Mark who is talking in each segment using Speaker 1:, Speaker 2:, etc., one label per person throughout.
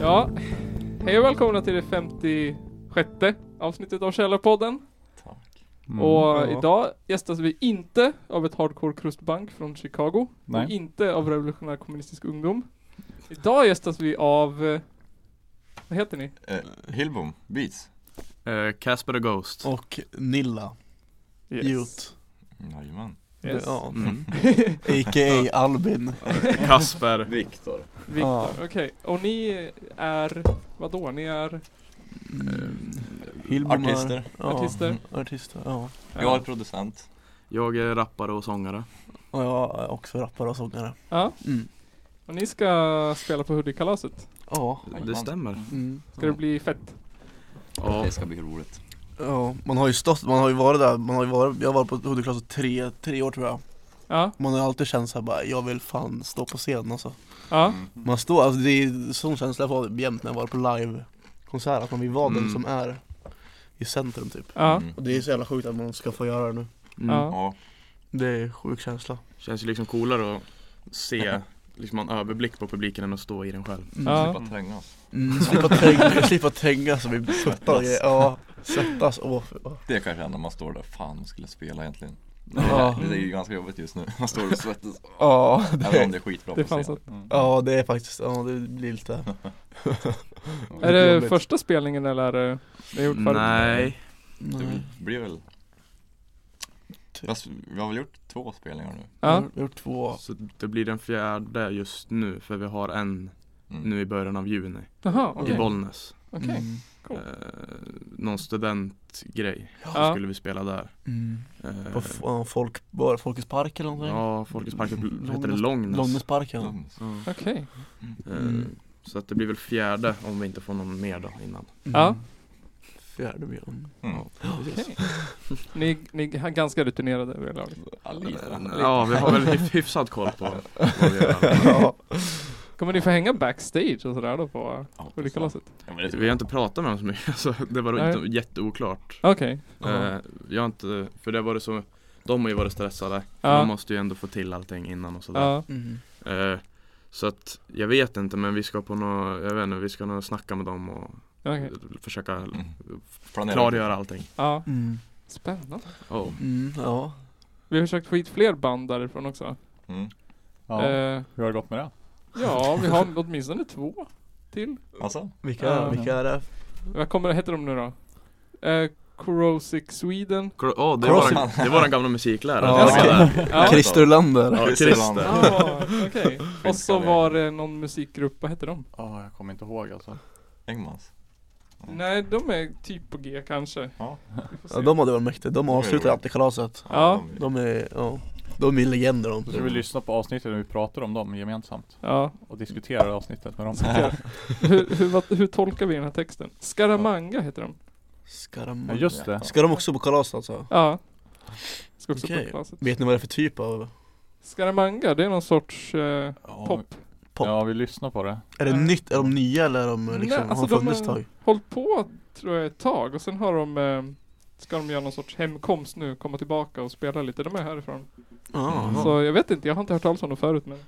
Speaker 1: Ja, hej och välkomna till det 56 avsnittet av Källarpodden.
Speaker 2: Tack.
Speaker 3: Mm.
Speaker 1: och
Speaker 4: ja.
Speaker 1: idag gästas vi inte av ett hardcore krustbank från Chicago. Och
Speaker 3: Nej.
Speaker 1: inte av Revolutionär Kommunistisk Ungdom. Idag gästas vi av, eh, vad heter ni?
Speaker 2: Eh, Hillbom, Beats.
Speaker 5: Eh, Casper the Ghost.
Speaker 4: Och Nilla, Jut,
Speaker 2: Jajamän.
Speaker 1: Yes.
Speaker 4: ja.
Speaker 5: Mm.
Speaker 4: a.k.a. Albin
Speaker 5: Casper.
Speaker 2: Viktor.
Speaker 1: Viktor,
Speaker 4: Ja.
Speaker 1: okej. Och ni är, vadå? Ni är
Speaker 4: Hilbom är-
Speaker 2: Artister.
Speaker 4: ja,
Speaker 1: Artister.
Speaker 4: Eh, Artister, ja
Speaker 2: Jag är producent.
Speaker 5: Jag är rappare och sångare.
Speaker 4: Och jag är också rappare och sångare
Speaker 1: Ja.
Speaker 4: Mm.
Speaker 1: Och ni ska spela på Hoodiekalaset.
Speaker 4: Ja
Speaker 5: Det stämmer.
Speaker 4: mm.
Speaker 1: Ska det bli fett?
Speaker 5: Ja.
Speaker 2: Det ska bli roligt.
Speaker 4: Ja, man har ju stått, man har ju varit där, man har ju varit, jag har varit på Hudiklass tre, tre år tror jag
Speaker 1: Ja,
Speaker 4: Man har ju alltid känt såhär bara, jag vill fan stå på scen alltså
Speaker 1: ja,
Speaker 4: Man står, alltså det är sån känsla jag får jämt när jag var på livekonsert, att man vill vara den
Speaker 5: Mm.
Speaker 4: som är i centrum typ
Speaker 1: ja,
Speaker 2: Mm.
Speaker 4: Och det är så jävla sjukt att man ska få göra det nu
Speaker 5: Mm.
Speaker 1: ja.
Speaker 2: Ja.
Speaker 4: Det är en sjuk känsla
Speaker 5: Känns ju liksom coolare att se, liksom ha en överblick på publiken än att stå i den själv.
Speaker 1: Ja.
Speaker 2: Slippa trängas.
Speaker 4: Mm, slippa tränga, slippa tränga så vi puttar och grejer. Ja, svettas. Åh, fy- åh.
Speaker 2: Det kan jag känna när man står där, fan man skulle spela egentligen.
Speaker 4: Ja.
Speaker 2: Det är ju ganska jobbigt just nu. Man står och svettas.
Speaker 4: Ja,
Speaker 2: Även om
Speaker 4: det,
Speaker 2: det är skitbra
Speaker 1: Det
Speaker 2: på scen.
Speaker 1: fanns att.
Speaker 4: ja, det är faktiskt, Mm. ja det blir lite
Speaker 1: Är det
Speaker 4: Jobbigt.
Speaker 1: första spelningen eller är det, det är gjort förut?
Speaker 5: Nej.
Speaker 2: Det
Speaker 4: Nej. Typ.
Speaker 2: blir- blir väl... Fast vi har väl gjort två spelningar nu?
Speaker 4: Jag
Speaker 1: Ja,
Speaker 4: har gjort två
Speaker 5: Så det blir den fjärde just nu för vi har en
Speaker 2: Mm.
Speaker 5: nu i början av juni
Speaker 1: jaha, okej.
Speaker 5: i Bollnäs.
Speaker 1: Okej.
Speaker 4: Mm.
Speaker 1: Cool.
Speaker 5: Eh, någon studentgrej. Så
Speaker 1: Ja.
Speaker 5: skulle vi spela där.
Speaker 4: Mm.
Speaker 5: Eh,
Speaker 4: På f- ja, folk, var det Folkets park eller någonting?
Speaker 5: ja, Folkets park
Speaker 4: Långnäs-
Speaker 5: heter det Långnäs.
Speaker 4: Långnäsparken
Speaker 2: Lugnt.
Speaker 5: Ja.
Speaker 1: Okej.
Speaker 5: Eh,
Speaker 4: Mm.
Speaker 5: Så att det blir väl fjärde om vi inte får någon mer då innan.
Speaker 1: Ja.
Speaker 4: Fjärde björn
Speaker 2: Mm.
Speaker 1: Okej. Ni, ni är ganska rutinerade överlag.
Speaker 2: Ja, lite.
Speaker 5: Ja, vi har väl hyf- hyfsad koll på vad vi gör.
Speaker 4: Ja,
Speaker 1: Kommer ni få hänga backstage och sådär då på
Speaker 2: Ja,
Speaker 1: Hoodiekalaset?
Speaker 2: Ja, men det
Speaker 5: Vi har inte pratat med dem så mycket, så det var
Speaker 1: Nej.
Speaker 5: inte jätteoklart.
Speaker 1: Okej.
Speaker 4: Ja.
Speaker 5: Eh, Jag har inte, för det var det så, de har ju varit stressade.
Speaker 1: Ja.
Speaker 5: De måste ju ändå få till allting innan och sådär.
Speaker 1: Ja.
Speaker 4: mm.
Speaker 5: Eh, Så att, jag vet inte men vi ska på nå, jag vet inte, vi ska nog snacka med dem och
Speaker 1: Okej.
Speaker 5: försöka
Speaker 2: Mm. Planera.
Speaker 5: klargöra allting.
Speaker 1: Ja.
Speaker 4: Mm.
Speaker 1: Spännande.
Speaker 5: Oh.
Speaker 4: Mm. ja
Speaker 1: Vi har försökt få hit fler band därifrån också.
Speaker 2: Mm.
Speaker 3: Ja,
Speaker 1: Eh,
Speaker 3: hur har det gått med det?
Speaker 1: ja, vi har åtminstone två till.
Speaker 2: Alltså?
Speaker 4: Vilka,
Speaker 1: Ja.
Speaker 4: vilka är det?
Speaker 1: Vad kommer, heter de nu då? Eh, Corrosic Sweden.
Speaker 5: Kro- åh, oh, det,
Speaker 4: Cross-
Speaker 5: var den, det var den gamla musikläraren.
Speaker 4: Ja,
Speaker 5: som var
Speaker 2: okej.
Speaker 5: där.
Speaker 1: Ja.
Speaker 4: Christer Lander
Speaker 5: Ja,
Speaker 2: Christer
Speaker 5: Christer.
Speaker 2: Lander.
Speaker 1: Ah, okej. Och så var det någon musikgrupp, vad hette de?
Speaker 3: Ja, jag kommer inte ihåg alltså.
Speaker 2: Engmans?
Speaker 3: Mm.
Speaker 1: Nej, de är typ på G kanske.
Speaker 2: Ja.
Speaker 1: Vi får se.
Speaker 4: ja, de hade varit mäktiga, de
Speaker 2: är
Speaker 4: avslutar
Speaker 2: roligt.
Speaker 4: alltid kalaset
Speaker 1: Ja.
Speaker 2: de-
Speaker 4: De är, ja, de är legender de
Speaker 3: Så vi lyssnar på avsnittet när vi pratar om dem gemensamt
Speaker 1: ja.
Speaker 3: och diskuterar avsnittet med dem.
Speaker 1: Hur, hur, vad, hur tolkar vi den här texten? Scaramanga heter de.
Speaker 4: Skaramanga
Speaker 3: Ja, just det.
Speaker 4: Ska de också på kalas alltså?
Speaker 1: Ja. Ska också
Speaker 4: Okej.
Speaker 1: på klaset.
Speaker 4: Vet ni vad det är för typ av
Speaker 1: Scaramanga, det är någon sorts eh,
Speaker 3: Ja,
Speaker 1: pop.
Speaker 4: pop?
Speaker 3: ja vi lyssnar på det.
Speaker 4: Är det
Speaker 1: Nej.
Speaker 4: nytt? Är de nya eller är de eh,
Speaker 1: Nej,
Speaker 4: liksom,
Speaker 1: alltså
Speaker 4: har
Speaker 1: de
Speaker 4: funnits
Speaker 1: är-
Speaker 4: ett tag?
Speaker 1: Hållt på tror jag ett tag och sen har de eh, Ska de göra någon sorts hemkomst nu, komma tillbaka och spela lite. De är härifrån.
Speaker 4: Ja,
Speaker 1: Så jag vet inte, jag har inte hört talas om dem förut men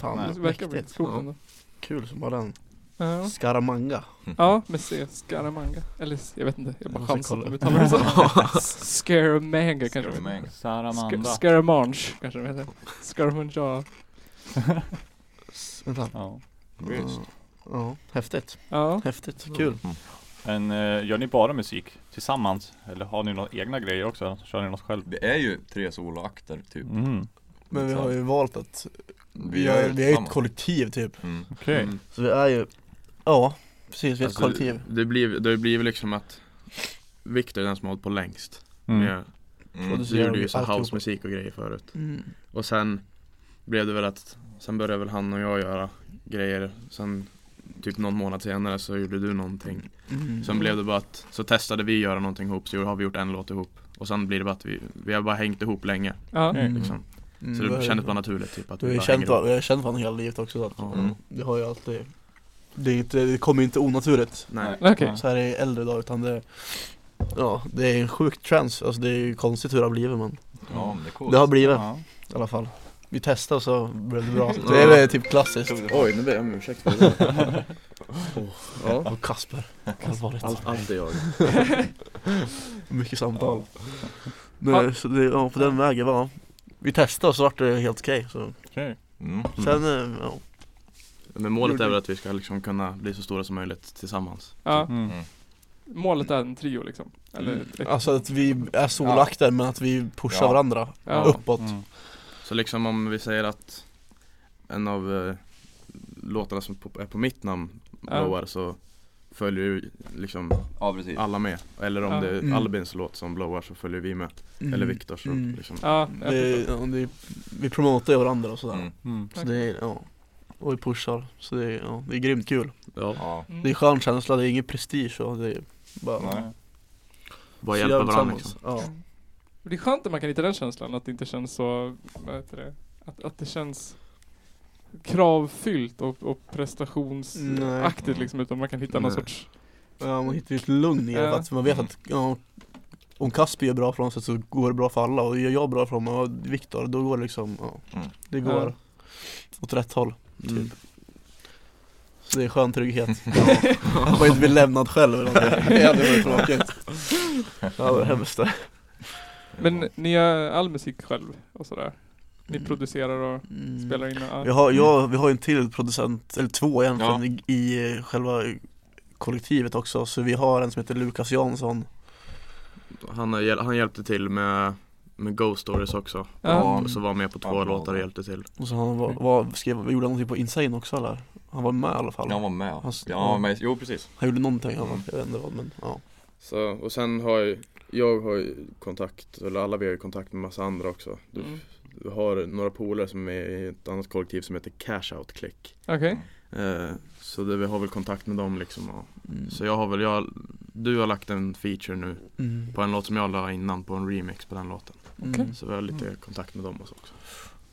Speaker 4: fan
Speaker 1: det
Speaker 4: Nej,
Speaker 1: verkar bli
Speaker 4: mäktigt
Speaker 1: coolt
Speaker 5: Ja.
Speaker 1: ändå.
Speaker 4: Kul som bara den
Speaker 1: Ja.
Speaker 4: Skaramanga
Speaker 2: Mm.
Speaker 1: ja, med C, Scaramanga. Eller s- jag vet inte, jag bara
Speaker 4: Jag måste
Speaker 1: chansar att de
Speaker 4: kolla.
Speaker 1: uttalar det så. Scaramanga kanske de heter.
Speaker 2: Scaramanga.
Speaker 1: Scar-
Speaker 3: Saramanda.
Speaker 1: Scaramouche kanske de heter. Scaramanga.
Speaker 4: S- Vänta
Speaker 3: Ja.
Speaker 2: Visst.
Speaker 4: Ja, häftigt,
Speaker 1: Ja.
Speaker 4: häftigt, kul
Speaker 3: Men eh, gör ni bara musik tillsammans? Eller har ni några egna grejer också? Kör ni något själv?
Speaker 2: Det är ju tre soloakter typ.
Speaker 3: Mm.
Speaker 4: Men vi har ju valt att Vi,
Speaker 2: gör det
Speaker 4: är, vi är ju ett
Speaker 2: tillsammans.
Speaker 4: kollektiv typ
Speaker 2: Mm.
Speaker 3: Okej.
Speaker 5: Mm.
Speaker 4: Så vi är ju Ja, precis vi är ett
Speaker 5: Alltså,
Speaker 4: kollektiv
Speaker 5: Det blir, det blir liksom att Viktor är den som har hållit på längst.
Speaker 3: Mm.
Speaker 5: Jag,
Speaker 2: Mm.
Speaker 4: Så
Speaker 5: vi
Speaker 4: gör
Speaker 5: gjorde
Speaker 4: vi
Speaker 5: ju så
Speaker 4: alltihopa.
Speaker 5: housemusik och grejer förut.
Speaker 4: Mm.
Speaker 5: Och sen blev det väl att Sen började väl han och jag göra grejer Sen typ någon månad senare så gjorde du någonting
Speaker 4: Mm.
Speaker 5: Sen blev det bara att Så testade vi göra någonting ihop så har vi gjort en låt ihop Och sen blir det bara att vi, vi har bara hängt ihop länge
Speaker 1: Ja.
Speaker 3: Mm.
Speaker 5: liksom.
Speaker 4: Mm,
Speaker 5: Så
Speaker 4: vi har
Speaker 5: det
Speaker 4: ju-
Speaker 5: kändes bara naturligt typ att
Speaker 4: Vi har ju
Speaker 5: bara
Speaker 4: känt
Speaker 5: hänger ihop.
Speaker 4: varandra, vi har känt varandra hela livet också så att
Speaker 5: Ja.
Speaker 2: Mm.
Speaker 4: Det har ju alltid Det, är inte, det kommer ju inte onaturligt
Speaker 5: Nej
Speaker 1: Okej.
Speaker 4: så här i äldre dagar utan det Ja, det är en sjuk trans, alltså det är ju konstigt hur det har blivit men
Speaker 2: Ja, men det är coolt.
Speaker 4: Det har blivit
Speaker 3: Ja.
Speaker 4: i alla fall Vi testade och så blev det bra, det är väl typ klassiskt
Speaker 5: Oj, nu ber jag om ursäkt för det oh, Ja,
Speaker 4: Och Kasper, allvarligt
Speaker 5: allt, allt är jag
Speaker 4: Mycket samtal
Speaker 1: Ja.
Speaker 4: Nej, så det, ja, på den vägen va Vi testade och så vart det helt okej så
Speaker 3: Okej.
Speaker 2: Mm.
Speaker 4: Sen, eh, ja,
Speaker 5: Men målet är väl att vi ska liksom kunna bli så stora som möjligt tillsammans
Speaker 1: Ja,
Speaker 3: Mm.
Speaker 1: målet är en trio liksom. Eller ett,
Speaker 4: alltså att vi är solaktiga men att vi pushar
Speaker 2: Ja.
Speaker 4: varandra
Speaker 1: ja.
Speaker 4: uppåt
Speaker 3: Mm.
Speaker 5: Så liksom om vi säger att en av eh, låtarna som på- är på mitt namn
Speaker 1: Ja.
Speaker 5: blowar så följer ju liksom
Speaker 2: Ja, precis.
Speaker 5: alla med Eller om
Speaker 1: Ja.
Speaker 5: det är
Speaker 4: Mm.
Speaker 5: Albins låt som blowar så följer vi med Eller Viktors så
Speaker 4: mm.
Speaker 5: liksom
Speaker 1: Ja, jag
Speaker 4: det,
Speaker 1: förstår.
Speaker 4: ja, det, Vi promotar ju varandra och sådär
Speaker 2: Mm.
Speaker 3: Mm.
Speaker 4: Så det är, ja Och vi pushar, så det är, ja, det är grymt kul
Speaker 5: ja.
Speaker 2: Ja.
Speaker 1: Mm.
Speaker 4: Det är skön känsla, det är ingen prestige och det är bara
Speaker 3: Nej.
Speaker 5: Bara
Speaker 4: så
Speaker 5: hjälpa
Speaker 4: gör vi
Speaker 5: varandra
Speaker 4: tillsammans.
Speaker 5: liksom
Speaker 4: ja.
Speaker 1: Det är skönt att man kan hitta den känslan, att det inte känns så, vad heter det, att, att det känns kravfyllt och, och prestationsaktigt
Speaker 2: Nej.
Speaker 1: liksom, utan man kan hitta någon
Speaker 5: Nej.
Speaker 1: sorts,
Speaker 4: ja, man hittar ju ett lugn i det
Speaker 1: Ja.
Speaker 4: för att man vet att ja, Om Kasper gör bra från sig så går det bra för alla och gör jag bra från mig och Viktor då går det liksom, ja
Speaker 2: Mm.
Speaker 4: Det går
Speaker 1: Ja.
Speaker 4: åt rätt håll
Speaker 5: Mm.
Speaker 4: Så det är skön trygghet Att man inte blir lämnad själv eller någonting. Det hade varit tråkigt Ja det var hemskt det
Speaker 1: men ni gör all musik själv och sådär? Ni producerar och
Speaker 4: Mm.
Speaker 1: spelar in och,
Speaker 4: Vi
Speaker 1: ja.
Speaker 4: har, jag, vi har ju en till producent, eller två egentligen
Speaker 2: Ja.
Speaker 4: i, i eh, själva kollektivet också Så vi har en som heter Lukas Jansson
Speaker 5: Mm. han, har hjäl- han hjälpte till med, med Ghost Stories också
Speaker 1: Ja.
Speaker 5: Och så var med på två
Speaker 2: Ja, bra.
Speaker 5: låtar och hjälpte till
Speaker 4: Och så han var, var, skrev, gjorde han någonting på Insane också eller? Han var med i alla fall
Speaker 2: Jag var med.
Speaker 4: Hans-
Speaker 2: Ja, men jo precis.
Speaker 4: Han gjorde någonting, han var, jag vet inte vad men ja
Speaker 5: Så, och sen har jag, jag har ju kontakt, eller alla vi har ju kontakt med massa andra också Du
Speaker 1: Mm.
Speaker 5: Vi har några polare som är i ett annat kollektiv som heter Cash Out Click
Speaker 1: Okej,
Speaker 5: eh, Så det, vi har väl kontakt med dem liksom och,
Speaker 4: mm.
Speaker 5: Så jag har väl, jag, du har lagt en feature nu
Speaker 4: mm.
Speaker 5: på en låt som jag la innan på en remix på den låten
Speaker 4: mm.
Speaker 5: Så vi har lite kontakt med dem och så också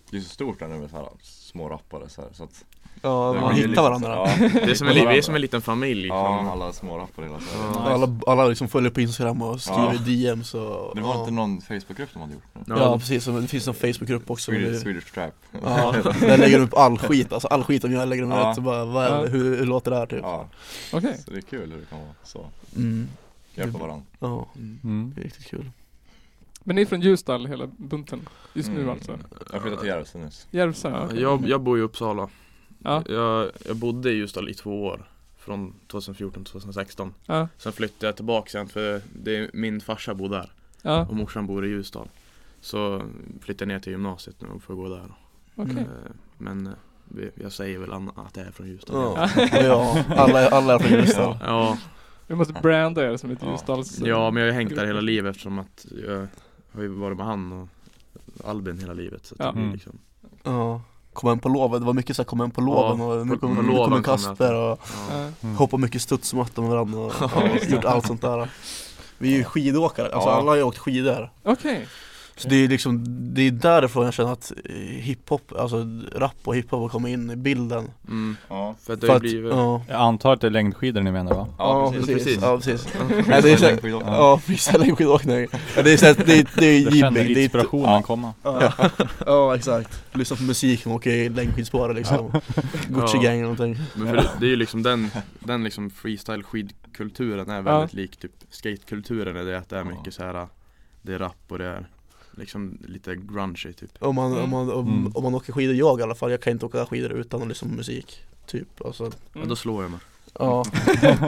Speaker 2: Det är så stort där nu med så här små rappare så här. Så att
Speaker 4: Ja,
Speaker 2: det
Speaker 4: man
Speaker 2: blir
Speaker 4: hittar
Speaker 2: lite-
Speaker 4: varandra
Speaker 2: Ja,
Speaker 5: Det är som en, li- vi är som en liten familj
Speaker 2: Ja,
Speaker 5: liksom.
Speaker 2: alla små rappare hela tiden.
Speaker 5: Ja.
Speaker 4: alla, alla liksom följer på Instagram och skriver
Speaker 2: Ja.
Speaker 4: DMs och
Speaker 2: Det var
Speaker 4: ja.
Speaker 2: inte någon Facebookgrupp de hade gjort nu?
Speaker 4: Ja,
Speaker 5: Ja.
Speaker 4: precis, och det finns en Facebookgrupp också men
Speaker 2: Swedish,
Speaker 4: det,
Speaker 2: Swedish Trap
Speaker 4: ja, Där lägger de upp all skit, alltså all skit om jag lägger dem
Speaker 2: Ja.
Speaker 4: ut så bara, vad är,
Speaker 1: Ja.
Speaker 4: hur, hur låter det här typ?
Speaker 2: Ja,
Speaker 1: okej.
Speaker 2: så det är kul hur det kan vara så
Speaker 4: Mm.
Speaker 2: Hjälpa varandra
Speaker 4: Ja,
Speaker 3: Mm.
Speaker 4: det är riktigt kul
Speaker 1: Men ni är från Ljusdal hela bunten? Just nu
Speaker 2: Mm.
Speaker 1: alltså?
Speaker 2: Jag flyttade till Järvsö nyss
Speaker 1: Järvsö?
Speaker 5: Ja,
Speaker 1: okej.
Speaker 5: jag, jag bor i Uppsala
Speaker 1: Ja.
Speaker 5: jag, jag bodde i Ljusdal i två år Från 2014 till 2016
Speaker 1: Ja.
Speaker 5: Sen flyttade jag tillbaka sen för det är, min farsa bor där
Speaker 1: Ja,
Speaker 5: och morsan bor i Ljusdal. Så flyttade jag ner till gymnasiet nu och får gå där.
Speaker 1: okej.
Speaker 4: Mm.
Speaker 5: Eh, Men eh, vi- jag säger väl an- att jag är från Ljusdal.
Speaker 4: Ja, ja alla, alla är från Ljusdal
Speaker 5: Ja,
Speaker 1: Vi måste branda er som ett
Speaker 2: Ja.
Speaker 1: Ljusdals...
Speaker 5: ja, men jag har ju hängt där hela livet eftersom att jag har ju varit med han och Albin hela livet. Så att
Speaker 1: Ja.
Speaker 5: det blir
Speaker 3: Mm.
Speaker 5: liksom,
Speaker 4: ja. Kom hem på lovet, det var mycket såhär kom hem på loven
Speaker 5: Ja,
Speaker 4: och nu
Speaker 5: på- på
Speaker 4: kommer nu
Speaker 5: loven
Speaker 4: kommer
Speaker 5: kom jag.
Speaker 4: Kasper och
Speaker 5: ja.
Speaker 1: Ja.
Speaker 3: Mm.
Speaker 4: hoppar mycket studsmatta med varandra och
Speaker 2: Ja.
Speaker 4: gjort allt sånt där Vi är ju skidåkare, alltså
Speaker 2: Ja.
Speaker 4: alla har ju åkt skidor
Speaker 1: Okej.
Speaker 4: Så det är liksom, det är därifrån jag känner att eh, hiphop, alltså rap och hiphop har kommit in i bilden
Speaker 5: Mm.
Speaker 2: Ja,
Speaker 5: För att det
Speaker 4: För
Speaker 5: har ju
Speaker 4: att,
Speaker 5: blivit,
Speaker 4: ja,
Speaker 3: Jag antar att det är längdskidor ni menar va?
Speaker 4: ja,
Speaker 2: precis,
Speaker 4: precis,
Speaker 5: precis.
Speaker 4: ja precis Nej, det är så, ja, freestyling skidåkning Ja, Det är så att det är, det är
Speaker 3: Jag känner
Speaker 4: jibbing, det är inte-
Speaker 3: inspirationen
Speaker 2: Ja.
Speaker 3: komma
Speaker 4: Ja, ja exakt Lyssna på musik och åka i längdskidspåret liksom Gucci
Speaker 5: Ja.
Speaker 4: gang eller någonting
Speaker 5: men för det, det är ju liksom den, den liksom freestyle skidkulturen är väldigt lik typ skatekulturen i det att det är
Speaker 2: Ja.
Speaker 5: mycket så här det är rap och det är liksom lite grungy typ.
Speaker 4: Om man, om man, om,
Speaker 3: Mm.
Speaker 4: om man åker skidor, jag i alla fall, jag kan inte åka skidor utan liksom musik Typ, alltså
Speaker 1: Mm.
Speaker 5: Ja, då slår jag mig.
Speaker 4: Ja,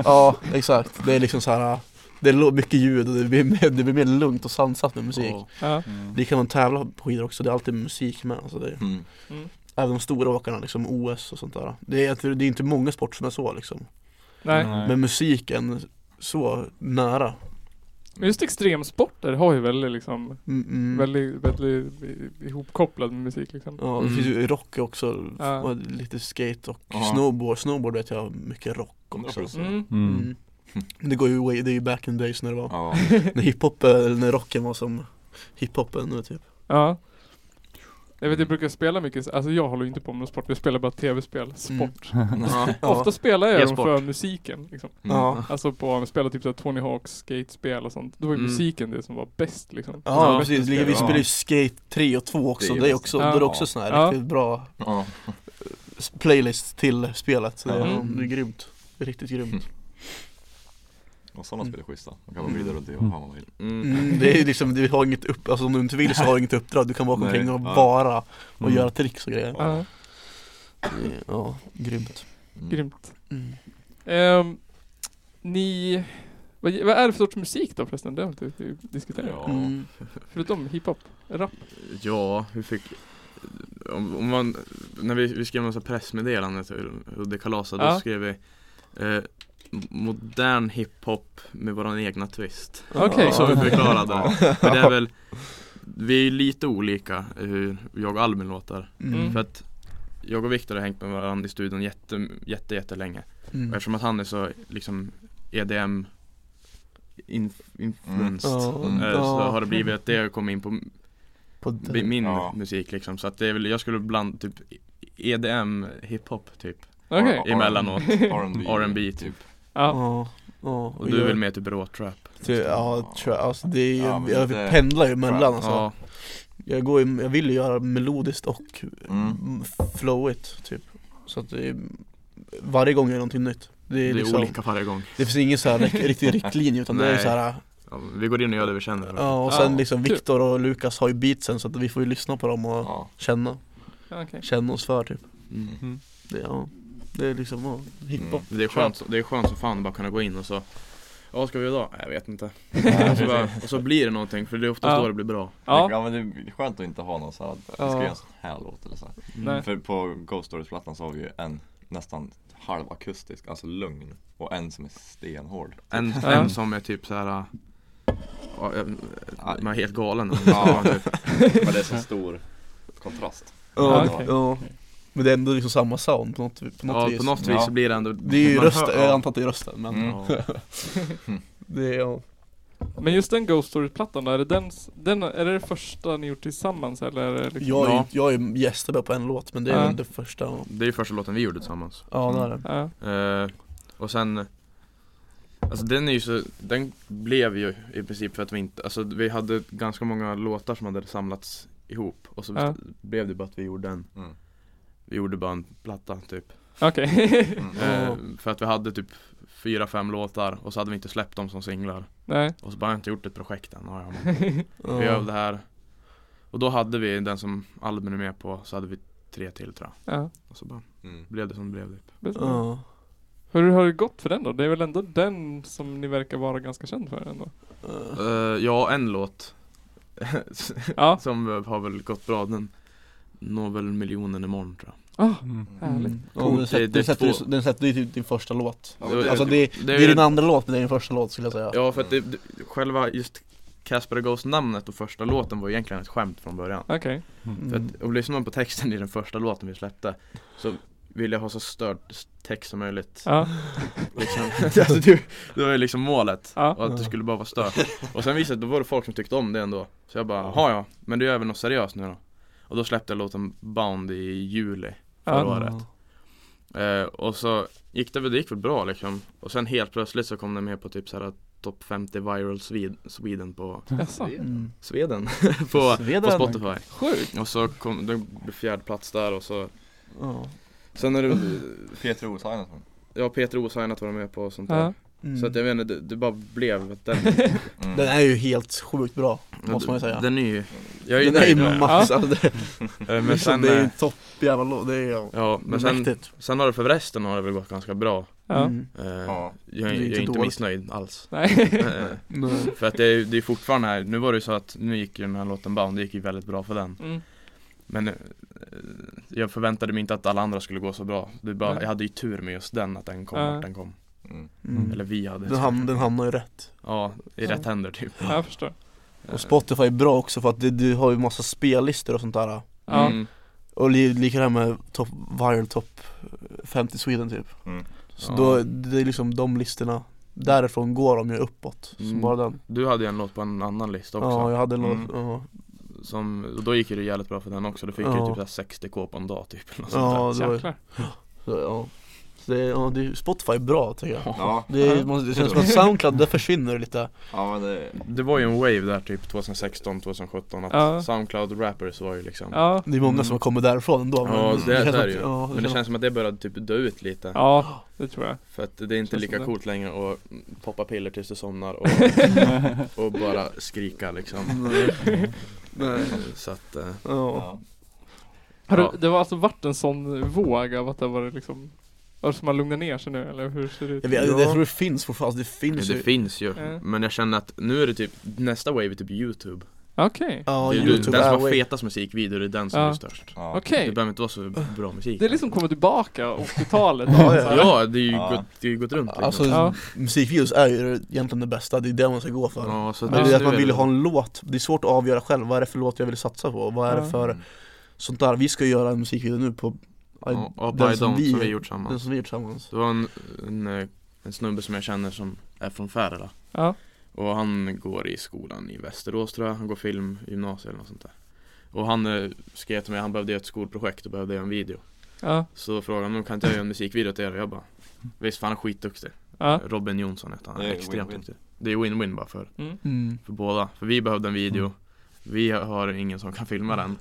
Speaker 4: ja exakt. Det är liksom så här. Det är lo- mycket ljud och det blir, mer, det blir mer lugnt och sansat med musik.
Speaker 5: Ja.
Speaker 1: Mm. Ja.
Speaker 4: Det kan man tävla på skidor också, det är alltid musik med. Alltså det är,
Speaker 2: Mm.
Speaker 1: Mm.
Speaker 4: även de stora åkarna, liksom OS och sånt där. Det är, att- det är inte många sporter som är så liksom.
Speaker 1: Nej.
Speaker 4: Men musiken så nära.
Speaker 1: Men just extremsporter har ju väldigt liksom
Speaker 4: Mm, mm.
Speaker 1: Väldigt, väldigt i- ihopkopplad med musik liksom
Speaker 4: Ja, det
Speaker 5: Mm.
Speaker 4: finns ju rock också,
Speaker 1: Ja.
Speaker 4: och lite skate och
Speaker 2: Ja.
Speaker 4: snowboard. Snowboard vet jag mycket rock också.
Speaker 1: mm.
Speaker 3: Mm.
Speaker 4: Mm. Det går ju way, det är ju back in the days när det var,
Speaker 2: Ja,
Speaker 4: när hiphop, eller när rocken var som hiphopen nu typ.
Speaker 1: Ja Jag vet jag brukar spela mycket, alltså jag håller ju inte på med någon sport, jag spelar bara tv-spel, sport.
Speaker 4: Mm. Ja.
Speaker 2: Mm.
Speaker 1: Ofta spelar jag dem
Speaker 5: E-sport.
Speaker 1: för musiken liksom.
Speaker 5: Mm.
Speaker 4: Ja.
Speaker 1: Alltså på, jag spelar typ såhär Tony Hawks skatespel och sånt. Då var ju
Speaker 5: Mm.
Speaker 1: musiken det som var bäst liksom.
Speaker 4: Ja,
Speaker 5: Ja,
Speaker 4: precis,
Speaker 5: det
Speaker 4: vi
Speaker 5: är bra.
Speaker 4: spelar ju Skate 3 och 2 också,
Speaker 5: Det är
Speaker 4: det är
Speaker 5: bäst.
Speaker 4: också,
Speaker 1: Ja.
Speaker 4: då är det också sån här
Speaker 1: Ja.
Speaker 4: riktigt bra
Speaker 2: Ja.
Speaker 4: s- playlist till spelet så det, är,
Speaker 1: Mm.
Speaker 4: det är grymt, Det är riktigt grymt
Speaker 2: Och sådana spel är schyssta. Man kan vara
Speaker 4: Mm.
Speaker 2: vidare och det och vad man vill.
Speaker 5: Mm.
Speaker 4: mm, Det är ju liksom, du har inget upp, alltså om du inte vill så har du inget uppdrag, du kan bara gå omkring
Speaker 2: Nej,
Speaker 4: och
Speaker 2: ja.
Speaker 4: vara och
Speaker 3: Mm.
Speaker 4: göra tricks och grejer
Speaker 1: Ja,
Speaker 4: Det är- Ja, grymt
Speaker 2: Mm.
Speaker 1: grymt.
Speaker 4: mm.
Speaker 1: Ehm, ni, vad, vad är det för sorts musik då förresten? Det har vi inte diskuterat.
Speaker 2: Ja.
Speaker 4: Mm.
Speaker 1: Förutom hiphop, rap.
Speaker 5: Ja, hur fick... Om, om man, när vi, vi skrev en massa pressmeddelanden till Hudde Kalasa, då
Speaker 1: Ja.
Speaker 5: skrev vi eh, modern hiphop med våran egna twist.
Speaker 1: Okej.
Speaker 5: Så har vi förklarat
Speaker 2: Ja.
Speaker 5: det. För det är väl, vi är ju lite olika hur jag och Albin låter.
Speaker 1: Mm.
Speaker 5: För att jag och Viktor har hängt med varandra i studion jätte, jätte, jättelänge.
Speaker 4: Mm.
Speaker 5: Och eftersom att han är så liksom EDM inf- influenced
Speaker 4: Ja,
Speaker 5: eh, så
Speaker 4: Mm. ja,
Speaker 5: har det blivit att det kom in på
Speaker 4: på
Speaker 5: B-
Speaker 4: den-
Speaker 5: min
Speaker 2: Ja.
Speaker 5: musik liksom, så att det är väl, jag skulle blanda typ EDM, hiphop typ
Speaker 1: Okej.
Speaker 2: R-
Speaker 5: Emellanåt.
Speaker 2: R&B.
Speaker 5: R&B typ,
Speaker 1: Ja.
Speaker 4: Ja, ja,
Speaker 5: och du är väl mer typ råtrap?
Speaker 4: Ty- Ja, tror jag. Alltså det är ju,
Speaker 2: Ja, men
Speaker 4: jag
Speaker 2: lite-
Speaker 4: pendlar ju mellan alltså.
Speaker 5: Ja,
Speaker 4: jag, går ju, jag vill ju göra melodiskt och
Speaker 2: Mm.
Speaker 4: mm. flowigt typ Så att det är, varje gång är det någonting nytt Det, är
Speaker 5: det är
Speaker 4: liksom,
Speaker 5: olika varje gång
Speaker 4: det finns ingen så här rik- riktig riktlinje utan det är ju
Speaker 5: Nej.
Speaker 4: så här
Speaker 5: ja, Vi går in och gör det vi känner
Speaker 4: Ja och
Speaker 1: Ja,
Speaker 4: sen liksom
Speaker 1: kul.
Speaker 4: Viktor och Lukas har ju beatsen så att vi får ju lyssna på dem och
Speaker 2: Ja.
Speaker 4: känna,
Speaker 1: Okej.
Speaker 4: känna oss för typ
Speaker 5: mm.
Speaker 4: Det, ja, det är liksom ja, hiphop
Speaker 5: Det är skönt, det är skönt som fan att bara kunna gå in och så Ja, vad ska vi göra idag? Nej, Jag vet inte och, så bara, och så blir det någonting, för det är oftast
Speaker 1: Ja.
Speaker 5: då det blir bra
Speaker 1: Ja.
Speaker 2: ja men det är skönt att inte ha någon så här, att vi
Speaker 1: Ja. Mm.
Speaker 2: ska göra en sån här låt eller så här.
Speaker 5: Mm.
Speaker 1: Nej.
Speaker 2: För på Ghost Stories-plattan så har vi ju en nästan halvakustisk, alltså lugn. Och en som är stenhård.
Speaker 5: En,
Speaker 1: Ja.
Speaker 5: en som är typ såhär Ja, jag-
Speaker 2: Aj.
Speaker 5: man är helt galen typ.
Speaker 2: Ja. Men det är så stor kontrast.
Speaker 4: Ja,
Speaker 1: Ja, okej.
Speaker 4: ja. Men det är ändå liksom samma sound på något, på något
Speaker 5: Ja,
Speaker 4: vis
Speaker 5: på något vis
Speaker 2: Ja.
Speaker 5: så blir det ändå
Speaker 4: Det är ju
Speaker 5: man
Speaker 4: rösten,
Speaker 5: hör-
Speaker 4: jag
Speaker 5: ja.
Speaker 4: antar att det är rösten men
Speaker 2: Mm.
Speaker 5: Ja.
Speaker 4: det är ja
Speaker 1: Men just den Ghost Story-plattan då, är det den, s- den, är det det första ni gjort tillsammans eller? Är det liksom?
Speaker 4: Jag,
Speaker 5: Ja.
Speaker 4: är jag är gäster bara på en låt men det är
Speaker 1: Ja.
Speaker 4: väl det första Ja
Speaker 5: Det är ju första låten vi gjorde tillsammans
Speaker 4: det är det
Speaker 1: Ja.
Speaker 5: Eh, och sen Alltså den är ju så, den blev ju i princip för att vi inte, alltså vi hade ganska många låtar som hade samlats ihop och så
Speaker 1: Ja.
Speaker 5: blev det bara att vi gjorde en,
Speaker 2: Mm.
Speaker 5: vi gjorde bara en platta typ
Speaker 1: Okej.
Speaker 2: Mm.
Speaker 5: Eh,
Speaker 4: Ja.
Speaker 5: För att vi hade typ fyra, fem låtar och så hade vi inte släppt dem som singlar
Speaker 1: Nej.
Speaker 5: och så bara "Jag har inte gjort ett projekt än, ja, ja, men vi gör det här Och då hade vi den som Albin är med på, så hade vi tre till tror jag
Speaker 1: Ja.
Speaker 5: och så bara
Speaker 2: Mm.
Speaker 5: blev det som det blev typ
Speaker 1: Bäst.
Speaker 4: Ja.
Speaker 1: Hur har det gått för den då? Det är väl ändå den som ni verkar vara ganska känd för ändå?
Speaker 4: Ja.
Speaker 5: Eh, Ja, en låt
Speaker 1: Ja.
Speaker 5: Som har väl gått bra, den når väl miljonen imorgon tror jag
Speaker 1: Ah, härligt.
Speaker 4: Mm. Ja, den sätter-
Speaker 5: Det- det är
Speaker 4: Den sätter
Speaker 5: två-
Speaker 4: ju- den sätter ju typ din första låt
Speaker 2: Ja, men det-
Speaker 4: Alltså det,
Speaker 5: det
Speaker 4: det
Speaker 5: är
Speaker 4: är
Speaker 5: ju-
Speaker 4: din andra låt men det är din första låt skulle jag säga
Speaker 5: Ja för att det, det, själva just Casper Goes namnet och första låten var egentligen ett skämt från början
Speaker 1: Okej.
Speaker 4: Mm.
Speaker 5: För att, och lyssnar man på texten i den första låten vi släppte Så ville jag ha så störd text som möjligt
Speaker 1: Ja.
Speaker 5: liksom. alltså, det, det var ju liksom målet
Speaker 1: Ja.
Speaker 5: och att det skulle bara vara stört Och sen visade det då var det folk som tyckte om det ändå Så jag bara, jaha ja, men du gör väl något seriöst nu då? Och då släppte jag låten Bound i juli förra
Speaker 1: Ja.
Speaker 5: året Eh, och så gick det väl, det gick väl bra liksom Och sen helt plötsligt så kom den med på typ såhär Top 50 viral Sweden, Sweden på
Speaker 1: Jaså.
Speaker 4: Mm.
Speaker 5: Sweden på, på
Speaker 4: Sweden.
Speaker 5: Spotify
Speaker 1: Sjukt.
Speaker 5: Och så kom den blev fjärde plats där och så
Speaker 4: Ja.
Speaker 5: Sen är det,
Speaker 2: Peter Oshajnas
Speaker 5: ja Peter Osignat var med på och sånt där
Speaker 1: Ja.
Speaker 4: Mm.
Speaker 5: Så att jag vet inte, det, det bara blev att den
Speaker 2: mm.
Speaker 4: Den är ju helt sjukt bra Måste man ju säga
Speaker 5: Den är ju, jag är ju
Speaker 4: Den är ju
Speaker 5: nöjd med
Speaker 1: ma-
Speaker 4: max, alltså det,
Speaker 5: det. Eh, Men
Speaker 4: liksom,
Speaker 5: sen,
Speaker 4: det är ju
Speaker 5: eh,
Speaker 4: topp jävla låt, det är ju
Speaker 5: ja men sen,
Speaker 4: mäktigt
Speaker 5: sen har det för resten har det väl gått ganska bra
Speaker 1: Ja.
Speaker 4: Mm.
Speaker 5: Eh,
Speaker 2: Ja.
Speaker 4: Det är
Speaker 5: Jag, är-
Speaker 4: inte
Speaker 5: jag är inte
Speaker 4: dåligt.
Speaker 5: missnöjd alls
Speaker 1: Nej.
Speaker 5: Eh,
Speaker 4: Nej.
Speaker 5: För att det är, det är fortfarande här, nu var det ju så att nu gick ju den här låten Bound, det gick ju väldigt bra för den
Speaker 1: Mm.
Speaker 5: Men eh, jag förväntade mig inte att alla andra skulle gå så bra det är bara,
Speaker 1: Nej.
Speaker 5: Jag hade ju tur med just den, att den kom
Speaker 1: Ja.
Speaker 5: vart den kom
Speaker 2: Mm.
Speaker 4: Mm.
Speaker 5: Eller vi hade
Speaker 4: Den, ham- den hamnar ju rätt
Speaker 5: Ja, i
Speaker 1: Ja.
Speaker 5: rätt händer typ
Speaker 1: Ja, jag förstår.
Speaker 5: Eh,
Speaker 4: Och Spotify är bra också för att det, du har ju massa spellistor och sånt där
Speaker 1: Ja.
Speaker 5: mm,
Speaker 4: Och li, lika det här med top, viral top 50 Sweden typ
Speaker 2: Mm.
Speaker 4: Så
Speaker 5: Ja.
Speaker 4: då, det är liksom de listorna Därifrån går de ju uppåt, så
Speaker 5: Mm.
Speaker 4: bara den
Speaker 5: Du hade ju en låt på en annan lista också
Speaker 4: Ja, jag hade en
Speaker 2: Mm.
Speaker 4: låt, ja.
Speaker 5: som, och då gick ju det jävligt bra för den också, då fick jag
Speaker 4: Ja.
Speaker 5: ju typ så här 60 k på en dag typ eller något
Speaker 4: Ja, det var ju,
Speaker 1: Jäklar.
Speaker 4: så, ja. Så det, ja, det är ju Spotify är bra tycker jag
Speaker 2: Ja,
Speaker 4: Det, är, man- det känns som att Soundcloud, där försvinner lite
Speaker 2: ja men det,
Speaker 5: Det var ju en wave där typ 2016, 2017 att
Speaker 1: Ja.
Speaker 5: Soundcloud rappers var ju liksom
Speaker 1: Ja.
Speaker 4: Det är många
Speaker 5: Mm.
Speaker 4: som har kommit därifrån ändå men
Speaker 5: Ja, det-
Speaker 4: känns
Speaker 5: det är
Speaker 4: att-
Speaker 5: det ju.
Speaker 4: ja,
Speaker 5: Men det känns som att det började typ dö ut lite
Speaker 1: ja, det tror jag.
Speaker 5: För att det är inte
Speaker 1: Känns
Speaker 5: lika
Speaker 1: som det.
Speaker 5: coolt längre att poppa piller tills du somnar och, och bara skrika liksom
Speaker 4: Nej. Nej.
Speaker 5: Så att, eh,
Speaker 4: Ja.
Speaker 2: ja.
Speaker 1: Har
Speaker 5: Ja.
Speaker 1: du, det var alltså varit en sån våg av att det var liksom Har som har lugnat ner sig nu eller hur ser det ut?
Speaker 4: Jag, vet,
Speaker 5: Ja.
Speaker 4: jag tror det finns fortfarande, Alltså, det finns
Speaker 5: det
Speaker 4: ju
Speaker 5: finns ju
Speaker 1: Ja.
Speaker 5: Men jag känner att nu är det typ, nästa wave är typ youtube
Speaker 1: Okej.
Speaker 4: Ja,
Speaker 5: det är
Speaker 4: Youtube
Speaker 5: Den som har
Speaker 4: Airway.
Speaker 5: fetast musikvideor är den som
Speaker 1: Ja.
Speaker 5: är störst
Speaker 2: Ja.
Speaker 1: Okej.
Speaker 5: Det behöver inte vara så bra musik
Speaker 1: Det är liksom kommit tillbaka 80-talet.
Speaker 4: Ja,
Speaker 1: Så här.
Speaker 5: Ja, det är ju
Speaker 2: Ja.
Speaker 5: gått, det är ju gått runt liksom
Speaker 4: Alltså
Speaker 1: Ja.
Speaker 4: musikvideos är ju egentligen det bästa, det är det man ska gå för
Speaker 5: ja, så
Speaker 4: Det är
Speaker 5: nu
Speaker 4: det att man
Speaker 5: det-
Speaker 4: vill ha en låt, det är svårt att avgöra själv, vad är det för låt jag vill satsa på? Vad är det
Speaker 1: Ja.
Speaker 4: för sånt där? Vi ska ju göra en musikvideo nu på
Speaker 5: Ja, och
Speaker 4: den
Speaker 5: By
Speaker 4: som
Speaker 5: Don't
Speaker 4: vi-
Speaker 5: som vi gjort samman
Speaker 4: den som vi gjort tillsammans
Speaker 5: Det var en, en, eh, en snubbe som jag känner som är från Färila
Speaker 1: Ja.
Speaker 5: Och han går i skolan i Västerås tror jag, han går film, gymnasiet eller något sånt där Och han eh, skrev till mig, han behövde göra ett skolprojekt och behövde göra en video
Speaker 1: Ja.
Speaker 5: Så frågade han, "Men kan inte jag göra en musikvideo till er? Och jag bara Visst, för han är skitduktig
Speaker 1: Ja.
Speaker 5: Robin Jonsson heter han,
Speaker 2: Det är
Speaker 5: extremt
Speaker 2: win-win.
Speaker 5: duktig Det är win-win bara för,
Speaker 1: Mm.
Speaker 4: mm.
Speaker 5: för båda, för vi behövde en video Vi har ingen som kan filma den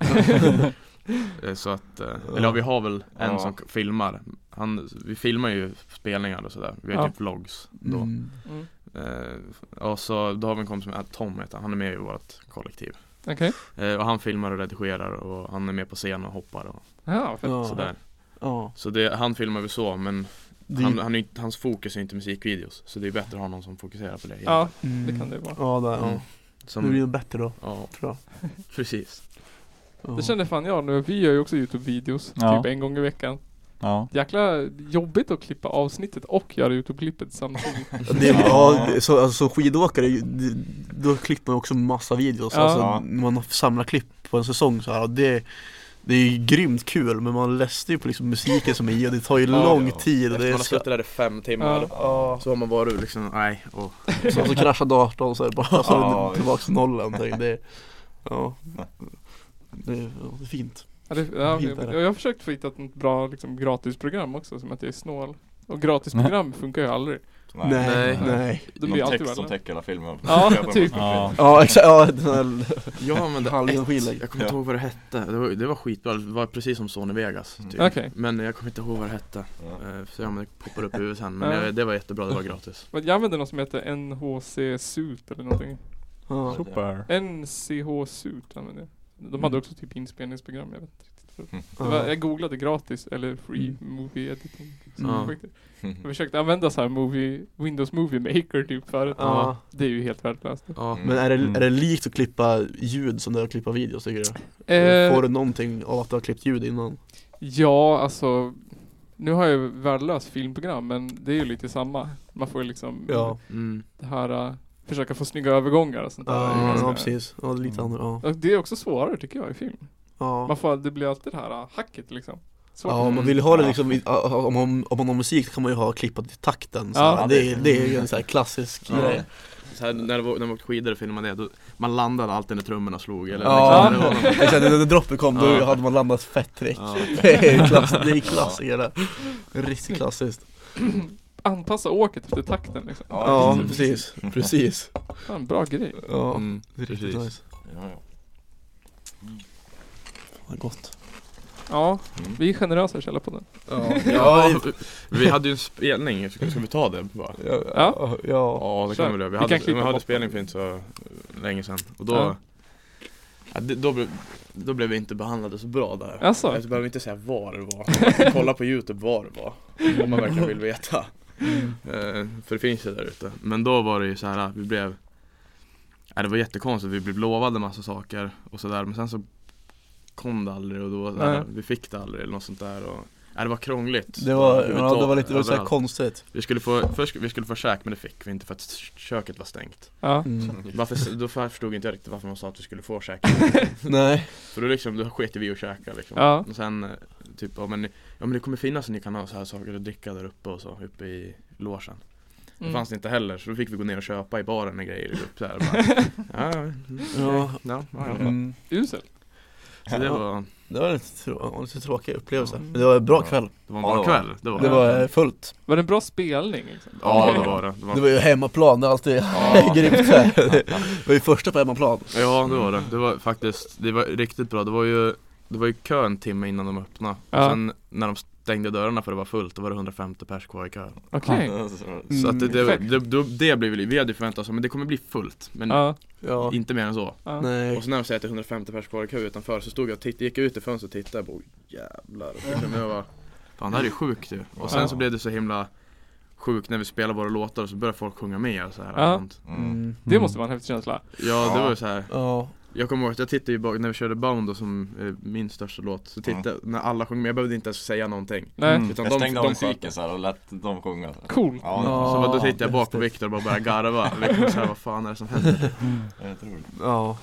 Speaker 5: Eh, Så att, eh, eller ja, vi har väl en
Speaker 2: Ja.
Speaker 5: som k- filmar han, Vi filmar ju spelningar och sådär, vi har
Speaker 1: Ja.
Speaker 5: typ vlogs då
Speaker 4: Mm.
Speaker 1: Mm.
Speaker 5: Eh, och så då har vi en kompis med, Tom heter han, han är med i vårt kollektiv
Speaker 1: Okej.
Speaker 5: eh, Och han filmar och redigerar och han är med på scen och hoppar och
Speaker 1: Ja, fett.
Speaker 4: Ja.
Speaker 5: sådär
Speaker 4: Ja.
Speaker 5: Så det, han filmar vi så men
Speaker 4: Det,
Speaker 5: han, han är, inte- hans fokus är inte musikvideos Så det är bättre att ha någon som fokuserar på det
Speaker 1: Ja,
Speaker 4: mm.
Speaker 1: det kan det vara.
Speaker 4: Ja, där,
Speaker 5: Mm.
Speaker 4: ja. Det blir
Speaker 5: Som,
Speaker 4: nog bättre då,
Speaker 5: ja
Speaker 4: tror jag
Speaker 5: precis
Speaker 4: ja.
Speaker 1: Det kände fan jag nu. Vi gör ju också Youtube-videos
Speaker 3: Ja.
Speaker 1: typ en gång i veckan.
Speaker 3: Ja.
Speaker 1: Jäkla jobbigt att klippa avsnittet och göra Youtube-klippet samtidigt.
Speaker 4: det, ja, det- så, alltså, som skidåkare, det, då klipper man också massa videos
Speaker 1: Ja.
Speaker 2: Ja.
Speaker 4: alltså, Man samlar klipp på en säsong så här, och det, det är ju grymt kul men man läste ju på liksom musiken som är i och det tar ju
Speaker 2: Ja,
Speaker 4: lång
Speaker 2: ja.
Speaker 4: tid och det
Speaker 5: Efter man
Speaker 4: är
Speaker 5: har
Speaker 4: så,
Speaker 5: suttit där i fem
Speaker 1: Ja.
Speaker 5: timmar
Speaker 4: ja.
Speaker 5: Så har man varit liksom, nej, och
Speaker 4: så, så kraschar datorn så är det bara så är det
Speaker 2: Ja,
Speaker 4: tillbaks till nollan typ. det, ja. det, är- ja, det är fint
Speaker 1: Ja, det, ja,
Speaker 4: Fint är
Speaker 1: jag,
Speaker 4: det.
Speaker 1: jag har försökt få hitta ett bra liksom, gratisprogram också, som att jag är snål. Och gratisprogram funkar ju aldrig.
Speaker 2: Nej.
Speaker 4: Nej,
Speaker 2: Nej.
Speaker 4: nej
Speaker 1: Det blir
Speaker 2: Någon
Speaker 1: alltid
Speaker 2: text som
Speaker 1: värre.
Speaker 2: täcker hela filmen.
Speaker 1: Ja,
Speaker 2: Köper en
Speaker 1: typ.
Speaker 2: bok med film.
Speaker 4: Ja exakt, ja, den här
Speaker 5: Jag använde
Speaker 4: Hallonskillägg.
Speaker 5: ett, jag kommer inte
Speaker 2: Ja.
Speaker 5: ihåg vad det hette, det var, det var skitbra, det var precis som Sony Vegas typ.
Speaker 1: Okej.
Speaker 5: Men jag kommer inte ihåg vad det hette,
Speaker 2: Ja.
Speaker 5: Eh, så jag men det poppar upp i huvudet sen Men
Speaker 1: Ja.
Speaker 5: jag, det var jättebra, det var gratis
Speaker 1: Men Jag använder något som heter NHC Suit eller någonting.
Speaker 4: ja.
Speaker 3: Super.
Speaker 1: NCH Suit använder jag. De hade också typ inspelningsprogram, jag vet inte riktigt. vad det- Det
Speaker 4: Mm. Ja.
Speaker 1: var, jag googlade gratis, eller free
Speaker 4: Mm.
Speaker 1: movie editing.
Speaker 4: Mm.
Speaker 5: Ja.
Speaker 1: Jag försökte använda så här movie, Windows Movie Maker typ förut.
Speaker 4: Ja.
Speaker 1: Det är ju helt värdelöst.
Speaker 5: Ja,
Speaker 4: Men är det,
Speaker 2: Mm.
Speaker 4: är det likt att klippa ljud som det är att klippa videos tycker du? Får
Speaker 1: Eh,
Speaker 4: du någonting av att du har klippt ljud innan?
Speaker 1: ja, alltså. Nu har jag ju värdelöst filmprogram, men det är ju lite samma. Man får ju liksom
Speaker 4: Ja,
Speaker 5: mm.
Speaker 1: det här, eh, försöka få snygga övergångar och sånt där. Det är ju
Speaker 4: ja, Mm.
Speaker 1: ganska-
Speaker 4: ja precis, ja, det är lite andra, ja.
Speaker 1: Och det är också svårare tycker jag i film.
Speaker 4: ja.
Speaker 1: Man får, det blir alltid det här eh, hacket liksom. Svårt.
Speaker 4: Ja, om man vill ha det liksom, i- om man, om man har musik kan man ju ha klippat i takten så
Speaker 1: Ja.
Speaker 4: här. det, är, det är ju en sån här klassisk
Speaker 5: Ja.
Speaker 4: grej
Speaker 5: Så här, när, det var, när man åkte skidor och filmade det, då, man landade alltid när trummorna slog eller
Speaker 4: Ja,
Speaker 5: liksom, när det var någon-
Speaker 4: exakt, när droppen kom då
Speaker 5: Ja.
Speaker 4: hade man landat fett direkt
Speaker 5: Ja.
Speaker 4: Det är klass, det är klassiker det Riktigt klassiskt
Speaker 1: Anpassa åket efter takten liksom.
Speaker 4: Ja, precis, Mm. precis
Speaker 1: Fan, bra grej.
Speaker 4: Ja,
Speaker 5: Mm,
Speaker 4: det är riktigt
Speaker 5: precis.
Speaker 4: nice
Speaker 2: Ja, ja.
Speaker 4: Vad gott
Speaker 1: Ja,
Speaker 2: Mm.
Speaker 1: vi är generösa i Källarpodden.
Speaker 4: Ja,
Speaker 5: Ja, vi hade ju en spelning, ska ska vi ta det bara?
Speaker 4: ja,
Speaker 1: Ja.
Speaker 4: ja, ja.
Speaker 5: Ja det
Speaker 1: Kör.
Speaker 5: kan vi göra, vi
Speaker 1: Vi kan
Speaker 5: hade, vi
Speaker 1: klippa
Speaker 5: hade
Speaker 1: bort.
Speaker 5: spelning för inte så eh, länge sedan och då
Speaker 1: Ja.
Speaker 5: ja. det, då, blev, då blev vi inte behandlade så bra där
Speaker 1: Jaså?
Speaker 5: Jag behöver inte säga var det var, kolla på youtube var det var Om man verkligen vill veta
Speaker 1: Mm.
Speaker 5: Eh, För det finns ju där ute Men då var det ju så här, vi blev Nej det var jättekonstigt, vi blev lovade massa saker och sådär men sen så kom det aldrig och då, var det så här,
Speaker 1: Nej.
Speaker 5: vi fick det aldrig eller något sånt där och Nej det var krångligt
Speaker 4: Det var,
Speaker 5: Överhuvudtaget,
Speaker 4: ja, det var lite, det var så här
Speaker 5: överallt.
Speaker 4: konstigt
Speaker 5: Vi skulle få, först vi skulle få käk men det fick vi inte för att köket var stängt
Speaker 1: Ja.
Speaker 4: mm.
Speaker 5: varför, Då förstod inte jag riktigt varför man sa att vi skulle få käk
Speaker 4: Nej,
Speaker 5: För då liksom, då sket vi i att käka liksom
Speaker 1: Ja.
Speaker 5: Och sen eh, typ, ja men, ja men det kommer finnas så ni kan ha så här saker att dricka där uppe och så, uppe i logen Det fanns inte heller, så då fick vi gå ner och köpa i baren och grejer i grupp så här, bara, ja,
Speaker 4: Ja.
Speaker 5: ja, ja, ja, ja.
Speaker 4: Mm.
Speaker 1: Usel.
Speaker 5: Så det var,
Speaker 4: Det var lite, trå- lite tråkig upplevelse,
Speaker 1: Ja.
Speaker 4: men det var en bra
Speaker 2: Ja.
Speaker 4: kväll
Speaker 5: det var en
Speaker 2: Ja,
Speaker 5: bra
Speaker 2: det var-
Speaker 5: kväll Det var
Speaker 4: Det var eh, fullt
Speaker 1: Var det en bra spelning? Liksom?
Speaker 5: Ja det var det, det var,
Speaker 4: Det var ju hemmaplan, det är alltid grymt där Det var ju första på hemmaplan
Speaker 5: Ja det var det, det var faktiskt, det var riktigt bra Det var ju, det var ju kö en timme innan de öppnade
Speaker 1: Ja.
Speaker 5: och Sen när de stängde dörrarna för det var fullt, då var det 150 pers kvar i kön
Speaker 1: Okej.
Speaker 5: Så att det, det,
Speaker 1: Perfekt.
Speaker 5: det, det, det blev ju, vi hade ju förväntat oss men det kommer bli fullt Men
Speaker 1: Ja.
Speaker 4: Ja,
Speaker 5: inte mer än så
Speaker 1: ja.
Speaker 4: nej
Speaker 5: Och så när de säger att det är 150 pers kvar i kö utanför så stod jag och tittade, gick jag ut i fönstret och tittade och bara, "Oj, jävlar Det kände jag bara, Fan det här är ju sjukt ju Och sen så
Speaker 2: Ja.
Speaker 5: blev det så himla sjukt när vi spelade våra låtar och så började folk sjunga med och så här
Speaker 1: Ja.
Speaker 5: och sånt.
Speaker 2: Mm.
Speaker 1: Det måste vara en häftig känsla.
Speaker 5: Ja det var ju så här.
Speaker 4: Ja,
Speaker 5: Jag kommer ihåg att jag tittade ju bak, när vi körde Bound då, som eh, min största låt Så tittade, när alla sjöng med, jag behövde inte ens säga någonting
Speaker 1: Nej.
Speaker 3: Mm.
Speaker 5: Utan
Speaker 2: Jag stängde av musiken
Speaker 5: sköt.
Speaker 2: så här och lät dem sjunga. Så här.
Speaker 1: Coolt.
Speaker 2: Ja,
Speaker 5: Så bara, då tittade jag bak på Viktor och bara började garva, liksom såhär vad fan är det som händer?
Speaker 2: det är roligt.
Speaker 4: ja,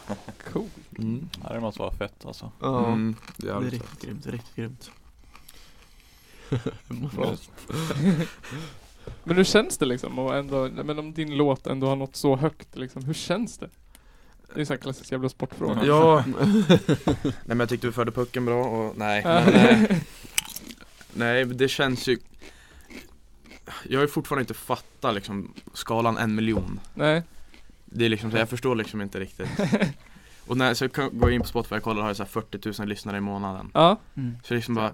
Speaker 1: Cool.
Speaker 5: Mm.
Speaker 3: Ja, det måste vara fett alltså.
Speaker 4: ja
Speaker 5: Mm.
Speaker 4: Det är
Speaker 5: Jävligt
Speaker 4: riktigt grymt, det är riktigt grymt
Speaker 1: Men hur känns det liksom? Och ändå, men om din låt ändå har nått så högt liksom, hur känns det? Det är en sån här klassisk jävla sportfråga.
Speaker 5: Ja, nej men jag tyckte vi förde pucken bra och nej
Speaker 1: Ja.
Speaker 5: men, eh, Nej men det känns ju Jag har ju fortfarande inte fattat liksom skalan en miljon
Speaker 1: Nej.
Speaker 5: Det är liksom så jag förstår liksom inte riktigt Och när så jag går in på Spotify och kollar har jag så här 40 000 lyssnare i månaden
Speaker 1: Ja.
Speaker 5: Så liksom bara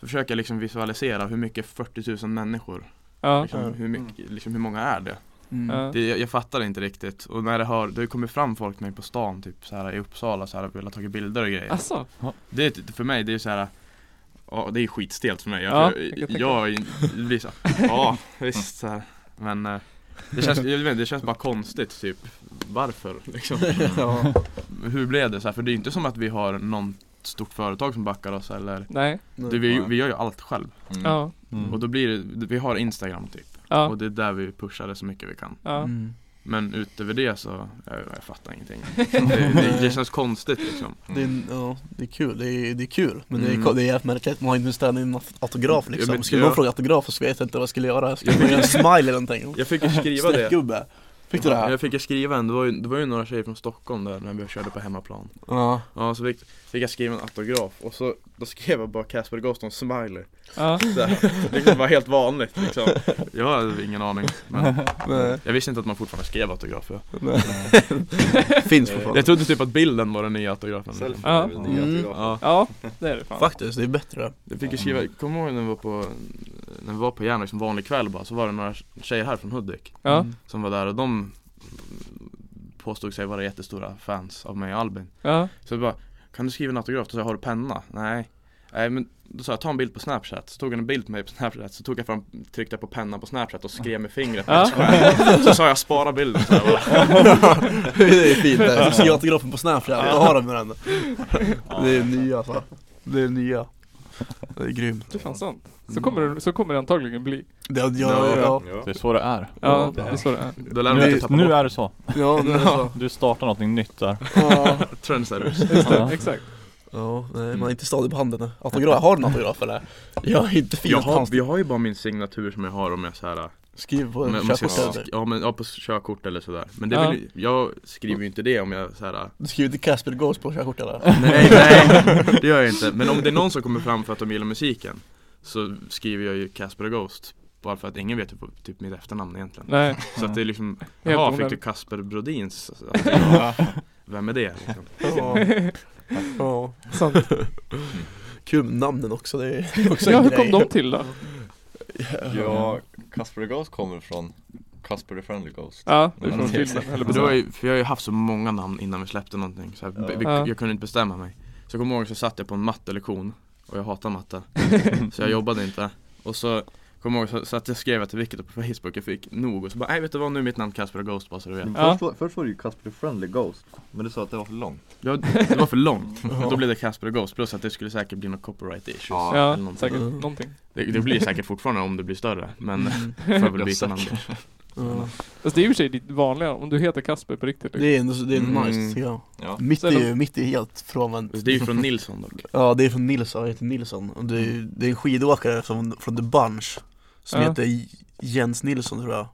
Speaker 5: så försöker jag liksom visualisera hur mycket 40 000 människor,
Speaker 1: Ja. Mm.
Speaker 5: liksom, hur, mycket, liksom, hur många är det?
Speaker 1: Ja.
Speaker 5: det jag, jag fattar inte riktigt, och när det har, det har ju kommit fram folk till mig på stan typ så här i Uppsala så här och velat ta bilder och grejer
Speaker 1: Asså?
Speaker 5: Det är typ- för mig, det är ju så här. Ja, det är ju skitstelt för mig. Jag,
Speaker 1: Ja, jag kan
Speaker 5: jag,
Speaker 1: tänka
Speaker 5: jag, det blir så här, ja visst så här. Men eh, det känns, jag vet, inte, det känns bara konstigt typ Varför liksom?
Speaker 4: ja.
Speaker 5: Hur blev det så här? För det är ju inte som att vi har någon stort företag som backar oss eller
Speaker 1: Nej.
Speaker 5: det, vi, vi gör ju allt själv
Speaker 2: Mm.
Speaker 1: Ja.
Speaker 3: Mm.
Speaker 5: Och då blir det, vi har Instagram typ
Speaker 1: Ja.
Speaker 5: Och det är där vi pushar det så mycket vi kan
Speaker 1: Ja.
Speaker 4: Mm.
Speaker 5: Men utöver det så, jag, jag fattar ingenting det, det, det känns konstigt liksom
Speaker 4: Det, är, ja, det är kul, det är, det är kul Men det, är,
Speaker 5: Mm.
Speaker 4: det är jävligt märkligt, man har inte ställt in autograf
Speaker 5: Ja,
Speaker 4: liksom
Speaker 5: men
Speaker 4: Skulle
Speaker 5: jag-
Speaker 4: någon fråga autograf så vet jag inte vad jag skulle göra Skulle man göra en smile eller någonting?
Speaker 5: Jag fick ju skriva det
Speaker 4: Streckgubbe Fick du det här?
Speaker 5: Jag fick ju skriva en, det var ju, det var ju några tjejer från Stockholm där när vi körde på hemmaplan
Speaker 4: Ja
Speaker 5: Ja så fick, fick jag skriva en autograf och så, då skrev jag bara Casper Ghost smiley
Speaker 1: Ja.
Speaker 5: så här, Det var helt vanligt liksom Jag hade ingen aning men
Speaker 4: Nej,
Speaker 5: Jag visste inte att man fortfarande skrev autografer
Speaker 4: nej. Finns fortfarande
Speaker 5: Jag trodde typ att bilden var den nya autografen liksom.
Speaker 2: Selfie
Speaker 1: Ja.
Speaker 2: är väl nya
Speaker 4: Mm.
Speaker 2: autografer.
Speaker 5: Ja,
Speaker 1: Ja. Det är det fan.
Speaker 4: Faktiskt, det är bättre
Speaker 5: jag fick ju skriva, kommer du ihåg när vi var på, när vi var på Järna liksom vanlig kväll bara, så var det några tjejer här från Hudik
Speaker 1: Ja.
Speaker 4: Mm.
Speaker 5: Som var där och de påstod sig vara jättestora fans av mig och Albin
Speaker 1: Ja.
Speaker 5: Så jag bara, kan du skriva en autograf? Då sa jag, har du penna? Nej Nej men då sa jag, ta en bild på snapchat, så tog han en bild på mig på snapchat, så tog jag fram, tryckte jag på pennan på snapchat och skrev med fingret med
Speaker 1: Ja.
Speaker 5: ett skär. Så sa jag, spara bilden så här, bara.
Speaker 4: det är fint det, så skriver autografen på Snapchat, då har de den Det är nya alltså, det är nya Det är grymt
Speaker 1: Det är fan sant.
Speaker 5: Mm.
Speaker 1: Så kommer det, så kommer det antagligen bli.
Speaker 4: Det, ja, ja, ja,
Speaker 3: Det är så det är.
Speaker 1: Ja. Det är så det är.
Speaker 5: Då lär de inte
Speaker 3: Nu,
Speaker 5: tappa
Speaker 3: nu
Speaker 5: bort
Speaker 3: är det så.
Speaker 4: ja, det är så.
Speaker 3: Du startar någonting nytt där.
Speaker 4: ja,
Speaker 5: trendsetters
Speaker 1: Just det.
Speaker 3: Ja.
Speaker 1: Exakt.
Speaker 4: ja, nej man är inte stadig på handen nu. Autograf, har du en autograf eller? Jag är inte fin
Speaker 5: jag
Speaker 4: att
Speaker 5: har,
Speaker 4: hand-
Speaker 5: jag har ju bara min signatur som jag har om jag så här
Speaker 4: Skriv på en
Speaker 5: om jag- om jag ska-
Speaker 4: körkortskläder
Speaker 5: Ja men, ja på körkort eller sådär Men det
Speaker 1: Ja.
Speaker 5: vill, ju- jag skriver ju inte det om jag så här.
Speaker 4: Du skriver till Casper Ghost på körkort eller?
Speaker 5: Nej nej, det gör jag inte Men om det är någon som kommer fram för att de gillar musiken Så skriver jag ju Casper och Ghost Bara för att ingen vet typ, typ mitt efternamn egentligen
Speaker 1: Nej.
Speaker 5: Så att det är liksom,
Speaker 1: Helt
Speaker 5: jaha fick
Speaker 1: onödigt.
Speaker 5: du Kasper Brodins? Alltså, ja. Vem är det? Liksom?
Speaker 4: Ja, ja.
Speaker 1: Sant.
Speaker 4: Kul med namnen också, det är också
Speaker 1: Ja,
Speaker 4: en
Speaker 1: hur
Speaker 4: grej.
Speaker 1: kom de till då?
Speaker 2: Ja, Casper the Ghost kommer från Casper the Friendly Ghost.
Speaker 1: Ja, det är
Speaker 2: Ja,
Speaker 1: från
Speaker 2: det är sant.
Speaker 1: filmen. Eller
Speaker 5: För, det var
Speaker 1: bestämt.
Speaker 5: ju, för jag har ju haft så många namn innan vi släppte någonting så jag,
Speaker 2: Ja.
Speaker 5: vi,
Speaker 1: Ja.
Speaker 5: jag kunde inte bestämma mig Så jag kommer ihåg så satt jag på en mattelektion Och jag hatar matte Så jag jobbade inte Och så kommer jag ihåg så, så att jag skrev till Viktor på Facebook Jag fick nog och så bara, nej vet du vad nu är mitt namn Kasper och Ghost bara så du vet
Speaker 1: Ja.
Speaker 2: Först, var, först var det ju Casper the Friendly Ghost, men du sa att det var för långt.
Speaker 5: jag, Det var för långt Och då blev det Kasper och Ghost plus att det skulle säkert bli något copyright issues
Speaker 2: Ja.
Speaker 5: eller
Speaker 1: Ja,
Speaker 5: någonting.
Speaker 1: säkert.
Speaker 4: Mm.
Speaker 1: Någonting.
Speaker 5: det, det blir säkert fortfarande om det blir större men
Speaker 4: Mm.
Speaker 5: får jag väl
Speaker 2: Jag
Speaker 5: byta namn
Speaker 1: Mm.
Speaker 4: Ja.
Speaker 1: Fast Alltså, det är ju i och för sig ditt vanliga, om du heter Kasper på riktigt. liksom.
Speaker 4: Det är ändå så- det är
Speaker 5: Mm.
Speaker 4: nice tycker jag
Speaker 2: Ja.
Speaker 4: Mitt är
Speaker 1: Sen-
Speaker 4: ju, mitt är helt frånvänt
Speaker 5: Det är ju från Nilsson dock
Speaker 4: Ja det är från Nilsson, han heter Nilsson och det är, det är en skidåkare från, från The Bunch Som
Speaker 1: Ja.
Speaker 4: heter Jens Nilsson tror jag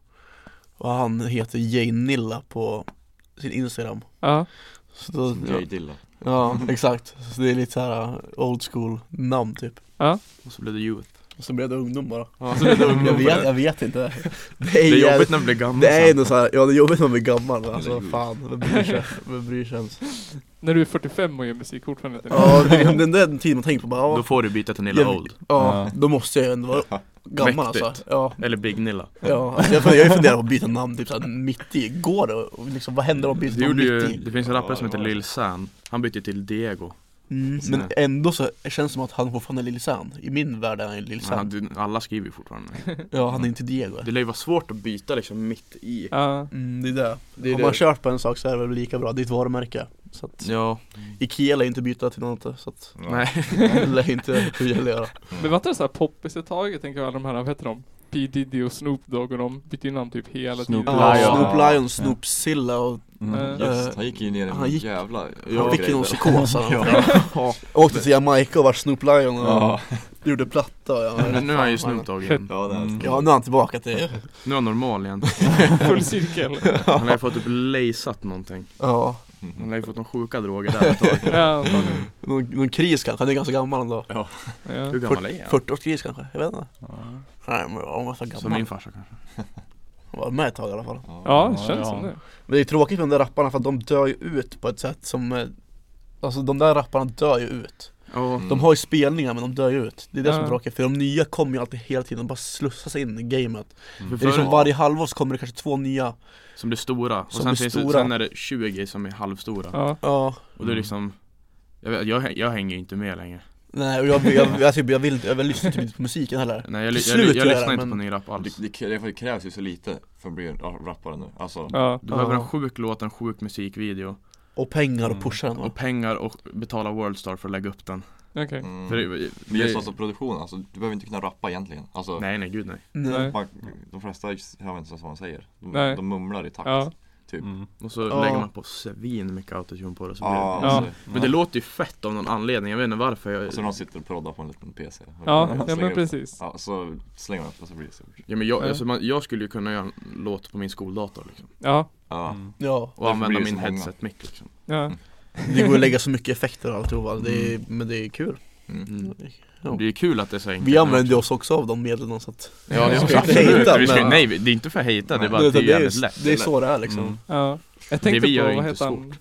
Speaker 4: Och han heter Jay Nilla på sin Instagram
Speaker 1: Ja.
Speaker 4: så då,
Speaker 2: Jay Dilla.
Speaker 4: Ja, exakt. Så det är lite så
Speaker 5: uh,
Speaker 4: här old school namn typ
Speaker 5: Och så blev det Youth
Speaker 4: Och så blev det ungdom bara
Speaker 5: ja, så blev det
Speaker 4: Jag
Speaker 5: ungdom.
Speaker 4: vet, jag vet inte Det
Speaker 5: Det
Speaker 4: ju-
Speaker 5: är jobbigt när man blir gammal
Speaker 4: Det är
Speaker 5: sen.
Speaker 4: ändå såhär, ja det är jobbigt när man blir gammal
Speaker 2: Eller
Speaker 4: alltså
Speaker 2: hur?
Speaker 4: fan, vem bryr sig? Vem bryr sig ens?
Speaker 1: När du är 45 och gör musik fortfarande. typ.
Speaker 4: Ja, det är den där tiden man tänker på bara, ja,
Speaker 5: Då får du byta till Nilla
Speaker 4: jag,
Speaker 5: Old
Speaker 4: ja
Speaker 3: Ja.
Speaker 4: då måste jag ju ändå vara gammal
Speaker 5: Mäktigt.
Speaker 4: alltså Ja,
Speaker 5: Eller Big Nilla
Speaker 4: ja alltså, jag funderar- jag funderar på att byta namn typ såhär mitt i, går det? Och liksom, vad händer om man byter
Speaker 5: Det,
Speaker 4: namn
Speaker 5: gjorde
Speaker 4: mitt
Speaker 5: ju,
Speaker 4: i?
Speaker 5: det finns en rappare som
Speaker 2: Ja, det
Speaker 5: heter
Speaker 2: var det.
Speaker 5: Lil San Han bytte till Diego
Speaker 4: Mm, men ändå så känns det som att han fortfarande är Lil San, i min värld är han ju Lil
Speaker 5: Men han-
Speaker 4: San
Speaker 5: du- Alla skriver ju fortfarande
Speaker 4: Ja, han är inte Diego
Speaker 5: Det lär ju vara svårt att byta liksom mitt i
Speaker 1: Ja.
Speaker 4: Mm, det är det.
Speaker 5: Det är
Speaker 4: Har
Speaker 5: det.
Speaker 4: man kört på en sak så är det väl lika bra, det är ett varumärke. Så att
Speaker 5: Ja,
Speaker 4: Ikea lär inte byta till något annat, så att
Speaker 5: nej
Speaker 4: det lär inte Ikea göra.
Speaker 1: Men var inte det såhär poppis ett tag? Jag tänker alla de här, vad heter de? P Diddy och Snoop Dogg och de bytte ju namn typ hela
Speaker 3: Snoop
Speaker 1: tiden.
Speaker 3: Lion.
Speaker 4: Ja,
Speaker 3: Ja.
Speaker 4: Snoop Lion, Snoop Silla och
Speaker 1: Mm.
Speaker 2: Just, han gick ju ner i
Speaker 4: han
Speaker 2: en
Speaker 4: gick-
Speaker 2: jävla...
Speaker 4: han fick ju
Speaker 2: grej
Speaker 4: någon psykos han. Åkte till Jamaica och var Snoop Lion och
Speaker 2: Ja,
Speaker 4: gjorde platta. och
Speaker 5: Nu-
Speaker 4: Ja,
Speaker 5: Nu är han ju Snoop Dogg igen
Speaker 2: ja det
Speaker 3: Mm.
Speaker 2: är
Speaker 4: Ja, nu är han tillbaka till,
Speaker 5: Nu är han normal igen
Speaker 1: Full cirkel.
Speaker 5: Han har ju fått typ lejsat någonting
Speaker 4: ja,
Speaker 2: Mm.
Speaker 5: Han har ju fått några sjuka droger där ett tag
Speaker 1: Ja, antagligen.
Speaker 4: någon, någon kris kanske, han är ganska gammal ändå.
Speaker 1: ja.
Speaker 5: Hur gammal är han?
Speaker 4: 40-årskris kanske, jag vet inte. Nej men han var så gammal.
Speaker 5: Som min farsa kanske
Speaker 4: Han var med ett tag i alla fall.
Speaker 1: ja, det
Speaker 3: Ja,
Speaker 1: känns
Speaker 3: ja.
Speaker 1: som det.
Speaker 4: Men det är tråkigt med de där rapparna för att de dör ju ut på ett sätt som eh, Alltså de där rapparna dör ju ut
Speaker 5: Ja,
Speaker 4: De har ju spelningar men de dör ju ut Det är det som
Speaker 1: Ja.
Speaker 4: är tråkigt för de nya kommer ju alltid hela tiden bara slussas in i gamet
Speaker 2: Mm.
Speaker 5: för
Speaker 4: Det är som
Speaker 5: förut,
Speaker 4: varje halvår så kommer det kanske två nya
Speaker 5: som blir stora Och
Speaker 4: Som
Speaker 5: sen,
Speaker 4: blir
Speaker 5: finns
Speaker 4: stora.
Speaker 5: Det, sen är det 20 som är halvstora
Speaker 1: Ja.
Speaker 4: Ja
Speaker 5: Och det är liksom jag, vet, jag, häng- jag hänger ju inte med längre
Speaker 4: Nej och jag, jag, jag, typ, jag, vill, jag vill lyssna typ inte på musiken heller
Speaker 5: Nej jag,
Speaker 4: Till
Speaker 5: jag, jag,
Speaker 4: slut
Speaker 5: jag,
Speaker 4: gör jag
Speaker 5: lyssnar
Speaker 4: det,
Speaker 5: inte på
Speaker 4: men-
Speaker 5: ny rap alls
Speaker 2: Det, det, krä- det krävs ju så lite för att bli en rappare nu. Alltså,
Speaker 1: Ja.
Speaker 5: Du behöver
Speaker 4: Ja.
Speaker 5: en sjuk låt, en sjuk musikvideo
Speaker 4: Och pengar
Speaker 5: Mm.
Speaker 4: och pusha den va?
Speaker 5: Och pengar och betala Worldstar för att lägga upp den
Speaker 1: Okej.
Speaker 2: mm.
Speaker 5: för det,
Speaker 2: Men
Speaker 5: det-
Speaker 2: just alltså produktionen, alltså, du behöver inte kunna rappa egentligen. Alltså,
Speaker 5: Nej nej gud nej
Speaker 4: Mm,
Speaker 1: Nej.
Speaker 2: man, de flesta hör inte ens vad man säger. De,
Speaker 1: Nej.
Speaker 2: de mumlar i takt.
Speaker 1: Ja.
Speaker 3: Mm.
Speaker 5: Och så
Speaker 4: Ja.
Speaker 5: lägger man på svin mycket autotune på det så blir
Speaker 2: Ja,
Speaker 5: det.
Speaker 2: alltså,
Speaker 5: Men det låter ju fett av någon anledning, jag vet inte varför jag,
Speaker 2: Och så när de sitter och proddar på en liten PC.
Speaker 1: Ja, ja
Speaker 2: Slänger
Speaker 1: men
Speaker 2: upp-
Speaker 1: precis.
Speaker 2: Ja, så slänger de upp och så blir det så.
Speaker 5: ja, men jag,
Speaker 1: Ja.
Speaker 5: alltså, man, jag skulle ju kunna göra en låt på min skoldator liksom.
Speaker 1: Ja.
Speaker 2: Ja.
Speaker 3: Mm.
Speaker 4: Ja,
Speaker 5: Och
Speaker 2: Därför
Speaker 5: använda
Speaker 2: blir det
Speaker 5: min
Speaker 2: så många.
Speaker 5: headset mic liksom
Speaker 1: Ja.
Speaker 4: det går att lägga så mycket effekter och alltihopa, det är, men det är kul
Speaker 2: Mm.
Speaker 4: Ja.
Speaker 5: Det är kul att det är så enkelt
Speaker 4: Vi använder oss också av de medlen så att
Speaker 5: Ja det
Speaker 4: Vi
Speaker 5: ska
Speaker 4: ska inte
Speaker 5: vi absolut,
Speaker 4: hejta,
Speaker 5: vi ska,
Speaker 4: men-
Speaker 5: nej vi- det är inte för att hejta, det är bara
Speaker 4: Nej,
Speaker 5: att det är
Speaker 4: utan
Speaker 5: jävligt lätt
Speaker 4: Det är så det är liksom
Speaker 5: Mm.
Speaker 1: ja. Jag
Speaker 5: Det
Speaker 1: tänkte
Speaker 5: vi gör
Speaker 1: på,
Speaker 5: är
Speaker 1: vad heter
Speaker 5: inte
Speaker 1: han?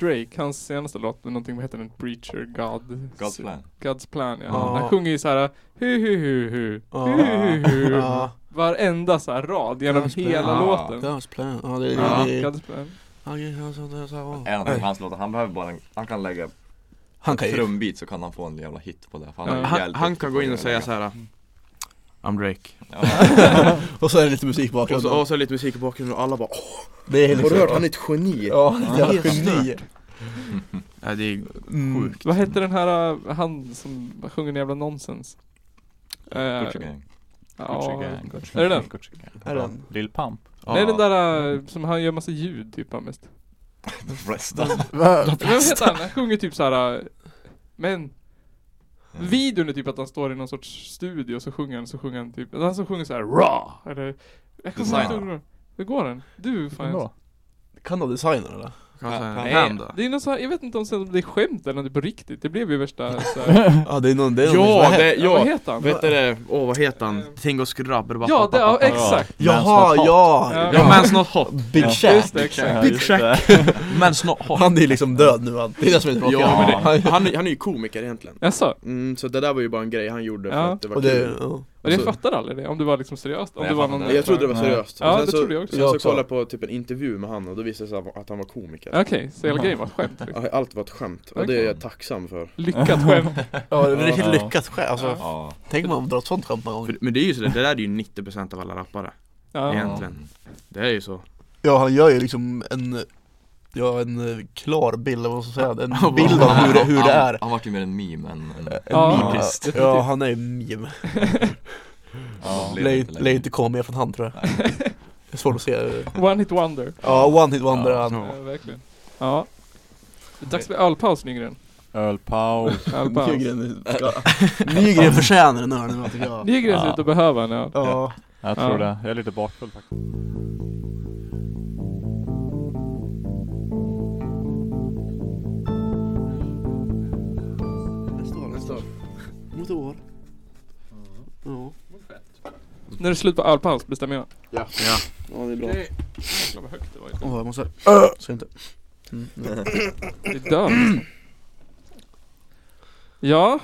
Speaker 1: Drake, hans senaste låt, någonting, vad heter den? Preacher God...
Speaker 2: God's plan.
Speaker 1: God's plan ja.
Speaker 4: Ja.
Speaker 1: Han sjunger ju såhär hu hu hu hu,
Speaker 4: Ja.
Speaker 1: hu hu
Speaker 5: Mm.
Speaker 1: hu.
Speaker 4: Ja,
Speaker 1: Varenda så här rad genom
Speaker 4: God's plan.
Speaker 1: hela
Speaker 2: Ja.
Speaker 1: låten.
Speaker 4: God's plan, ja det
Speaker 1: Ja.
Speaker 4: är, det är
Speaker 1: God's plan.
Speaker 2: En av hans låtar, han behöver bara en, han kan lägga
Speaker 4: Han kan ju
Speaker 2: trumbeat så kan han få en jävla hit på det. För han,
Speaker 1: Ja.
Speaker 2: är
Speaker 5: han,
Speaker 2: jävligt
Speaker 5: han
Speaker 2: duktig
Speaker 5: kan
Speaker 2: på
Speaker 5: gå in och
Speaker 2: att
Speaker 5: säga
Speaker 2: lägga-
Speaker 5: så här. I'm Drake
Speaker 2: Ja.
Speaker 4: Och så är det lite musik
Speaker 5: Och
Speaker 4: bakom
Speaker 5: så, och så lite musik i bakgrunden och alla bara "Åh,
Speaker 4: Det är liksom,
Speaker 5: han är ett geni?
Speaker 4: Ja, det är
Speaker 5: Helt
Speaker 4: geni
Speaker 5: Nej det är
Speaker 4: mm.
Speaker 5: sjukt
Speaker 1: Vad heter den här, äh, han som sjunger en jävla nonsens? Eh,
Speaker 2: Gucci gang.
Speaker 1: ja. Är det den?
Speaker 4: Är den?
Speaker 3: Lill Pump.
Speaker 1: Nej den där äh, som han gör massa ljud typ han mest.
Speaker 2: De flesta.
Speaker 1: Men vad heter han? Han sjunger typ så här. äh, Men
Speaker 2: Mm.
Speaker 1: videon är typ att han står i någon sorts studio och så sjunger han, så sjunger han typ, han som sjunger så här raw eller alltså, jag kommer inte
Speaker 2: Designer.
Speaker 1: ihåg hur går den? Du fan jag-
Speaker 3: Ändå.
Speaker 4: Kan de designa eller?
Speaker 5: Kan jag säga
Speaker 2: Nej.
Speaker 5: en hand då?
Speaker 1: Det är någon så här, jag vet inte om sen om det är skämt eller om det är på riktigt. Det blev ju värsta så här,
Speaker 4: Ja det är någon, det är någon som
Speaker 5: Ja,
Speaker 4: har hänt.
Speaker 5: det,
Speaker 1: ja, Vad
Speaker 5: ja,
Speaker 1: heter han?
Speaker 5: vet du det, åh vad heter
Speaker 1: Eh,
Speaker 5: han? Tingo Skrabb
Speaker 1: Ja, det, ja exakt.
Speaker 4: Jaha, ja!
Speaker 1: Ja.
Speaker 5: Ja, Man's Not Hot
Speaker 4: Big Shack!
Speaker 1: Just det, exakt.
Speaker 3: Just det.
Speaker 5: Man's Not Hot
Speaker 4: Han är ju liksom död nu han, det är det som är tråkigt
Speaker 5: Ja, men
Speaker 4: Han-
Speaker 5: det, han, är- han är ju komiker egentligen
Speaker 1: Jaså?
Speaker 5: mm, så det där var ju bara en grej han gjorde
Speaker 1: Ja.
Speaker 5: för att det var
Speaker 4: Och det,
Speaker 5: kul
Speaker 4: ja.
Speaker 1: Och jag
Speaker 5: Alltså-
Speaker 1: fattade aldrig det, om det var liksom seriöst. Om
Speaker 2: Nej,
Speaker 1: det
Speaker 2: jag
Speaker 1: var
Speaker 2: fattar
Speaker 1: någon...
Speaker 2: inte.
Speaker 5: Jag trodde det var
Speaker 3: Nej.
Speaker 5: seriöst,
Speaker 1: Ja,
Speaker 5: sen
Speaker 1: det
Speaker 5: så,
Speaker 1: trodde jag också.
Speaker 5: Sen så
Speaker 4: Jag också.
Speaker 5: kollade jag på typ en intervju med han och då visade det sig att han var komiker
Speaker 1: Okej, så hela grejen var ett skämt. liksom.
Speaker 5: Ja, Allt var ett skämt, och det är jag tacksam för
Speaker 1: Lyckat skämt.
Speaker 4: ja det är riktigt
Speaker 3: Ja.
Speaker 4: lyckat skämt alltså,
Speaker 2: Ja.
Speaker 4: Tänk om man drar ett sånt skämt någon gång
Speaker 5: För- Men det är ju så, det där är ju 90% av alla rappare
Speaker 1: Ja.
Speaker 5: Egentligen. Det är ju så
Speaker 4: Ja han gör ju liksom en Ja en eh, klar bild, vad ska jag säga, en bild av hur det, hur det är
Speaker 2: Han, han vart ju mer en meme än en...
Speaker 4: En
Speaker 1: Ja,
Speaker 4: meme.
Speaker 1: definitivt.
Speaker 4: ja han är ju meme
Speaker 2: Ja,
Speaker 4: Lär ju- Lär ju inte komma mer från han tror jag Det är svårt att se
Speaker 1: One hit wonder.
Speaker 4: Ja, one hit wonder är han
Speaker 1: Ja, verkligen. Ja. Det är dags för ölpaus Nygren.
Speaker 3: Ölpaus.
Speaker 1: Ölpaus.
Speaker 4: Nygren, ja. Nygren förtjänar en öl nu tycker jag
Speaker 1: Nygren ser
Speaker 3: Ja.
Speaker 1: ut att behöva en öl.
Speaker 4: Ja,
Speaker 3: Jag tror
Speaker 1: Ja.
Speaker 3: det. Jag är lite bakfull faktiskt.
Speaker 4: ett år. Ja.
Speaker 1: När det är slut på ölpaus bestämmer jag.
Speaker 5: Ja.
Speaker 4: ja, det är bra.
Speaker 1: Okej. Jäklar vad högt det var.
Speaker 4: Åh, jag måste... Ska inte... Mm.
Speaker 1: Det dör nästan. Ja.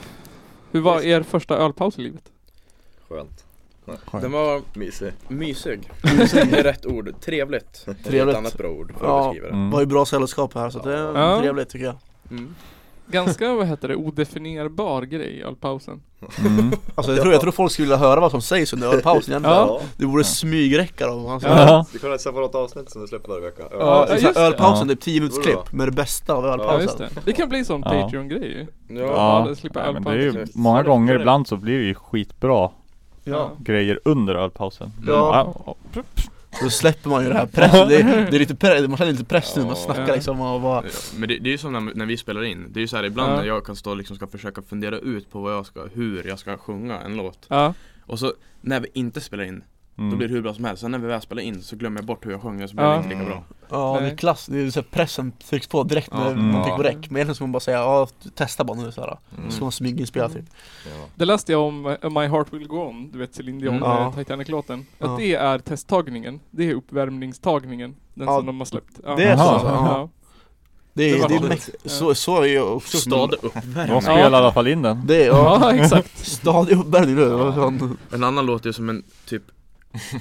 Speaker 1: Hur var er första ölpaus i livet?
Speaker 2: Skönt.
Speaker 5: Den var
Speaker 2: Mysig.
Speaker 5: mysig. Mysig är rätt ord. Trevligt. Är
Speaker 4: Trevligt.
Speaker 5: ett annat bra ord för att
Speaker 4: Ja.
Speaker 5: beskriva det.
Speaker 3: Mm.
Speaker 4: var ju bra sällskap här så det är
Speaker 1: Ja.
Speaker 4: trevligt tycker jag.
Speaker 5: Mm.
Speaker 1: Ganska, vad heter det, odefinierbar grej ölpausen.
Speaker 3: Mm.
Speaker 4: Alltså jag tror, jag tror folk skulle vilja höra vad som sägs under ölpausen egentligen.
Speaker 1: Ja.
Speaker 4: Det borde smygräcka dem. Alltså.
Speaker 3: Ja.
Speaker 2: Vi kan ha ett separat avsnitt som vi släpper varje vecka.
Speaker 1: Ja,
Speaker 4: exakt.
Speaker 1: just det.
Speaker 4: ölpausen, typ 10
Speaker 2: Det
Speaker 4: minuters
Speaker 2: vore bra.
Speaker 4: klipp med det bästa av
Speaker 1: Ja just
Speaker 4: ölpausen.
Speaker 1: det. Det kan bli sån
Speaker 3: Ja.
Speaker 1: Patreon-grej ju.
Speaker 5: Ja.
Speaker 3: Ja,
Speaker 1: Ja, det slipper
Speaker 3: nej, men det är
Speaker 1: ölpausen.
Speaker 3: ju många
Speaker 5: Sorry,
Speaker 3: gånger
Speaker 5: sorry.
Speaker 3: ibland så blir det ju skitbra
Speaker 1: Ja.
Speaker 3: grejer under ölpausen.
Speaker 4: Ja.
Speaker 3: Ja.
Speaker 4: Då släpper man ju det här pressen, det, är- det är lite pre- man känner lite press nu, man
Speaker 2: Ja.
Speaker 4: snackar
Speaker 1: Ja.
Speaker 4: liksom och bara
Speaker 5: Men det, det är ju som när, när vi spelar in. Det är ju så här ibland
Speaker 1: Ja.
Speaker 5: när jag kan stå och liksom ska försöka fundera ut på vad jag ska, hur jag ska sjunga en låt.
Speaker 1: Ja.
Speaker 5: Och så när vi inte spelar in, då
Speaker 3: Mm.
Speaker 5: blir det hur bra som helst. Sen när vi väl spelar in så glömmer jag bort hur jag sjunger så blir
Speaker 1: Ja.
Speaker 5: det inte lika bra.
Speaker 4: Ja det är
Speaker 1: Nej.
Speaker 4: klass, det är så här, pressen trycks på direkt när
Speaker 5: Ja.
Speaker 3: Mm.
Speaker 4: man trycker på
Speaker 1: Ja.
Speaker 4: räck Men egentligen ska man bara säga ja, testa bara nu såhär
Speaker 2: Mm.
Speaker 4: Så ska man smyginspelera typ
Speaker 2: Ja.
Speaker 1: Det läste jag om eh, My Heart Will Go On, du vet Céline Dion, eh,
Speaker 5: Mm.
Speaker 4: Ja.
Speaker 1: Titanic-låten. Att
Speaker 4: Ja.
Speaker 1: det är testtagningen. Det är uppvärmningstagningen. Den
Speaker 4: Ja,
Speaker 1: som de har släppt. Ja.
Speaker 4: det är
Speaker 3: så,
Speaker 1: Ja.
Speaker 3: så,
Speaker 4: ja. Det
Speaker 1: Det
Speaker 4: är,
Speaker 1: var
Speaker 4: det är
Speaker 1: roligt.
Speaker 4: mäkt- så, så är jag också
Speaker 5: Stad
Speaker 3: De
Speaker 5: uppvärmning.
Speaker 3: spelar i alla fall in den.
Speaker 4: Det är, ja,
Speaker 1: Ja, exakt.
Speaker 4: stadig uppvärmning nu, vad fan
Speaker 5: En annan låt är som en typ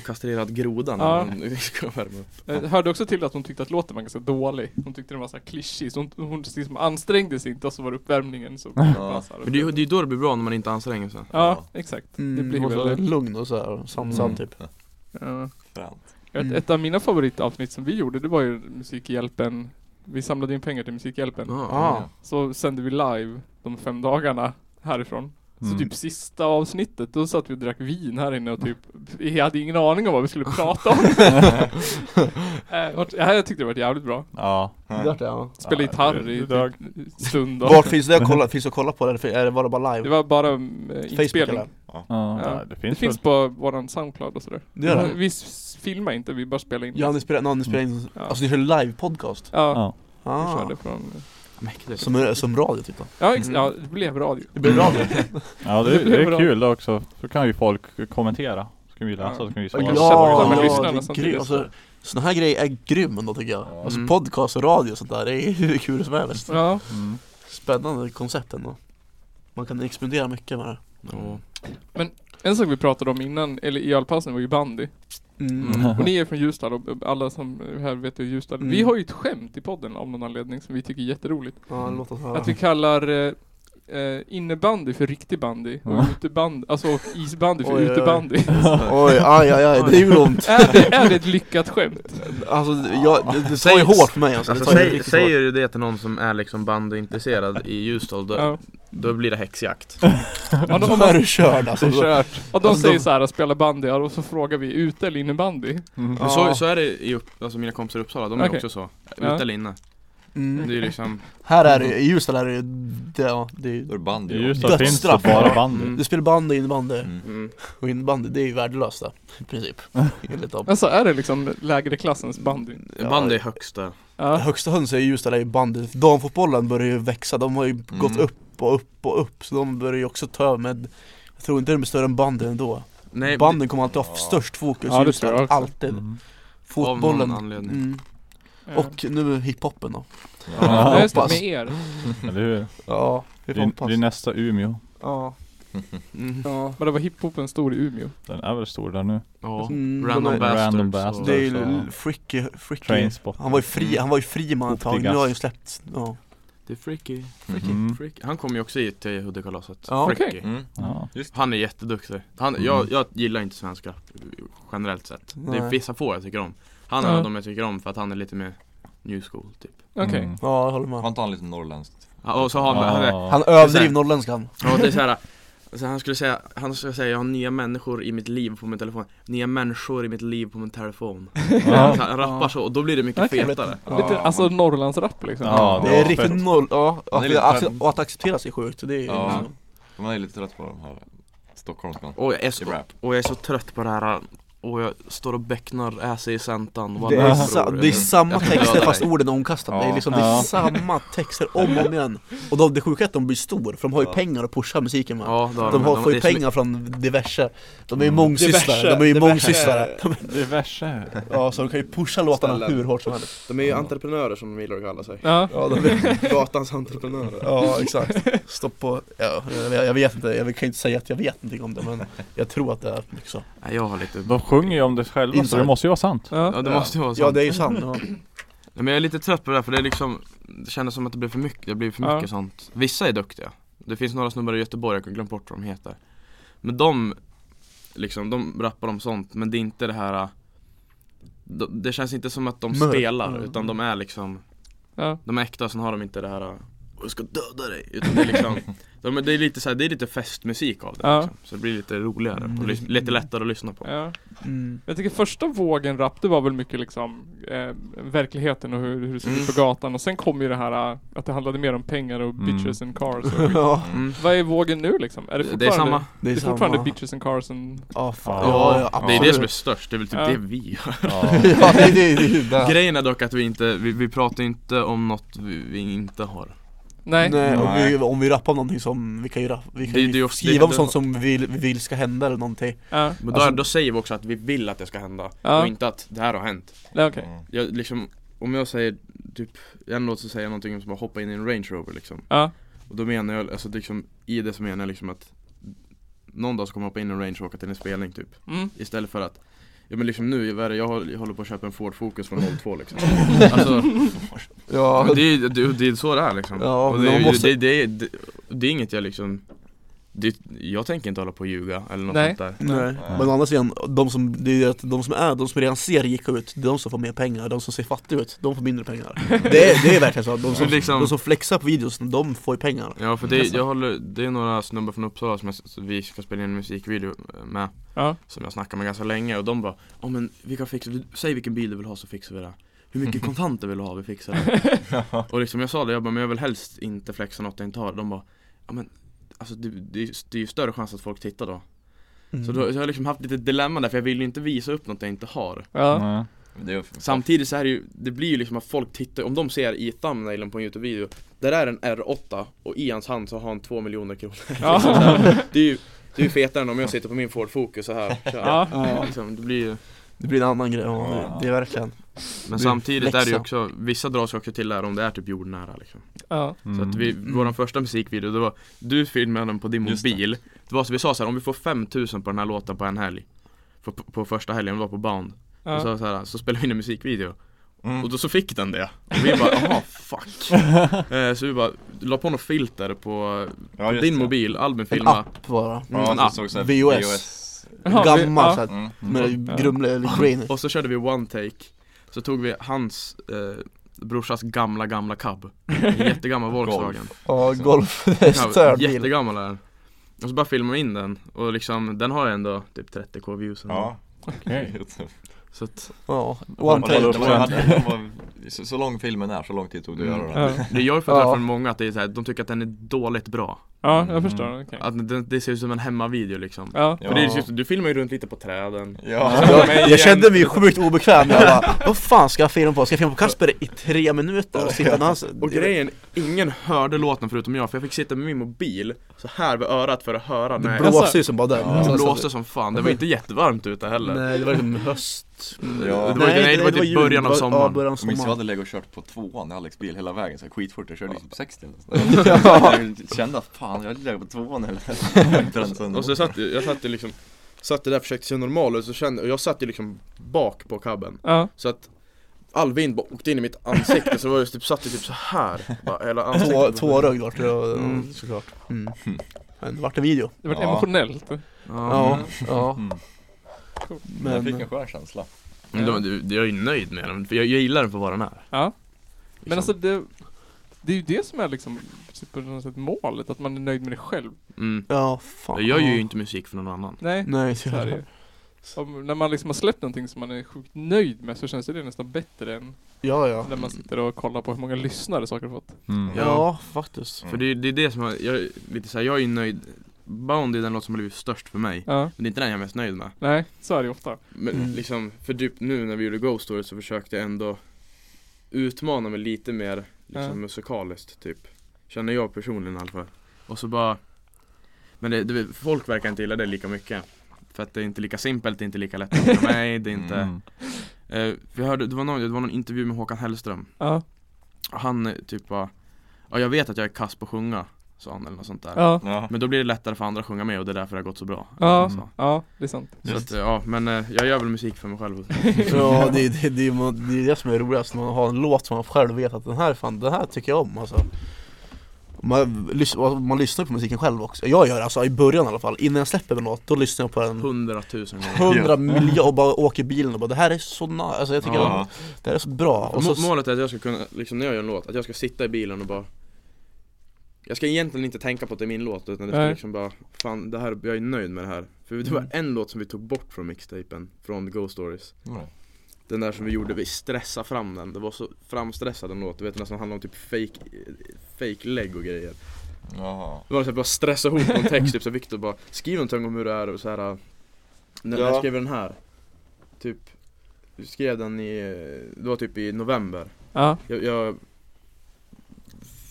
Speaker 5: kastrerad groda när
Speaker 1: Ja.
Speaker 5: man ska värma upp.
Speaker 1: Jag Eh, hörde också till att hon tyckte att låten var ganska dålig. Hon tyckte den var så här klyschig. Så hon, hon liksom ansträngde sig inte och så var det uppvärmningen som bara så här-
Speaker 5: Men det är ju det är ju då det blir bra när man inte anstränger sig.
Speaker 1: Ja, exakt. det blir
Speaker 4: mm, måste vara
Speaker 1: väl...
Speaker 4: lugn och såhär, sansad
Speaker 1: Mm.
Speaker 4: typ
Speaker 1: Ja.
Speaker 2: Fränt.
Speaker 1: Ett,
Speaker 4: Mm.
Speaker 1: ett av mina favoritavsnitt som vi gjorde, det var ju Musikhjälpen. Vi samlade in pengar till Musikhjälpen.
Speaker 2: Mm.
Speaker 4: Ja,
Speaker 1: Så sände vi live de fem dagarna härifrån. Så
Speaker 3: Mm.
Speaker 1: typ sista avsnittet, då satt vi och drack vin här inne och typ Vi hade ingen aning om vad vi skulle prata om. Eh, vart- ja, jag tyckte det var jävligt bra.
Speaker 3: Ja.
Speaker 4: det vart det ja
Speaker 1: Spelade
Speaker 3: Ja,
Speaker 1: gitarr
Speaker 3: det-
Speaker 1: i
Speaker 3: det dög.
Speaker 1: typ stund och...
Speaker 4: Vart finns det att kolla, finns det att kolla på det? Eller är det- var det bara
Speaker 1: Det
Speaker 4: live?
Speaker 1: var bara um, eh,
Speaker 4: Facebook
Speaker 1: inspelning.
Speaker 4: eller?
Speaker 3: Ja,
Speaker 1: Ja.
Speaker 3: det
Speaker 1: Det
Speaker 3: finns,
Speaker 1: finns
Speaker 3: väl.
Speaker 1: på våran Soundcloud och sådär.
Speaker 4: Det gör det?
Speaker 1: Vi s- filmar inte, vi bara spelar in.
Speaker 4: Ja ni spelar, no, ni spelar in,
Speaker 1: Ja.
Speaker 4: alltså ni kör live-podcast?
Speaker 1: Ja,
Speaker 3: Ja.
Speaker 1: vi
Speaker 4: Ah,
Speaker 1: körde från...
Speaker 5: Mäktigt.
Speaker 4: som, som radio typ då?
Speaker 1: Ja, ex-
Speaker 5: Mm.
Speaker 1: ja, det blev radio.
Speaker 4: Det blir radio?
Speaker 3: ja, det, det är kul det också. Då kan ju folk kommentera. Så kan vi läsa, så kan vi
Speaker 1: Ja,
Speaker 4: Ja,
Speaker 3: svara.
Speaker 1: kan chatta med
Speaker 4: ja,
Speaker 1: lyssnarna
Speaker 4: det är
Speaker 1: samtidigt.
Speaker 4: grym. Alltså, såna här grejer är grym ändå tycker jag.
Speaker 2: Ja.
Speaker 4: Alltså
Speaker 5: Mm.
Speaker 4: podcast och radio och sånt där, det är hur kul som helst.
Speaker 1: Ja.
Speaker 3: Mm.
Speaker 4: Spännande koncept ändå. Man kan experimentera mycket med det.
Speaker 5: Ja.
Speaker 1: En sak vi pratade om innan, eller i ölpausen, var ju bandy.
Speaker 5: Mm.
Speaker 1: Och ni är från Ljusdal och alla som är här vet ju Ljusdal.
Speaker 4: Mm.
Speaker 1: Vi har ju ett skämt i podden av någon anledning som vi tycker är jätteroligt.
Speaker 4: Ja, låt oss höra.
Speaker 1: Att vi kallar eh, eh, innebandy för riktig bandy och
Speaker 3: Ja.
Speaker 1: utebandy, alltså och isbandy för
Speaker 4: Oj, oj, oj.
Speaker 1: utebandy.
Speaker 4: Oj, aj, aj, aj, det gjorde ont.
Speaker 1: är, det, är det ett lyckat skämt?
Speaker 4: Alltså, jag, det, det tar ju
Speaker 5: Säg-
Speaker 4: hårt för mig alltså.
Speaker 5: Alltså,
Speaker 4: det tar ju
Speaker 5: säg,
Speaker 4: riktigt hårt.
Speaker 5: säger du det till någon som är liksom bandyintresserad i Ljusdal, då,
Speaker 1: Ja.
Speaker 5: då blir det häxjakt.
Speaker 1: Ja, de, om
Speaker 4: Då är du körd alltså.
Speaker 3: Det är kört.
Speaker 1: och de säger så här, att spela bandy, ja, och så frågar vi ute eller innebandy?
Speaker 5: Men
Speaker 4: Ja.
Speaker 5: så, så är det i upp, alltså mina kompisar i Uppsala, de är
Speaker 1: Okej.
Speaker 5: också så. Ute
Speaker 1: Ja.
Speaker 5: eller inne. Det är
Speaker 4: Mm.
Speaker 5: ju liksom,
Speaker 4: Här är det ju, i Ljusdal är det ju, det, ja, det är ju
Speaker 2: Då är det bandy.
Speaker 3: Just det, finns det
Speaker 4: Dödsstraff.
Speaker 3: bara bandy.
Speaker 5: Mm.
Speaker 4: Du spelar bandy och innebandy,
Speaker 2: Mm.
Speaker 5: mm.
Speaker 4: och innebandy det är ju värdelöst då, i princip. Enligt dem.
Speaker 1: Alltså är det liksom lägre klassens bandy?
Speaker 4: Ja.
Speaker 5: bandy är högsta.
Speaker 4: Ja.
Speaker 1: Ja.
Speaker 4: Högsta hönsen i Ljusdal är ju bandet. Damfotbollen börjar ju växa, de har ju gått upp och upp och upp så de börjar ju också ta över med jag tror inte den blir större än banden ändå.
Speaker 5: Nej,
Speaker 4: Banden kommer alltid ha
Speaker 2: Ja.
Speaker 4: störst fokus
Speaker 1: Ja,
Speaker 4: i
Speaker 1: det
Speaker 4: Ljusdal,
Speaker 1: tror jag också.
Speaker 4: alltid.
Speaker 3: Mm.
Speaker 5: Av
Speaker 4: Fotbollen.
Speaker 5: någon anledning.
Speaker 4: Mm.
Speaker 1: Ja.
Speaker 4: Och nu hiphopen då.
Speaker 1: Ja,
Speaker 3: Ja,
Speaker 1: just det,
Speaker 4: hoppas.
Speaker 1: med er.
Speaker 3: eller hur?
Speaker 4: Ja, vi
Speaker 3: Det
Speaker 4: får
Speaker 3: är,
Speaker 4: hoppas.
Speaker 3: det är nästa Umeå.
Speaker 4: Ja.
Speaker 5: Mm.
Speaker 1: Ja. Men det var hiphopen stor i Umeå.
Speaker 3: Den är väl stor där nu?
Speaker 5: Ja.
Speaker 4: Mm,
Speaker 5: Random
Speaker 4: de
Speaker 3: är-
Speaker 5: bastards.
Speaker 3: Random
Speaker 5: och-
Speaker 3: bastards.
Speaker 4: Det är
Speaker 3: Så-
Speaker 4: ju fricky, fricky.
Speaker 3: Trainspot.
Speaker 4: Han var ju fri, han var ju fri man ett tag, nu har han ju släppt. Ja.
Speaker 5: Det är freaky.
Speaker 3: Mm.
Speaker 5: freaky. Han kom ju också hit till Huddekalaset.
Speaker 4: Ja,
Speaker 5: freaky.
Speaker 1: okej.
Speaker 2: Mm.
Speaker 3: Ja.
Speaker 5: Han är jätteduktig. Han,
Speaker 3: Mm.
Speaker 5: jag, jag gillar inte svensk rap generellt sett. Det är
Speaker 4: Nej.
Speaker 5: vissa få jag tycker om. Han är en
Speaker 1: Ja.
Speaker 5: av de jag tycker om för att han är lite mer new school typ.
Speaker 1: Okej.
Speaker 3: Mm.
Speaker 4: Ja, jag håller
Speaker 2: Var
Speaker 4: med.
Speaker 2: inte han lite norrländskt?
Speaker 5: Ja, Och så har han, han är,
Speaker 3: Ja.
Speaker 4: Han överdrev norrländskan.
Speaker 5: ja, det är så här, alltså han skulle säga, han skulle säga jag har nya människor i mitt liv på min telefon. Nya människor i mitt liv på min telefon.
Speaker 3: Ja.
Speaker 5: Så han rappar så och då blir det mycket
Speaker 1: Okej.
Speaker 5: fetare.
Speaker 1: Lite, alltså Norrlandsrap liksom.
Speaker 3: Ja,
Speaker 4: Det är
Speaker 3: Ja, fett.
Speaker 4: riktigt noll, ja,
Speaker 2: Han
Speaker 4: att,
Speaker 2: är lite
Speaker 4: att,
Speaker 2: trend.
Speaker 4: och att acceptera sig sjukt, det är ju
Speaker 2: Ja.
Speaker 4: liksom-
Speaker 2: Man är lite trött på den här stockholmskan.
Speaker 5: Och jag, är
Speaker 2: I
Speaker 5: så,
Speaker 2: rap.
Speaker 5: och jag är så trött på det här Och jag står och bäcknar äser i sentan
Speaker 4: Det är,
Speaker 5: Wallraff,
Speaker 4: sa-
Speaker 5: bror.
Speaker 4: det är samma
Speaker 5: Jag dödar
Speaker 4: texter
Speaker 5: dig.
Speaker 4: fast orden är omkastade, det är liksom det är
Speaker 3: Ja.
Speaker 4: samma texter om och om igen Och de, det sjuka är att de blir stor, för de har ju pengar att pusha musiken med
Speaker 5: Ja, det har
Speaker 4: De
Speaker 5: men
Speaker 4: har, får
Speaker 5: det
Speaker 4: ju
Speaker 5: är så
Speaker 4: pengar från diverse De är ju
Speaker 3: Mm.
Speaker 4: mångsysslare, de är ju
Speaker 6: Diverse.
Speaker 4: mångsysslare
Speaker 3: Diverse.
Speaker 4: Ja, så de kan ju pusha låtarna
Speaker 5: Ställen.
Speaker 4: hur hårt som helst
Speaker 5: mycket- De är ju entreprenörer som de gillar att kalla sig
Speaker 1: Ja.
Speaker 4: Ja, de,
Speaker 5: Gatans entreprenörer
Speaker 4: ja exakt, stopp på, ja, jag, jag vet inte, jag kan ju inte säga att jag vet någonting om det men jag tror att det är mycket så
Speaker 5: Nej jag har lite
Speaker 3: De sjunger ju om det själva så
Speaker 4: Inside.
Speaker 3: det måste ju vara sant.
Speaker 1: Ja.
Speaker 5: Ja det måste ju vara sant
Speaker 4: Ja det är ju sant, ja.
Speaker 5: Nej, Men jag är lite trött på det där för det är liksom Det kändes som att det blev för mycket, det blir för
Speaker 1: Ja.
Speaker 5: mycket sånt Vissa är duktiga Det finns några snubbar i Göteborg, jag har glömt bort vad de heter Men de Liksom, de rappar om sånt men det är inte det här äh, de- Det känns inte som att de
Speaker 4: Mörk.
Speaker 5: spelar
Speaker 4: Mm.
Speaker 5: utan de är liksom
Speaker 1: Ja.
Speaker 5: De är äkta sen har de inte det här äh, Jag ska döda dig utan det är liksom de, Det är lite så här, det är lite festmusik av det
Speaker 1: Ja.
Speaker 5: liksom. Så det blir lite roligare
Speaker 4: Mm.
Speaker 5: och lys- lite lättare att lyssna på
Speaker 1: ja.
Speaker 4: Mm.
Speaker 1: Jag tycker första vågen rap, det var väl mycket liksom eh, verkligheten och hur, hur det ser ut
Speaker 5: Mm.
Speaker 1: på gatan. Och sen kom ju det här eh, att det handlade mer om pengar och bitches and cars.
Speaker 4: Ja,
Speaker 5: mm.
Speaker 1: Vad är vågen nu liksom? Är det fortfarande,
Speaker 5: Det är samma
Speaker 4: det
Speaker 1: Det
Speaker 4: är
Speaker 1: är fortfarande
Speaker 4: samma
Speaker 1: bitches and cars and...
Speaker 4: Ja, fan. ja,
Speaker 3: Ja,
Speaker 4: ja
Speaker 5: Det
Speaker 4: absolut
Speaker 5: är det som är störst, det är väl typ
Speaker 1: Ja.
Speaker 5: det vi gör
Speaker 3: Ja.
Speaker 4: Ja, det är det, det, är ju det.
Speaker 5: Grejen är dock att vi inte, vi, vi pratar inte om något vi, vi inte har
Speaker 1: Nej.
Speaker 4: Nej, om
Speaker 2: Nej.
Speaker 4: vi, om vi rappar om någonting som, vi kan ju, rapp, vi kan
Speaker 5: Det-
Speaker 4: ju
Speaker 5: det är ju ofta-
Speaker 4: skriva om
Speaker 5: det-
Speaker 4: sånt som vi vill, vi vill ska hända eller någonting
Speaker 1: Ja.
Speaker 5: Men då,
Speaker 4: Alltså-
Speaker 5: då säger vi också att vi vill att det ska hända
Speaker 1: Ja.
Speaker 5: och inte att det här har hänt
Speaker 1: Nej, okej.
Speaker 2: Mm.
Speaker 5: Jag liksom, om jag säger typ, en låt så säger jag någonting som att hoppa in i en Range Rover liksom
Speaker 1: Ja.
Speaker 5: Och då menar jag, alltså liksom, i det så menar jag liksom att Någon dag så kommer jag hoppa in i en Range Rover och åka till en spelning typ
Speaker 1: Mm.
Speaker 5: Istället för att Ja men liksom nu, vad är det? jag håller jag håller på att köpa en Ford Focus från 02 liksom Alltså,
Speaker 4: Ja,
Speaker 5: Men det, är, det, det är så det är liksom.
Speaker 4: Ja,
Speaker 5: och
Speaker 4: men
Speaker 5: det,
Speaker 4: man
Speaker 5: är-
Speaker 4: måste-
Speaker 5: det, det, är- det, det är inget jag liksom det, Jag tänker inte hålla på och ljuga eller något
Speaker 1: Nej.
Speaker 5: sånt där
Speaker 4: Nej. Men å andra sidan, de som, det är ju att de som är, de som redan ser rika ut, det är de som får mer pengar, de som ser fattiga ut, de får mindre pengar Det är, det är verkligen så, de som,
Speaker 5: Men liksom-
Speaker 4: de som flexar på videos, de får ju pengar
Speaker 5: Ja för det, jag håller, det är några snubbar från Uppsala som jag, s- vi ska spela in en musikvideo eh, med
Speaker 1: Ja.
Speaker 5: Som jag snackade med ganska länge och de bara Ja men vi kan fixa, du- säg vilken bil du vill ha så fixar vi det Hur mycket kontanter vill du ha, vi fixar det Och liksom jag sa det, jag bara men jag vill helst inte flexa något jag inte har De bara Ja men Alltså det, det, är ju- det är ju större chans att folk tittar då
Speaker 4: Mm.
Speaker 5: Så då, jag har liksom haft lite dilemma där för jag vill ju inte visa upp något jag inte har
Speaker 1: Ja.
Speaker 3: Nej.
Speaker 2: Men Det är ju för-
Speaker 5: Samtidigt så är det ju, det blir ju liksom att folk tittar, om de ser i thumbnailen på en Youtube-video Där är en R8 och i hans hand så har han 2 miljoner kronor
Speaker 1: Ja.
Speaker 5: Det är ju, det är ju fetare än om jag sitter på min Ford Focus så här, så här.
Speaker 1: Ja.
Speaker 5: Liksom, det blir ju,
Speaker 4: Det blir en annan grej, ja, det, det är verkligen
Speaker 5: Men
Speaker 4: Det-
Speaker 5: samtidigt är det ju
Speaker 4: läxa.
Speaker 5: också, vissa dras ju också till där om det är typ jordnära liksom
Speaker 1: Ja.
Speaker 5: Så att vi,
Speaker 4: Mm.
Speaker 5: våran första musikvideo, det var, du filmade den på din
Speaker 2: Just det.
Speaker 5: mobil det. var så vi sa så här, om vi får 5000 på den här låten på en helg På, på, på första helgen, det var på Bound
Speaker 1: Ja.
Speaker 5: Och så, så, här, så spelade vi in en musikvideo
Speaker 2: Mm.
Speaker 5: Och då så fick den det Och vi bara, jaha fuck eh, Så vi bara, la på något filter på
Speaker 2: Ja, just
Speaker 5: din
Speaker 2: det.
Speaker 5: mobil, Albin
Speaker 4: En
Speaker 5: filma
Speaker 4: app bara,
Speaker 2: Ja,
Speaker 5: en
Speaker 2: så
Speaker 5: app.
Speaker 2: såg så här
Speaker 4: VOS.
Speaker 2: VOS.
Speaker 1: Jaha, vi-
Speaker 4: gammal såhär,
Speaker 2: Mm.
Speaker 4: med grumlig eller grainy
Speaker 5: Och så körde vi one take Så tog vi hans eh, brorsas gamla gamla cab En jättegammal Volkswagen
Speaker 4: Ja, golf, det är störd
Speaker 5: ja,
Speaker 4: bil
Speaker 5: Jättegammal är den Och så bara filmade vi in den Och liksom, den har ändå typ 30k views ändå.
Speaker 2: Ja.
Speaker 3: Mm. Okej.
Speaker 5: Så att
Speaker 4: Ja,
Speaker 3: Var
Speaker 4: one
Speaker 3: det-
Speaker 2: Det
Speaker 4: take
Speaker 2: var- det var- det var- Så så lång filmen är, så lång tid tog det att göra den.
Speaker 1: Ja.
Speaker 5: det jag har fått höra
Speaker 4: Ja.
Speaker 5: från många att det är så här, de tycker att den är dåligt bra
Speaker 1: ja, jag förstår. Okej.
Speaker 5: Att den, det ser ut som en hemmavideo liksom
Speaker 1: Ja.
Speaker 5: För det är
Speaker 2: Ja.
Speaker 5: just, du filmar ju runt lite på träden
Speaker 2: Ja.
Speaker 4: Jag, jag kände mig sjukt obekväm, jag bara, vad fan ska jag filma på? Ska jag filma på Kasper i tre minuter? Och sitta när han-
Speaker 5: Och grejen, ingen hörde låten förutom jag för jag fick sitta med min mobil så här vid örat för att höra när
Speaker 4: Det
Speaker 5: jag,
Speaker 4: blåste ju som bara den
Speaker 5: det
Speaker 4: Alltså,
Speaker 5: blåste som fan, det var inte jättevarmt ute heller
Speaker 4: Nej det var liksom höst
Speaker 2: Ja.
Speaker 5: Det var ju- nej, det var typ
Speaker 4: jul.
Speaker 5: början
Speaker 4: Det
Speaker 5: av
Speaker 4: var- Ja,
Speaker 5: sommaren.
Speaker 4: början av
Speaker 2: Jag minns jag
Speaker 4: sommaren
Speaker 2: hade legat och kört på tvåan i Alex bil hela vägen så här skitfort, jag körde liksom på 60 eller sånt där.
Speaker 4: Ja.
Speaker 2: Jag kände att fan, jag hade legat på tvåan eller
Speaker 5: Och så satt jag satt ju liksom Satt ju där och försökte se normal ut så kände, och jag satt ju liksom bak på cabben
Speaker 1: Ja.
Speaker 5: Så att all vind bara åkte in i mitt ansikte så det var jag typ, satt ju typ så här bara, hela ansiktet
Speaker 4: Tå- Tårögd vart det och-
Speaker 5: Mm.
Speaker 4: såklart mm. Men det vart en video
Speaker 1: Det vart
Speaker 2: Ja.
Speaker 1: emotionellt.
Speaker 5: Ja,
Speaker 4: Ja, ja
Speaker 2: Mm. Men jag fick en
Speaker 4: Men
Speaker 2: skön känsla.
Speaker 5: men då- du- jag är ju nöjd med den, för jag, jag gillar den för vad den är
Speaker 1: Ja. Men
Speaker 5: Liksom.
Speaker 1: alltså det, det är ju det som är liksom typ på något sätt målet, att man är nöjd med det själv.
Speaker 5: mm.
Speaker 4: Ja fan
Speaker 5: Jag gör ju inte musik för någon annan
Speaker 1: Nej,
Speaker 4: Nej
Speaker 1: så är det ju. Om, När man liksom har släppt någonting som man är sjukt nöjd med så känns det nästan bättre än
Speaker 4: Ja ja
Speaker 1: när man sitter och kollar på hur många lyssnare saker har fått.
Speaker 3: Mm.
Speaker 4: Ja faktiskt
Speaker 5: För det, är- det är det som jag, jag är lite såhär, jag är ju nöjd Bound är den låt som har blivit störst för mig
Speaker 1: Ja, Mm.
Speaker 5: Men det är inte den jag är mest nöjd med
Speaker 1: nej, så är det ju ofta.
Speaker 5: Men liksom, för typ nu när vi gjorde Ghost Story så försökte jag ändå utmana mig lite mer liksom,
Speaker 1: Ja.
Speaker 5: musikaliskt typ Känner jag personligen i alla fall Och så bara Men det, det, folk verkar inte gilla det lika mycket För att det är inte lika simpelt, det är inte lika lätt att göra mig, det är inte
Speaker 3: Mm.
Speaker 5: eh, Vi hörde, det var, någon, det var någon intervju med Håkan Hellström
Speaker 1: Ja,
Speaker 5: Och Han eh, typ bara Ja jag vet att jag är kass på att sjunga Sa han eller något sånt där
Speaker 1: ja,
Speaker 2: Ja.
Speaker 5: Men då blir det lättare för andra att sjunga med och det är därför det har gått så bra
Speaker 1: ja,
Speaker 5: Så,
Speaker 1: ja, det är sant.
Speaker 5: så att, eh, ja men eh, jag gör väl musik för mig själv
Speaker 4: Ja det är det, det, är- det, är det som är roligast, man har en låt som man själv vet att den här, fan, den här tycker jag om alltså man, lys- och man lyssnar på musiken själv också, jag gör det alltså i början i alla fall, innan jag släpper en låt, då lyssnar jag på den
Speaker 5: Hundratusen gånger
Speaker 4: hundra miljoner och bara åker i bilen och bara det här är så nice, alltså jag tycker
Speaker 2: Ja.
Speaker 4: det här är så bra och
Speaker 5: Må-
Speaker 4: så,
Speaker 5: Målet är att jag ska kunna, liksom när jag gör en låt, att jag ska sitta i bilen och bara Jag ska egentligen inte tänka på att det är min låt utan det ska
Speaker 1: Nej.
Speaker 5: liksom bara Fan det här, jag är nöjd med det här För det var en låt som vi tog bort från mixtapen Från Ghost Stories
Speaker 2: Ja.
Speaker 5: Den där som vi gjorde, vi stressade fram den Det var så framstressad en låt, du vet den där som handlar om typ fake, fake leg och grejer
Speaker 2: Jaha.
Speaker 5: Det var så här, bara stressa ihop någon text, typ så här, Viktor bara Skriv någonting om hur det är och så här. äh, När
Speaker 2: Ja.
Speaker 5: jag skrev den här Typ Vi skrev den i, det var typ i november
Speaker 1: Ja,
Speaker 5: jag, jag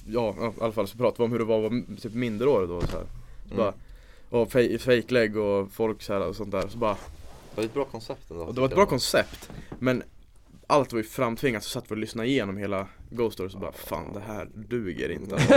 Speaker 5: Ja, i alla fall så pratade vi om hur det var att vara m- typ mindreårig då så här. Så
Speaker 2: Mm.
Speaker 5: bara, och fej- fejklägg och folk så här och sånt där så bara,
Speaker 2: Det var ett bra koncept ändå.
Speaker 5: och det var ett bra koncept Men allt var ju framtvingat så satt vi och lyssnade igenom hela Ghost Story så bara Fan det här duger inte alltså.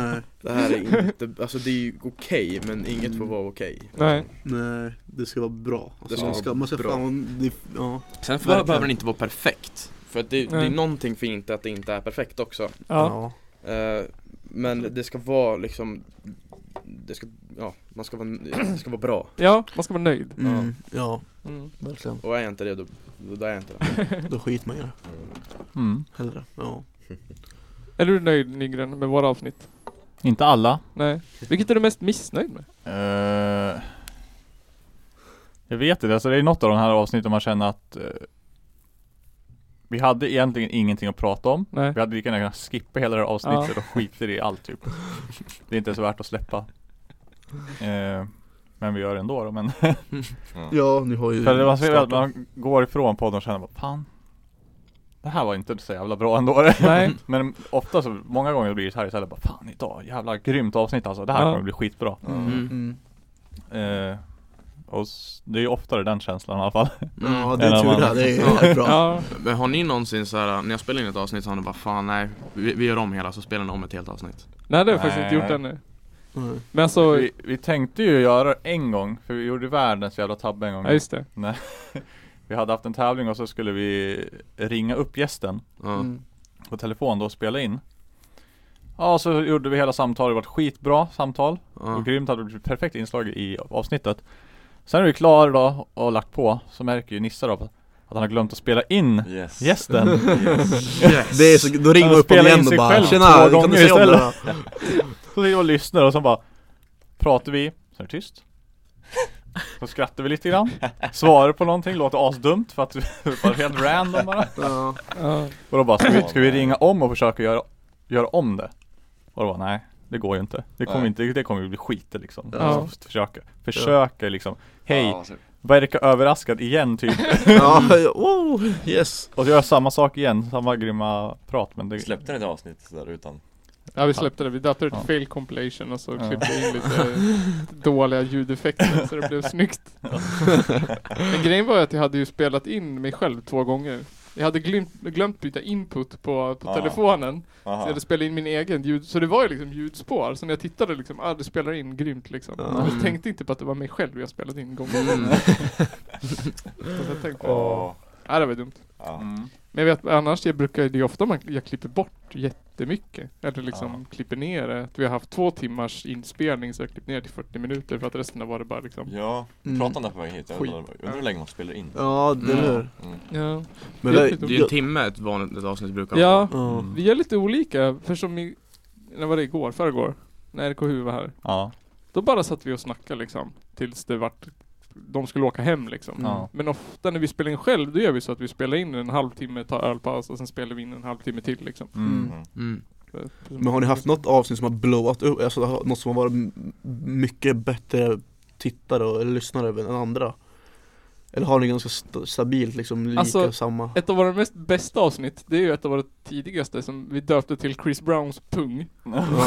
Speaker 4: nej,
Speaker 5: Det här är inte, alltså det är ju okej men inget får vara okej
Speaker 1: nej,
Speaker 4: nej, det ska vara bra Alltså,
Speaker 5: Det ska
Speaker 4: man
Speaker 5: vara
Speaker 4: man ska
Speaker 5: bra.
Speaker 4: fan, det, ja.
Speaker 5: Sen för-
Speaker 4: Verkligen.
Speaker 5: behöver den inte vara perfekt För att det, det är
Speaker 1: Nej.
Speaker 5: någonting fint att det inte är perfekt också
Speaker 1: ja,
Speaker 5: Eh, men det ska vara liksom det ska, ja, man ska vara, det ska vara bra
Speaker 1: ja, man ska vara nöjd.
Speaker 4: Ja. Mm, ja,
Speaker 1: Mm.
Speaker 4: verkligen,
Speaker 5: Och är jag inte det då, då är jag inte det
Speaker 4: då skiter man i det
Speaker 3: Mm.
Speaker 4: hellre, ja
Speaker 1: Är du nöjd Nygren med våra avsnitt?
Speaker 3: Inte alla.
Speaker 1: Nej. Vilket är du mest missnöjd med?
Speaker 3: Eh, jag vet inte, alltså det är något av de här avsnitten man känner att eh, Vi hade egentligen ingenting att prata om.
Speaker 1: Nej.
Speaker 3: Vi hade lika gärna kunnat skippa hela det här avsnittet och skiter i allt typ. Det är inte så värt att släppa. Eh, men vi gör det ändå då. Men
Speaker 4: Ja, ni har ju
Speaker 3: För det man ser att
Speaker 4: startat.
Speaker 3: man går ifrån podden och känner bara fan Det här var inte så jävla bra ändå
Speaker 1: Nej.
Speaker 3: Men ofta så, många gånger blir det så här istället bara fan idag, jävla grymt avsnitt alltså Det här
Speaker 1: Ja.
Speaker 3: kommer bli skitbra
Speaker 5: Mm.
Speaker 4: Mm.
Speaker 3: eh, Och s- det är ju oftare den känslan i alla fall
Speaker 5: Mm.
Speaker 4: Ja, det är
Speaker 3: Eller
Speaker 4: tur
Speaker 3: man-
Speaker 4: det, här, det är bra
Speaker 1: Ja,
Speaker 5: Men har ni någonsin så här när jag spelar in ett avsnitt så har ni bara fan nej, vi, vi gör om hela så spelar ni om ett helt avsnitt
Speaker 1: nej det har jag faktiskt inte
Speaker 3: Nej.
Speaker 1: gjort ännu.
Speaker 4: Mm.
Speaker 1: Men alltså,
Speaker 3: vi, vi tänkte ju göra det en gång, för vi gjorde världens jävla tabbe en gång
Speaker 1: ja just det.
Speaker 3: Vi hade haft en tävling och så skulle vi ringa upp gästen
Speaker 5: ja.
Speaker 4: Mm.
Speaker 3: på telefon då och spela in Ja så gjorde vi hela samtalet, det var ett skitbra samtal
Speaker 5: Ja.
Speaker 3: Och grymt hade det blivit perfekt inslag i avsnittet Sen är vi klara då och lagt på Så märker ju Nissa då att han har glömt att spela in
Speaker 2: Yes.
Speaker 3: gästen
Speaker 2: Yes.
Speaker 4: Det är så, då ringer
Speaker 3: Han
Speaker 4: man upp dem
Speaker 3: spelar
Speaker 4: igen
Speaker 3: in
Speaker 4: och
Speaker 3: sig
Speaker 4: bara
Speaker 3: själv
Speaker 4: Tjena,
Speaker 3: två
Speaker 4: kan du
Speaker 3: gånger
Speaker 4: säga om det här?
Speaker 3: Så vi och lyssnar och så bara Pratar vi, så är det tyst Så skrattar vi lite grann Svarar på någonting, låter asdumt för att vi var helt random bara
Speaker 4: Ja.
Speaker 1: Ja.
Speaker 3: Och då bara, ska vi, ska vi ringa om och försöka göra, göra om det? Och då bara, nej det går ju inte Det kommer
Speaker 2: Nej.
Speaker 3: inte, det kommer ju bli skit liksom
Speaker 1: Ja.
Speaker 3: Så Försöka, försöka liksom Hej,
Speaker 2: Ja, så-
Speaker 3: verka överraskad igen typ
Speaker 4: ja, oh, yes
Speaker 3: Och göra samma sak igen, samma grymma prat men det
Speaker 2: Släppte ni ett avsnitt sådär utan?
Speaker 1: ja, vi släppte det. Vi döpte det till
Speaker 3: Ja.
Speaker 1: fail compilation och så
Speaker 3: Ja.
Speaker 1: klippte vi in lite dåliga ljudeffekter så det blev snyggt. Men grejen var ju att jag hade ju spelat in mig själv två gånger. Jag hade glömt, glömt byta input på, på
Speaker 2: Ja.
Speaker 1: telefonen. Så jag
Speaker 2: Aha.
Speaker 1: hade spelat in min egen ljud, så det var ju liksom ljudspår. Så när jag tittade liksom, ah det spelar in grymt liksom.
Speaker 4: Ja.
Speaker 1: Men Jag tänkte inte på att det var mig själv jag spelade in gången.
Speaker 5: Mm.
Speaker 1: Så jag tänkte,
Speaker 2: Ja.
Speaker 1: nej det var dumt.
Speaker 2: Ja.
Speaker 3: mm.
Speaker 1: Men jag vet, annars jag brukar, det är ofta man, jag klipper bort jättemycket. Eller liksom
Speaker 3: Ja.
Speaker 1: klipper ner det. Att vi har haft två timmars inspelning så jag har klippt ner till 40 minuter för att resten har varit bara liksom.
Speaker 2: Ja,
Speaker 4: Mm.
Speaker 2: vi pratade om det här på vägen hit. Jag
Speaker 1: Skit.
Speaker 2: undrar undrar hur länge man spelar in.
Speaker 4: Ja, det
Speaker 5: Mm.
Speaker 4: är det.
Speaker 2: Mm.
Speaker 1: Ja.
Speaker 4: Men
Speaker 1: Det är
Speaker 4: det-
Speaker 1: lite
Speaker 5: Det är ju en timme ett vanligt ett avsnitt brukar vara
Speaker 1: ja,
Speaker 4: ja.
Speaker 3: Mm.
Speaker 1: vi gör lite olika. För som i, när var det igår? Förrgår? När RKU var här.
Speaker 3: Ja,
Speaker 1: Då bara satt vi och snackade liksom. Tills det vart, de skulle åka hem liksom.
Speaker 3: ja,
Speaker 1: Men ofta när vi spelar in själv, då gör vi så att vi spelar in en halvtimme, tar ölpaus och sen spelar vi in en halvtimme till liksom.
Speaker 3: mm.
Speaker 2: Mm.
Speaker 5: mm.
Speaker 4: Men har ni haft något avsnitt som har blowat upp, alltså har- något som har varit m- mycket bättre tittare och eller lyssnare än andra? Eller har ni ganska st- stabilt liksom lika
Speaker 1: Alltså,
Speaker 4: samma?
Speaker 1: Ett av våra mest bästa avsnitt, det är ju ett av våra tidigaste som vi döpte till Chris Browns pung.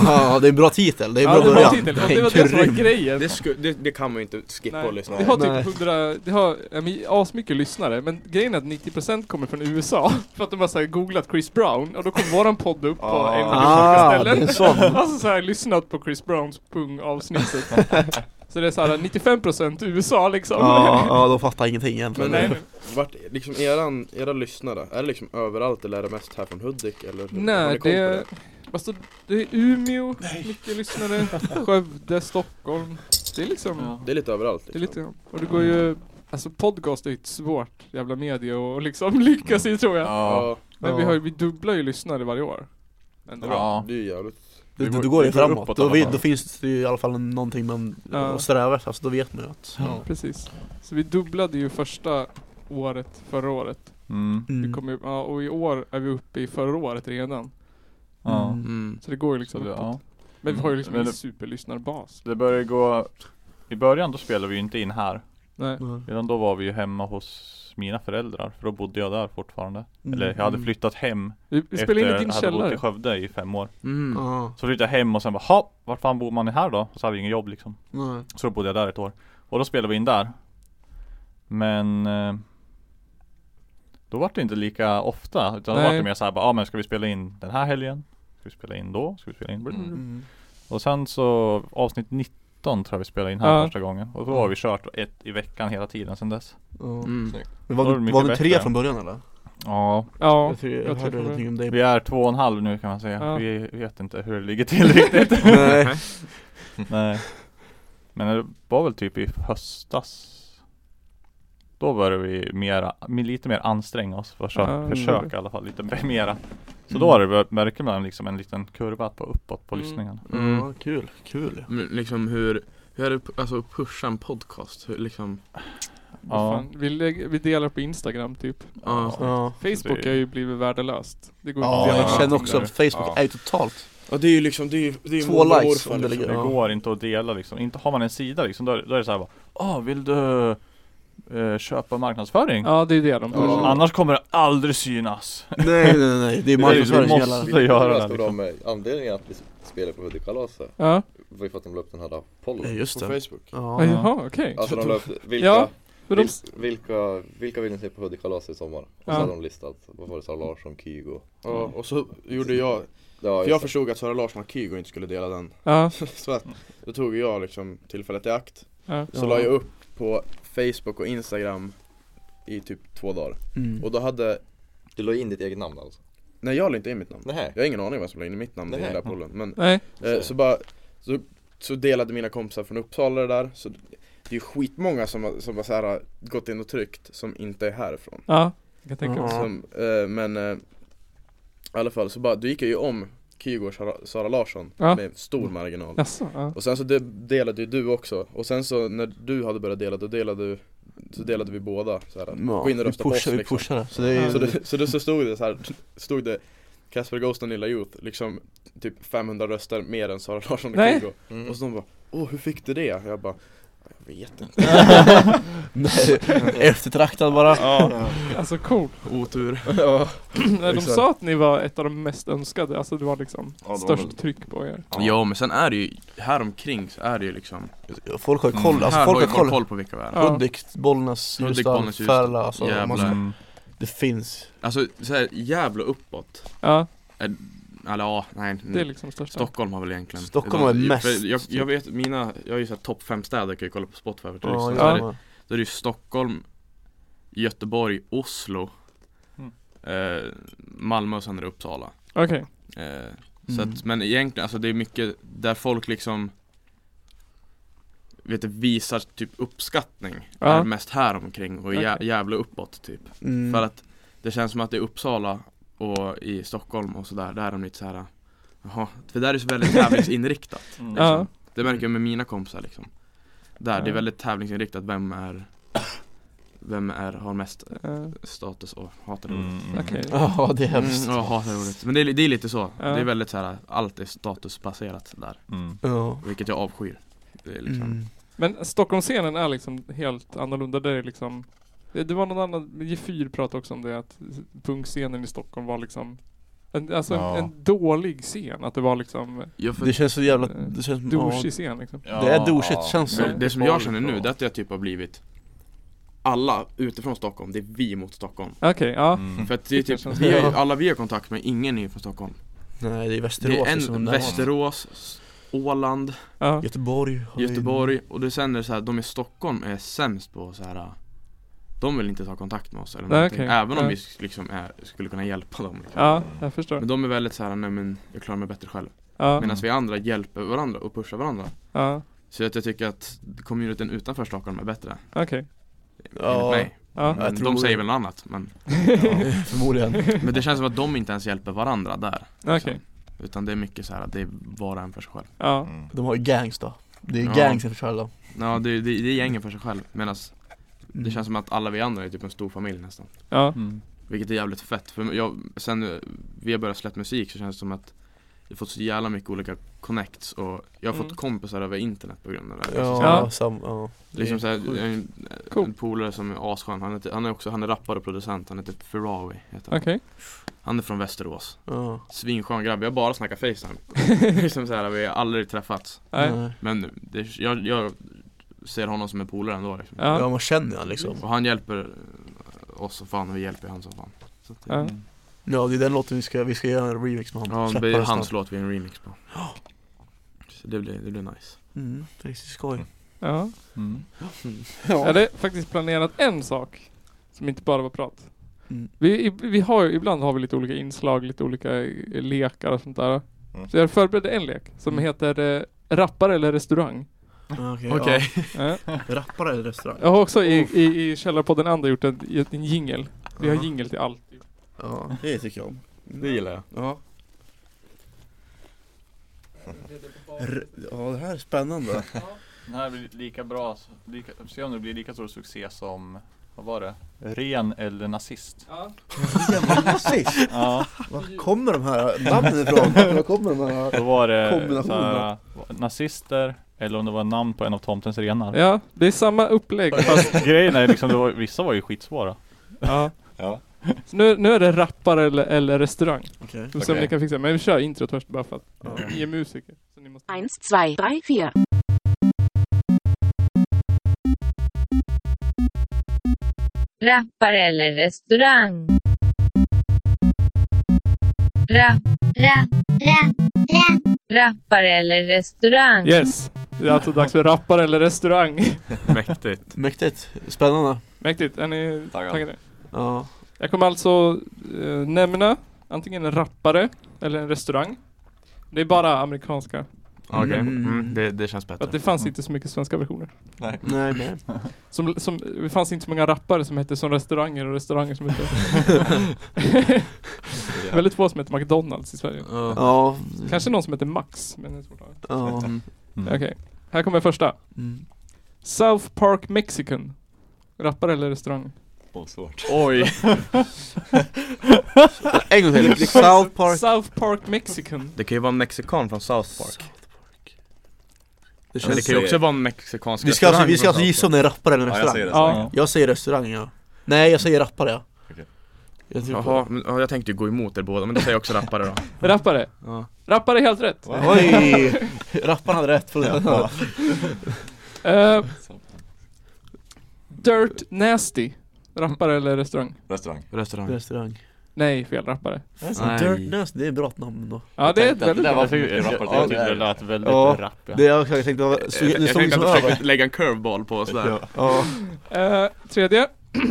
Speaker 4: Ja, det är en bra titel, det är en
Speaker 1: Ja,
Speaker 4: bra
Speaker 1: det var
Speaker 4: början
Speaker 1: titeln, och det var det som var
Speaker 4: grym.
Speaker 1: grejen.
Speaker 5: Det, sku, det, det kan man ju inte skippa
Speaker 1: Nej,
Speaker 5: och lyssna
Speaker 1: det har
Speaker 5: på.
Speaker 4: Nej.
Speaker 1: typ 100, det har ja, men asmycket lyssnare, men grejen är att 90% kommer från USA. För att de har så här googlat Chris Brown, och då kom våran podd upp på
Speaker 2: Ah.
Speaker 1: en
Speaker 4: Ah,
Speaker 1: av de
Speaker 4: det är
Speaker 1: olika
Speaker 4: sån.
Speaker 1: ställen. Alltså såhär, lyssnat på Chris Browns pung-avsnittet. så det är såhär 95% USA liksom.
Speaker 4: Ja, ja, de fattar ingenting egentligen
Speaker 1: Men nej, men-
Speaker 5: Vart, liksom eran, era lyssnare, är det liksom överallt eller är det mest här från Hudik? Eller, har ni
Speaker 1: nej
Speaker 5: koll på
Speaker 1: det... Alltså, det är Umeå, mycket lyssnare, Skövde, Stockholm. Det är liksom...
Speaker 5: Det är lite överallt
Speaker 1: Det
Speaker 5: liksom.
Speaker 1: är lite, och det går ju, alltså podcast är ju ett svårt jävla medie och liksom lyckas i tror jag.
Speaker 3: Ja.
Speaker 5: Ja,
Speaker 1: Men vi, har, ju- vi dubblar ju lyssnare varje år.
Speaker 5: det
Speaker 1: Ändå.
Speaker 5: är,
Speaker 3: Ja.
Speaker 5: bra. det är ju jävligt
Speaker 4: Då,
Speaker 3: Det
Speaker 4: då,
Speaker 3: går-
Speaker 4: då går det
Speaker 3: det går
Speaker 4: framåt,
Speaker 3: uppåt
Speaker 4: då,
Speaker 3: i alla
Speaker 4: vi,
Speaker 3: fall.
Speaker 4: då finns det ju i alla fall en- någonting man
Speaker 1: Ja.
Speaker 4: strävar efter, alltså då vet man ju att
Speaker 1: Ja, precis. Så vi dubblade ju första året förra året.
Speaker 3: Mm.
Speaker 1: Vi
Speaker 4: mm.
Speaker 1: kom ju, ja, och i år är vi uppe i förra året redan.
Speaker 3: Ja.
Speaker 4: Mm.
Speaker 1: Så det går ju
Speaker 3: Så
Speaker 1: liksom
Speaker 3: det,
Speaker 1: uppåt.
Speaker 3: ja.
Speaker 1: Men vi har ju liksom
Speaker 3: Men
Speaker 1: en
Speaker 3: det-
Speaker 1: superlyssnarbas.
Speaker 3: det började gå I början då spelade vi ju inte in här
Speaker 1: Nej.
Speaker 4: Mm.
Speaker 3: Redan då var vi ju hemma hos mina föräldrar För då bodde jag där fortfarande Eller jag hade
Speaker 5: Mm.
Speaker 3: flyttat hem
Speaker 1: Vi, vi spelar in i din
Speaker 3: jag hade bott i
Speaker 1: källare.
Speaker 3: Skövde i fem år
Speaker 5: mm.
Speaker 4: Ja,
Speaker 3: Så flyttade jag hem och sen bara ha, vart fan bor man här då? Och så hade jag inget jobb liksom
Speaker 4: nej.
Speaker 3: Så då bodde jag där ett år Och då spelade vi in där Men eh, Då var det inte lika ofta utan då
Speaker 1: Nej.
Speaker 3: var det mer såhär bara, ja ah, men ska vi spela in den här helgen? Ska vi spela in då? Ska vi spela in?
Speaker 1: Mm.
Speaker 4: Mm.
Speaker 3: Och sen så avsnitt 19 tror jag vi spelade in här
Speaker 1: Ja.
Speaker 3: första gången Och då har vi kört ett i veckan hela tiden sedan dess
Speaker 4: Ja. Men
Speaker 5: Mm.
Speaker 3: Då är det
Speaker 4: var, vi-
Speaker 3: mycket
Speaker 4: var vi tre
Speaker 3: bättre.
Speaker 4: från början eller?
Speaker 3: Ja
Speaker 1: Ja.
Speaker 4: jag tror, jag,
Speaker 1: jag tror
Speaker 4: hörde
Speaker 1: det.
Speaker 4: någonting om dig
Speaker 3: Vi är två och en halv nu kan man säga
Speaker 1: Ja.
Speaker 3: Vi vet inte hur det ligger till riktigt
Speaker 4: Nej,
Speaker 3: Nej Men det var väl typ i höstas Då började vi mera, med lite mer anstränga oss Försök,
Speaker 1: Ja, Mm.
Speaker 3: försök i alla fall lite mera Så då har det, bör- märker man liksom en liten kurva på uppåt på
Speaker 1: Mm.
Speaker 3: lyssningarna
Speaker 5: Mm.
Speaker 4: ja, kul, kul
Speaker 5: Men liksom hur, hur är det p- alltså att pusha en podcast? Hur, liksom,
Speaker 1: Vad
Speaker 3: Ja.
Speaker 1: fan. Vi, lägger, vi delar på Instagram typ.
Speaker 5: Ja.
Speaker 4: Ja,
Speaker 1: Facebook
Speaker 3: Det-
Speaker 1: har ju blivit värdelöst. Det går
Speaker 4: ja
Speaker 1: inte att dela
Speaker 4: jag
Speaker 1: på
Speaker 4: känner
Speaker 1: Instagram.
Speaker 4: också att Facebook
Speaker 2: Ja.
Speaker 4: är ju totalt
Speaker 5: ja det är ju liksom, det är ju det är ju
Speaker 4: Två
Speaker 5: mormor och
Speaker 4: likes
Speaker 5: morfar,
Speaker 4: om det
Speaker 5: liksom.
Speaker 3: Det
Speaker 4: ligger- Ja.
Speaker 3: går inte att dela liksom, inte har man en sida liksom Då, är- då är det så här bara ah vill du eh, köpa marknadsföring?
Speaker 1: Ja, det är det de
Speaker 5: Ja.
Speaker 3: Annars kommer det aldrig synas
Speaker 4: Nej nej nej, det är marknadsföring som
Speaker 3: måste-
Speaker 4: gäller
Speaker 3: Vi göra det,
Speaker 6: det
Speaker 3: liksom.
Speaker 6: liksom. med anledningen att vi spelade på Hudikkalaset
Speaker 1: Ja,
Speaker 6: var ju för att de la upp den här
Speaker 4: Ja,
Speaker 6: pollen.
Speaker 4: just
Speaker 5: På
Speaker 4: det
Speaker 5: Facebook?
Speaker 1: ja.
Speaker 4: Ja,
Speaker 1: jaha okej.
Speaker 6: Alltså de la upp vilka,
Speaker 1: Ja, Men de,
Speaker 6: vil, vilka, vilka vill ni se på Hudikkalaset i sommar? Och så
Speaker 1: Ja.
Speaker 6: hade de listat, vad var det, Sara Larsson, Kygo?
Speaker 5: Ja, och så gjorde jag,
Speaker 6: Ja,
Speaker 5: för jag
Speaker 6: just
Speaker 5: förstod att Sara Larsson och Kygo inte skulle dela den
Speaker 1: ja,
Speaker 5: Så att, då tog jag liksom tillfället i akt
Speaker 1: ja.
Speaker 5: Så la jag upp på Facebook och Instagram i typ två dagar
Speaker 4: Mm.
Speaker 5: Och då hade,
Speaker 6: det. Du la in ditt eget namn alltså?
Speaker 5: nej jag la inte in mitt namn
Speaker 6: Nej.
Speaker 5: Jag har ingen aning om vem som la in mitt namn i
Speaker 6: Nej.
Speaker 5: den där pollen Men
Speaker 1: Nej,
Speaker 5: Eh, så bara, så, så delade mina kompisar från Uppsala det där så Det är ju skitmånga som, har- som bara så här, har gått in och tryckt som inte är härifrån
Speaker 1: ja. Jag kan tänka mig.
Speaker 4: Ja.
Speaker 5: som, eh, Men eh, i alla fall så bara, då gick jag ju om Kygo och Sara, Sara Larsson
Speaker 1: Ja.
Speaker 5: med stor marginal
Speaker 1: Jaså, ja.
Speaker 5: Och sen så de- delade ju du också, och sen så när du hade börjat dela, då delade du Så delade vi båda så här.
Speaker 4: Ja,
Speaker 5: gå in och
Speaker 4: vi
Speaker 5: rösta på oss,
Speaker 4: pushar, vi
Speaker 5: liksom.
Speaker 4: pushar det Så det är ju
Speaker 5: Så, det, så, det, så stod det så här, stod det Kasper Ghost och Nilla Youth, liksom typ 500 röster mer än Sara Larsson och
Speaker 1: Nej.
Speaker 5: Kygo
Speaker 6: Mm.
Speaker 5: Och så de bara, åh hur fick du det? Jag bara, jag vet inte
Speaker 4: Nej, eftertraktad bara
Speaker 5: Ja,
Speaker 1: Alltså cool.
Speaker 5: otur
Speaker 1: Nej, de
Speaker 5: Exakt.
Speaker 1: sa att ni var ett av de mest önskade, alltså det var liksom
Speaker 6: Ja, det var
Speaker 1: störst
Speaker 6: väl-
Speaker 1: tryck på er.
Speaker 5: Ja men sen är det ju, här omkring så är det ju liksom
Speaker 4: Folk har ju koll, alltså
Speaker 5: Här har
Speaker 4: folk
Speaker 5: ju
Speaker 4: har koll
Speaker 5: koll på vilka vi är
Speaker 1: Ja.
Speaker 4: Hudik, Bollnäs,
Speaker 5: Hudik,
Speaker 4: Ljusdal,
Speaker 5: Bollnäs, Ljusdal.
Speaker 4: Färla, alltså man ska,
Speaker 5: Jävlar.
Speaker 3: Mm.
Speaker 4: det finns
Speaker 5: Alltså såhär, Gävle uppåt
Speaker 1: Ja,
Speaker 5: Är- Eller ja, nej
Speaker 1: det är liksom största.
Speaker 5: Stockholm har väl egentligen
Speaker 4: Stockholm har ju
Speaker 5: För
Speaker 4: mest,
Speaker 5: Jag,
Speaker 4: typ.
Speaker 5: jag vet, mina, jag har ju såhär topp fem städer kan jag kolla på Spotify för
Speaker 4: Ja,
Speaker 5: ja,
Speaker 1: ja.
Speaker 5: ja. Då är det ju Stockholm, Göteborg, Oslo
Speaker 3: Mm.
Speaker 5: eh, Malmö och sen är det Uppsala
Speaker 1: Okej.
Speaker 5: eh, Så
Speaker 4: Mm.
Speaker 5: att, men egentligen, alltså det är mycket där folk liksom Vet du, visar typ uppskattning
Speaker 1: Ja.
Speaker 5: är mest här omkring och jä-
Speaker 1: Okej.
Speaker 5: jävla uppåt typ
Speaker 4: mm.
Speaker 5: För att det känns som att det är Uppsala och i Stockholm och sådär, där är de lite såhär Jaha, för där är det så väldigt tävlingsinriktat
Speaker 3: Mm.
Speaker 1: Ja.
Speaker 5: liksom. Det märker jag med mina kompisar liksom Där, det
Speaker 1: Ja.
Speaker 5: är väldigt tävlingsinriktat, vem är vem är, har mest
Speaker 1: Eh,
Speaker 5: status och hatar ordet?
Speaker 2: Mm, mm.
Speaker 1: Okej.
Speaker 4: Ja det är
Speaker 5: Mm,
Speaker 4: hemskt.
Speaker 5: jag hatar ordet. Men det är, det är lite så.
Speaker 1: Ja.
Speaker 5: Det är väldigt så här, allt är statusbaserat där.
Speaker 2: Mm.
Speaker 4: Ja.
Speaker 5: Vilket jag avskyr. Det är liksom,
Speaker 4: Mm.
Speaker 1: Men Stockholmsscenen är liksom helt annorlunda. Det är liksom det, det var någon annan, G4 pratade också om det att punkscenen i Stockholm var liksom en, alltså
Speaker 3: Ja.
Speaker 1: en, en dålig scen. Att det var liksom
Speaker 5: jag för,
Speaker 4: Det
Speaker 5: det,
Speaker 4: känns så jävla...
Speaker 1: Eh,
Speaker 4: Det känns...
Speaker 1: douchig scen liksom.
Speaker 3: Ja,
Speaker 4: Det är douchigt, känns
Speaker 1: det.
Speaker 5: det som jag känner nu, det är att jag typ har blivit alla utifrån Stockholm, det är vi mot Stockholm.
Speaker 1: Okej, ja.
Speaker 2: Mm.
Speaker 5: För att det är
Speaker 1: Det
Speaker 5: typ,
Speaker 1: känns-
Speaker 5: vi har, ju-
Speaker 4: Ja.
Speaker 5: alla vi har kontakt med, ingen är ju från Stockholm.
Speaker 4: Ja. Nej det är
Speaker 5: Det
Speaker 4: Västerås
Speaker 5: är
Speaker 4: som
Speaker 5: en
Speaker 4: där.
Speaker 5: Västerås, Åland,
Speaker 1: ja.
Speaker 4: Göteborg. har vi-
Speaker 5: Göteborg och det sen är det så här, de i Stockholm är sämst på så här. De vill inte ta kontakt med oss eller
Speaker 1: Nej,
Speaker 5: någonting,
Speaker 1: okej.
Speaker 5: även om
Speaker 1: Ja.
Speaker 5: vi liksom är, skulle kunna hjälpa dem liksom.
Speaker 1: Ja, jag förstår.
Speaker 5: Men de är väldigt så här, nej men jag klarar mig bättre själv
Speaker 1: Ja,
Speaker 5: Medan vi andra hjälper varandra och pushar varandra
Speaker 1: ja,
Speaker 5: Så att jag tycker att communityn utanför Stockholm är bättre,
Speaker 1: okej.
Speaker 4: Ja.
Speaker 5: enligt mig
Speaker 1: Ja.
Speaker 4: jag
Speaker 5: men
Speaker 4: tror
Speaker 5: De
Speaker 4: det.
Speaker 5: säger väl något annat men,
Speaker 4: Förmodligen.
Speaker 5: men det känns som att de inte ens hjälper varandra där
Speaker 1: Okej,
Speaker 5: Utan det är mycket så här att det är var och en för sig själv
Speaker 1: ja.
Speaker 2: Mm.
Speaker 4: De har ju gangs då. Det är
Speaker 5: Ja.
Speaker 4: gangs i Försäljning.
Speaker 5: Ja det, det, det är gängen för sig själv medan
Speaker 1: Mm.
Speaker 5: det känns som att alla vi andra är typ en stor familj nästan
Speaker 1: ja.
Speaker 3: Mm.
Speaker 5: Vilket är jävligt fett, för jag, sen eh, vi har börjat släppa musik så känns det som att Jag har fått så jävla mycket olika connects och jag har fått
Speaker 1: Mm.
Speaker 5: kompisar över internet på grund av det
Speaker 4: Mm. Ja,
Speaker 1: Ja.
Speaker 4: ja. Sam, ja.
Speaker 5: Liksom såhär,
Speaker 4: sjukt.
Speaker 5: en, en
Speaker 1: Coolt.
Speaker 5: polare som är asskön, han, heter, han är också, han är rappare och producent, han heter Ferrawi heter han.
Speaker 1: Okej.
Speaker 5: han är från Västerås
Speaker 4: Ja.
Speaker 5: Svinskön grabb, jag bara snackar facetime Liksom såhär, vi har aldrig träffats
Speaker 1: Nej.
Speaker 4: Nej.
Speaker 5: Men det, jag, jag ser honom som en polare ändå liksom.
Speaker 1: Ja.
Speaker 4: Ja man känner han liksom.
Speaker 5: Och han hjälper eh, oss som fan och vi hjälper han som fan så att, det-
Speaker 1: Ja.
Speaker 4: Ja det är den låten vi ska, vi ska göra en remix med honom.
Speaker 5: Ja, det
Speaker 4: Släppa
Speaker 5: blir
Speaker 4: den
Speaker 5: hans
Speaker 4: snart.
Speaker 5: låt vi gör en remix på Så det blir, det blir nice
Speaker 4: Mm, riktigt skoj.
Speaker 1: Ja.
Speaker 3: Mm.
Speaker 1: Jag hade faktiskt planerat en sak som inte bara var prat.
Speaker 4: Mm.
Speaker 1: Vi, vi har ju, ibland har vi lite olika inslag, lite olika eh, lekar och sånt där.
Speaker 2: Mm.
Speaker 1: Så jag förberedde en lek som
Speaker 4: Mm.
Speaker 1: heter eh, Rappare eller restaurang.
Speaker 4: Ja, Okej.
Speaker 5: Okej.
Speaker 1: Ja.
Speaker 4: Ja. Rappare eller restaurang?
Speaker 1: Jag har också i, i, i Källarpodden andra gjort en, gjort en jingel. Vi har
Speaker 2: Mm.
Speaker 1: jingel till allt.
Speaker 4: Ja.
Speaker 7: Det tycker jag om.
Speaker 2: Det gillar jag.
Speaker 7: Ja. R- ja, det här är spännande.
Speaker 3: Den här blir lika bra, så- lika, se om det blir lika stor succé som, vad var det? Ren eller nazist?
Speaker 1: Ja.
Speaker 7: Jävla nazist.
Speaker 3: Ja,
Speaker 7: Var kommer de här namnen ifrån? Var kommer de här?
Speaker 3: då var det
Speaker 7: Kombinationen.
Speaker 3: så här, nazister, eller om det var namn på en av tomtens renar.
Speaker 1: ja, det är samma upplägg fast,
Speaker 3: Grejen är liksom, det var, vissa var ju skitsvåra.
Speaker 1: ja.
Speaker 2: Ja.
Speaker 1: Så nu, nu är det rappare eller, eller restaurang.
Speaker 7: Okej.
Speaker 1: Vi får se om
Speaker 2: Okej.
Speaker 1: ni kan fixa det. Men vi kör introt först bara för att ni är musiker. Så ni måste...
Speaker 8: Eins, zwei, drei, vier.
Speaker 9: Rappare eller restaurang? Rapp, rapp, rapp, rapp. Rappare eller restaurang?
Speaker 1: Yes! Det är alltså dags för rappare eller restaurang.
Speaker 5: Mäktigt
Speaker 4: Mäktigt. Spännande.
Speaker 1: Mäktigt, är ni
Speaker 2: Taggad.
Speaker 1: taggade?
Speaker 4: Ja.
Speaker 1: Jag kommer alltså eh, nämna antingen en rappare eller en restaurang. Det är bara amerikanska.
Speaker 5: Okej, mm.
Speaker 4: Mm.
Speaker 5: det, det känns
Speaker 1: För
Speaker 5: bättre
Speaker 1: att det fanns inte så mycket svenska versioner.
Speaker 2: Nej.
Speaker 4: Nej nej.
Speaker 1: Som, som, det fanns inte så många rappare som hette som restauranger och restauranger som hette... Väldigt få som hette McDonalds i Sverige.
Speaker 2: Ja.
Speaker 4: Ja.
Speaker 1: Kanske någon som hette Max, men det är svårt att
Speaker 4: Ja.
Speaker 1: Okej, här kommer första.
Speaker 4: Mm.
Speaker 1: South Park Mexican. Rappare eller restaurang?
Speaker 2: Åh, svårt.
Speaker 5: Oj!
Speaker 4: En gång till. South Park.
Speaker 1: South Park Mexican.
Speaker 5: Det kan ju vara en mexikan från South Park
Speaker 4: Det
Speaker 5: Men det
Speaker 4: känns...
Speaker 5: kan ju också vara en mexikansk
Speaker 4: Vi ska alltså,
Speaker 5: restaurang
Speaker 4: vi ska
Speaker 5: från
Speaker 4: alltså
Speaker 5: South
Speaker 4: gissa om
Speaker 5: Park.
Speaker 4: det är rappare eller
Speaker 2: Ja, jag
Speaker 4: restaurang.
Speaker 2: säger det.
Speaker 1: Ja.
Speaker 3: Ja.
Speaker 4: Jag säger restaurang ja. Nej jag säger rappare ja.
Speaker 2: Okej.
Speaker 4: Jag tror på
Speaker 5: Jaha, men, ja, jag tänkte ju gå emot er båda men då säger jag också rappare då
Speaker 1: Rappare.
Speaker 5: Ja.
Speaker 1: Rappare är helt rätt.
Speaker 4: Oj! Rapparen hade rätt på det. Ja.
Speaker 1: Eh, Dirt Nasty. Rappare eller restaurang?
Speaker 2: Restaurang.
Speaker 5: Restaurang
Speaker 4: Restaurang.
Speaker 1: Nej, fel rappare.
Speaker 5: Nej.
Speaker 4: Dirt Nest, det är ett bra namn ändå.
Speaker 1: Ja, det är ett
Speaker 2: tänkte att
Speaker 1: väldigt
Speaker 2: det där
Speaker 1: bra.
Speaker 2: var-
Speaker 3: Jag tyckte, jag, jag,
Speaker 2: Ja, det
Speaker 3: tyckte det
Speaker 2: är det.
Speaker 3: lät väldigt
Speaker 4: Ja.
Speaker 3: rapp ja.
Speaker 4: Det jag jag tänkte, det såg
Speaker 5: Jag
Speaker 4: det såg ut
Speaker 5: tänkte
Speaker 4: som
Speaker 5: att du
Speaker 4: över.
Speaker 5: försökte lägga en curveball på oss där
Speaker 2: Ja.
Speaker 4: Ja.
Speaker 1: Eh, Tredje.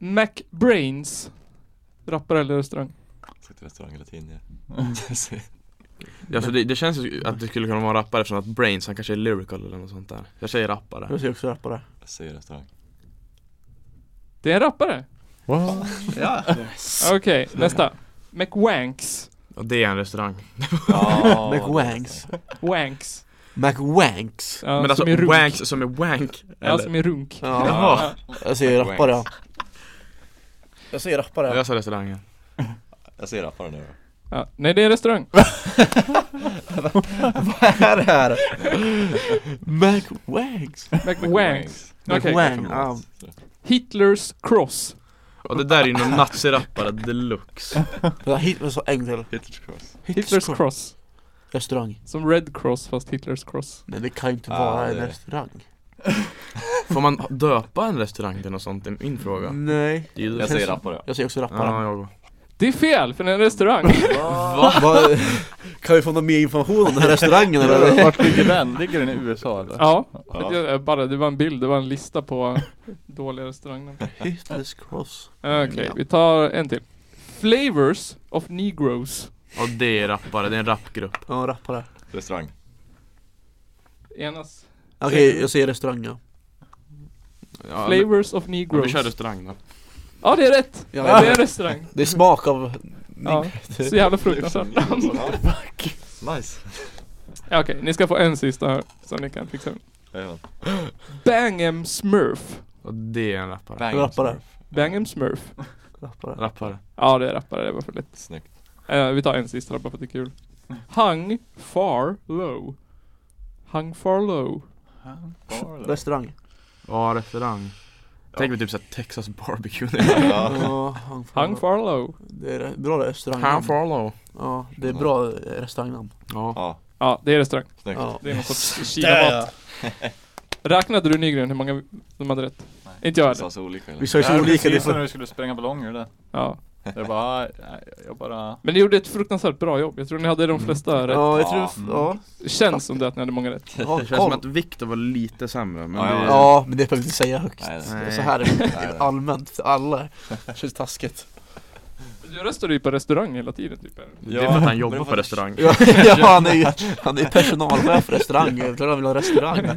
Speaker 1: McBrains. Rappare eller restaurang?
Speaker 2: Sagt restaurang eller tidigare.
Speaker 5: ja, så det, det känns ju att det skulle kunna vara en rappare från att Brains, han kanske är lyrical eller något sånt där Jag säger rappare
Speaker 4: Jag ser också rappare.
Speaker 2: Jag säger restaurang.
Speaker 1: Det är en rappare. Okej, nästa. McWanks.
Speaker 5: Och det är en restaurang
Speaker 3: Ja,
Speaker 4: McWanks.
Speaker 1: Wanks.
Speaker 4: McWanks
Speaker 1: Ja,
Speaker 5: Men alltså
Speaker 1: som är runk.
Speaker 5: wanks som är wank
Speaker 1: Ja,
Speaker 5: eller?
Speaker 1: som är runk.
Speaker 4: Ja.
Speaker 5: Jaha.
Speaker 4: Jag säger rappare ja. Jag säger rappare ja.
Speaker 5: Jag sa restaurangen
Speaker 2: Jag ser rapparen nu.
Speaker 1: Ja. Nej, det är restaurang.
Speaker 4: Vad är det här? McWanks
Speaker 1: McWanks. Okej.
Speaker 4: McWang ja.
Speaker 1: Hitlers cross.
Speaker 5: Och det där är ju någon nazirappare deluxe
Speaker 4: Vänta, hit- Vad sa en till?
Speaker 2: Hitlers cross.
Speaker 1: Hitlers cross.
Speaker 4: Restaurang
Speaker 1: Som Red Cross fast Hitlers cross.
Speaker 4: Men det kan ju inte
Speaker 2: Ja,
Speaker 4: vara
Speaker 2: det
Speaker 4: en
Speaker 2: är det.
Speaker 4: restaurang
Speaker 5: Får man döpa en restaurang till något sånt? Det är min fråga
Speaker 4: Nej
Speaker 5: Det är ju
Speaker 2: Jag ser rappare.
Speaker 4: Jag säger också
Speaker 5: Ja,
Speaker 4: rappare
Speaker 5: jag går.
Speaker 1: Det är fel, för det är en restaurang.
Speaker 4: Vad- Kan vi få någon mer information om den här restaurangen eller?
Speaker 3: Vart ligger den? Ligger den i USA eller?
Speaker 1: ja.
Speaker 2: Ja.
Speaker 1: Jag- jag Bara, det var en bild, det var en lista på dåliga restauranger.
Speaker 4: Hitlers cross
Speaker 1: Okej, vi tar en till. Flavors of Negroes.
Speaker 5: Och det är rappare, det är en rapgrupp
Speaker 4: Ja, rappare
Speaker 2: Restaurang.
Speaker 1: Enas.
Speaker 4: Okej, jag säger restaurang ja
Speaker 5: ja, men-
Speaker 1: Flavors of
Speaker 5: ja,
Speaker 1: Negroes.
Speaker 5: Vi kör restaurang då
Speaker 1: Ja, det är rätt!
Speaker 4: Ja,
Speaker 1: Det är en
Speaker 4: det-
Speaker 1: restaurang.
Speaker 4: Det är smak av
Speaker 1: Ja. Så jävla fruktansvärt.
Speaker 2: Nice.
Speaker 1: Ja, Okej, ni ska få en sista här som ni kan fixa.
Speaker 2: Jajamän.
Speaker 1: Bangem Smurf.
Speaker 5: Och det är en rappare
Speaker 2: Bang.
Speaker 4: Rappare.
Speaker 1: Bangem Smurf.
Speaker 4: rappare
Speaker 5: Rappare
Speaker 1: Ja, det är rappare, det var för lätt.
Speaker 2: Snyggt.
Speaker 1: Eh, vi tar en sista då, bara för att det är kul. Hung far low. Hung far low.
Speaker 4: Restaurang
Speaker 5: Ja, restaurang Tänk mig typ såhär Texas barbecue
Speaker 2: Ja.
Speaker 4: Ja, hang for-
Speaker 1: Hung far low.
Speaker 4: Det är bra
Speaker 5: Han
Speaker 4: restaurangnamn
Speaker 5: follow
Speaker 4: Ja, det är bra restaurangnamn
Speaker 5: Ja
Speaker 2: Ja.
Speaker 1: Ja, det är restaurang.
Speaker 2: Snyggt.
Speaker 4: Ja
Speaker 1: Det är någon sorts kinamat. Räknade du Nygren hur många de hade rätt? Inte jag
Speaker 2: Det
Speaker 1: hade.
Speaker 2: sa så olika eller?
Speaker 4: Vi sa ju
Speaker 3: Det
Speaker 4: så
Speaker 3: är
Speaker 4: olika, det är
Speaker 3: precis
Speaker 4: för-
Speaker 3: när vi skulle spränga ballonger där
Speaker 1: Ja.
Speaker 3: Jag bara, nej, jag bara
Speaker 1: Men ni gjorde ett fruktansvärt bra jobb. Jag tror ni hade de flesta rätt.
Speaker 4: Ja, jag tror, Mm. ja
Speaker 1: Det känns som det att ni hade många rätt.
Speaker 4: Ja,
Speaker 5: Det känns som
Speaker 4: koll.
Speaker 5: att Viktor var lite sämre men
Speaker 2: Ja, ja,
Speaker 5: det-
Speaker 4: Ja, men det behöver vi inte säga högt.
Speaker 2: Nej,
Speaker 5: nej.
Speaker 4: Så här är
Speaker 2: Nej,
Speaker 4: det allmänt för alla. Det känns taskigt.
Speaker 1: Du röstade ju på restaurang hela tiden typ. eller?
Speaker 5: Det är för att han jobbar på restaurang
Speaker 4: Ja, ja, han är ju han är personalchef för restaurang. Jag tror han vill ha restaurang.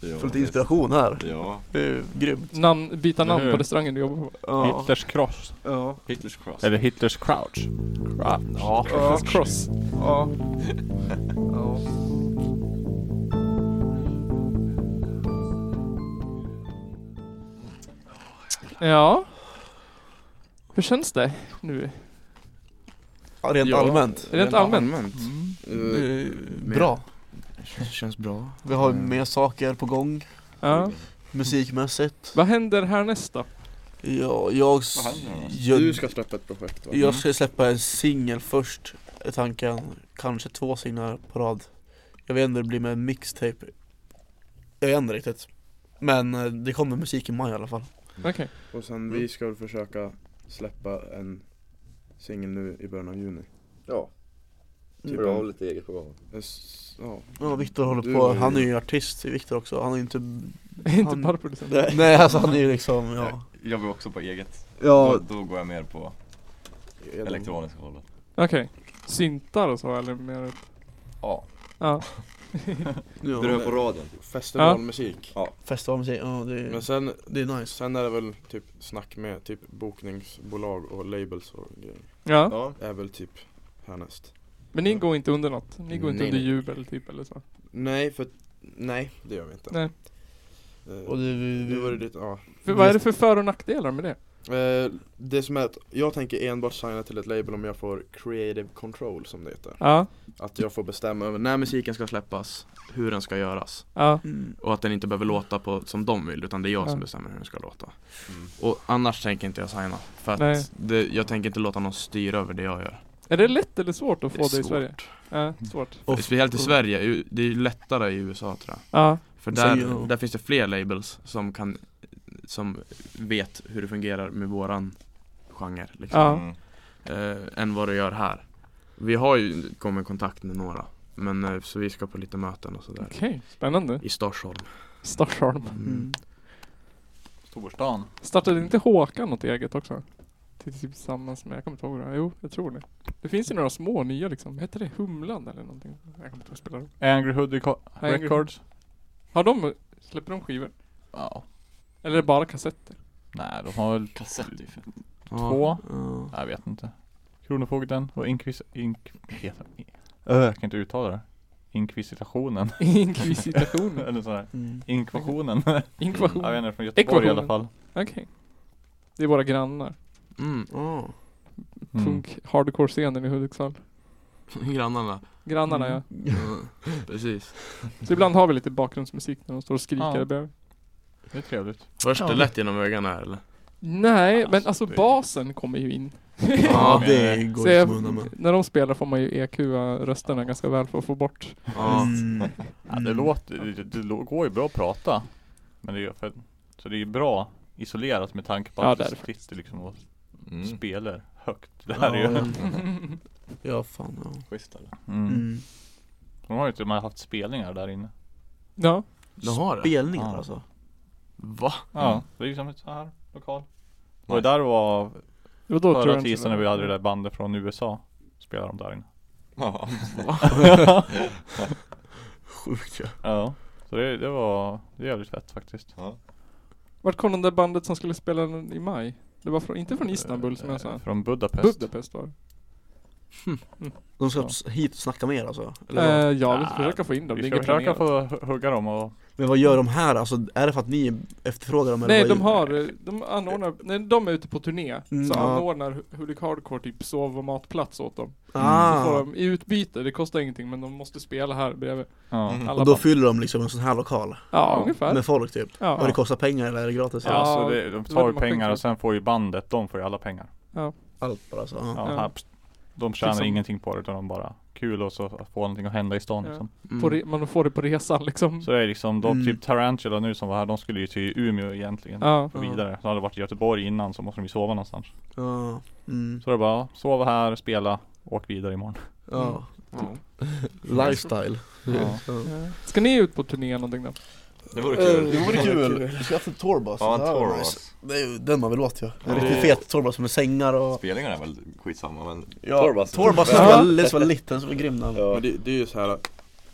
Speaker 2: Ja,
Speaker 4: Får lite inspiration här.
Speaker 2: Ja.
Speaker 4: Det är grymt.
Speaker 1: Namn, byta
Speaker 3: Eller
Speaker 1: namn
Speaker 3: hur?
Speaker 1: på restaurangen du jobbar på.
Speaker 4: Ja.
Speaker 3: Hitlers cross
Speaker 4: Ja.
Speaker 2: Hitlers cross.
Speaker 3: Eller Hitlers crouch
Speaker 5: Ja,
Speaker 1: Ja. Cross.
Speaker 4: Ja. ja.
Speaker 1: Ja. Hur känns det nu?
Speaker 4: ja rent
Speaker 5: Ja.
Speaker 4: allmänt.
Speaker 1: Rent allmänt.
Speaker 5: allmänt Eh,
Speaker 4: Det är Bra.
Speaker 5: Det känns bra
Speaker 4: Vi har
Speaker 5: Mm.
Speaker 4: mer saker på gång.
Speaker 1: Ja.
Speaker 4: Musikmässigt.
Speaker 1: Vad händer härnäst då?
Speaker 4: Ja, jag,
Speaker 2: Vad händer då?
Speaker 5: Du
Speaker 4: jag,
Speaker 5: ska släppa ett projekt va?
Speaker 4: jag ska släppa en singel först. Är tanken. Kanske två singlar på rad. Jag vet inte hur det blir med mixtape. Jag vet inte riktigt. Men eh, det kommer musik i maj i alla fall.
Speaker 1: Okej.
Speaker 5: Och sen vi ska väl försöka släppa en singel nu i början av juni
Speaker 6: Ja,
Speaker 5: Typ
Speaker 6: för jag har
Speaker 5: en-
Speaker 6: lite eget på gång.
Speaker 5: s- ja.
Speaker 4: Ja, Viktor
Speaker 5: Du
Speaker 4: håller
Speaker 5: var
Speaker 4: på,
Speaker 5: ju-
Speaker 4: han är ju artist Viktor också, han är ju inte...
Speaker 1: Inte
Speaker 4: Han-
Speaker 1: bara producent.
Speaker 4: Nej alltså han är ju liksom, ja.
Speaker 2: Jag jobbar också på eget.
Speaker 4: Ja,
Speaker 2: Då, då går jag mer på elektroniska hållet.
Speaker 1: Okej. Syntar och så eller mer? ett-
Speaker 2: Ja.
Speaker 1: Ja.
Speaker 4: ja.
Speaker 6: Du hör på typ. radion.
Speaker 5: Festivalmusik
Speaker 4: festivalmusik, ja det är,
Speaker 5: Men sen,
Speaker 4: det är nice.
Speaker 5: sen är det väl typ snack med typ bokningsbolag och labels och grejer
Speaker 1: Ja.
Speaker 6: Ja.
Speaker 5: Är väl typ härnäst
Speaker 1: Men ni går inte under något? Ni går inte
Speaker 5: Nej,
Speaker 1: under
Speaker 5: nej.
Speaker 1: jubel typ eller så?
Speaker 5: Nej för, nej det gör vi inte
Speaker 1: Nej.
Speaker 5: Eh,
Speaker 4: Och det, vi,
Speaker 5: Nu var det
Speaker 4: vi,
Speaker 5: ditt, ja
Speaker 1: För, vad är det för för och nackdelar med det?
Speaker 5: Eh, Det som är att jag tänker enbart signa till ett label om jag får creative control som det heter
Speaker 1: Ja.
Speaker 5: Att jag får bestämma över när musiken ska släppas, hur den ska göras
Speaker 1: Ja.
Speaker 4: mm,
Speaker 5: Och att den inte behöver låta på, som de vill utan det är jag
Speaker 1: Ja.
Speaker 5: som bestämmer hur den ska låta
Speaker 2: Mm.
Speaker 5: Och annars tänker inte jag signa För
Speaker 1: Nej.
Speaker 5: att det, jag tänker inte låta någon styra över det jag gör
Speaker 1: Är det lätt eller svårt att få det, i Sverige?
Speaker 5: svårt
Speaker 1: Ja, svårt.
Speaker 4: Och-
Speaker 5: Speciellt i Sverige, ju- det är ju lättare i USA tror jag
Speaker 1: Ja.
Speaker 5: För
Speaker 4: Sen
Speaker 5: där,
Speaker 4: ju-
Speaker 5: där finns det fler labels som kan Som vet hur det fungerar med våran genre liksom
Speaker 1: Ja.
Speaker 2: Mm.
Speaker 5: eh, än vad det gör här. Vi har ju kommit i kontakt med några, men eh, så vi ska på lite möten och sådär.
Speaker 1: Okej, spännande.
Speaker 5: I Storsholm.
Speaker 1: Stockholm.
Speaker 4: mm.
Speaker 3: Storstan
Speaker 1: Startade inte Håkan något eget också? Till- Typ tillsammans med, jag kommer inte ihåg det. Jo, jag tror det. Det finns ju några små nya liksom. Heter det Humlan eller någonting? Jag kommer inte ihåg spela dem.
Speaker 3: Angry Hood Reco-
Speaker 1: Angry-
Speaker 3: Records
Speaker 1: Har de, släpper de skivor?
Speaker 3: Ja
Speaker 1: Eller är det bara kassetter?
Speaker 3: Nej de har väl
Speaker 2: Kassett är ju fett.
Speaker 3: två
Speaker 4: ja.
Speaker 3: Jag vet inte Kronofogden och Inkvis... Ink... Äh, jag kan inte uttala det Inkvisitationen.
Speaker 1: Inkvisitationen.
Speaker 3: Eller sådär.
Speaker 4: Mm.
Speaker 3: Inkvationen.
Speaker 1: Inkvationen.
Speaker 3: Jag vet inte, från Göteborg i alla fall.
Speaker 1: Okej. Det är våra grannar.
Speaker 5: Mm.
Speaker 4: Ah.
Speaker 3: Mm.
Speaker 1: Punk hardcore-scenen i Hudiksvall.
Speaker 5: Grannarna.
Speaker 1: Grannarna ja.
Speaker 5: Precis.
Speaker 1: Så ibland har vi lite bakgrundsmusik när de står och skriker
Speaker 3: Ja.
Speaker 1: ja. bredvid.
Speaker 3: Det är trevligt.
Speaker 5: Först
Speaker 4: Ja.
Speaker 5: det lätt genom ögonen här eller?
Speaker 1: Nej, men
Speaker 5: Alltså,
Speaker 1: alltså
Speaker 5: det-
Speaker 1: basen kommer ju in.
Speaker 4: Ja,
Speaker 5: Ja.
Speaker 4: det går
Speaker 1: Så
Speaker 4: ju
Speaker 1: jag,
Speaker 4: som undan med.
Speaker 1: när de spelar får man ju EQa rösterna ganska väl för att få bort.
Speaker 5: Ja.
Speaker 4: Mm.
Speaker 3: Ja, det låter, det, det lå- går ju bra att prata. Men det är ju för, så det är ju bra isolerat med tanke på
Speaker 1: Ja,
Speaker 3: att
Speaker 1: det är
Speaker 3: du
Speaker 1: det
Speaker 3: sitter liksom och
Speaker 2: Mm.
Speaker 3: spelar högt. Det här är ju.
Speaker 4: Ja, fan ja.
Speaker 2: Schysst eller?
Speaker 3: Mm.
Speaker 4: Mm.
Speaker 3: De har ju till och med haft spelningar där inne.
Speaker 1: Ja.
Speaker 5: De har det?
Speaker 4: Spelningar
Speaker 3: Ja.
Speaker 4: alltså.
Speaker 5: Va?
Speaker 3: Ja,
Speaker 2: Mm.
Speaker 3: det är ju som ett så här lokal.
Speaker 2: Nice.
Speaker 3: Var ju där var
Speaker 1: Det var då tror
Speaker 3: förra
Speaker 1: jag inte det
Speaker 3: tisdagen när vi
Speaker 1: var.
Speaker 3: hade det där bandet från USA. Spelade de där inne.
Speaker 2: Ja.
Speaker 4: Sjukt ja.
Speaker 3: Ja. Så det, det var, det är jävligt fett faktiskt.
Speaker 1: Vart kom det där bandet som skulle spela den i maj? Det var från, inte från Istanbul som jag
Speaker 3: Eh,
Speaker 1: sa.
Speaker 3: Från Budapest.
Speaker 1: Budapest var det.
Speaker 4: De ska
Speaker 3: Ja.
Speaker 4: s- hit och snacka mer alltså? Eller vad?
Speaker 1: Eh, ja, vi
Speaker 3: Ah,
Speaker 1: ska försöka få in dem. Det
Speaker 3: Vi
Speaker 1: är
Speaker 3: ska
Speaker 1: inget
Speaker 3: försöka
Speaker 1: planerat.
Speaker 3: få hu- hugga dem och
Speaker 4: Men vad gör de här alltså? Är det för att ni efterfrågar dem? eller
Speaker 1: Nej,
Speaker 4: vad
Speaker 1: de
Speaker 4: är-
Speaker 1: har, eh, de anordnar, nej, de är ute på turné.
Speaker 4: Mm,
Speaker 1: så
Speaker 4: ja.
Speaker 1: anordnar Hudik Hardcore typ sov och matplats åt dem. Så får
Speaker 4: Ah.
Speaker 1: de i utbyte, det kostar ingenting men de måste spela här bredvid.
Speaker 3: ja.
Speaker 2: Mm.
Speaker 1: Alla
Speaker 4: Och då
Speaker 1: band.
Speaker 4: fyller de liksom en sån här lokal?
Speaker 1: Ja,
Speaker 3: Ja.
Speaker 1: ungefär.
Speaker 4: Med folk typ? Och
Speaker 1: ja.
Speaker 4: det kostar pengar eller är det gratis?
Speaker 1: Ja.
Speaker 3: Ja, så det, de
Speaker 1: det
Speaker 3: tar
Speaker 1: var
Speaker 3: ju
Speaker 1: det man
Speaker 3: pengar
Speaker 1: tänkte.
Speaker 3: och sen får ju bandet, de får ju alla pengar.
Speaker 4: Allt bara alltså?
Speaker 3: Ja,
Speaker 4: Ja.
Speaker 1: Ja.
Speaker 3: här, pst, de tjänar
Speaker 1: Liksom-
Speaker 3: ingenting på det utan de bara kul och så får någonting att hända i stan
Speaker 1: Ja.
Speaker 3: liksom.
Speaker 5: Mm.
Speaker 1: På re, man får det på resan liksom.
Speaker 3: Så det är liksom, de,
Speaker 4: Mm.
Speaker 3: typ Tarantula nu som var här, de skulle ju till Umeå egentligen.
Speaker 1: Ja.
Speaker 3: Och
Speaker 4: Ja.
Speaker 3: vidare. Så hade det varit i Göteborg innan så måste de ju sova någonstans.
Speaker 4: Ja. Mm.
Speaker 3: Så det är bara, sova här, spela, åk vidare imorgon.
Speaker 4: ja.
Speaker 5: Ja.
Speaker 1: Mm.
Speaker 4: Lifestyle.
Speaker 3: Ja.
Speaker 4: Ja.
Speaker 1: Ska ni ut på turné någonting då?
Speaker 2: Det vore
Speaker 1: Eh.
Speaker 2: kul.
Speaker 6: Eh,
Speaker 7: Det vore kul! Skaffa en tourbus.
Speaker 2: Ja, en
Speaker 7: Det här var
Speaker 2: tour
Speaker 7: nice.
Speaker 2: alltså.
Speaker 4: Det är ju den man vill åt ju. En
Speaker 2: Ja.
Speaker 4: riktigt fet tourbus med sängar och...
Speaker 2: Spelningarna är väl skitsamma men
Speaker 7: Ja,
Speaker 6: Torvas.
Speaker 4: Tourbus
Speaker 1: Ja.
Speaker 4: som var, den som var liten, som var grym den.
Speaker 5: Men
Speaker 6: Ja.
Speaker 5: det, det är ju så här.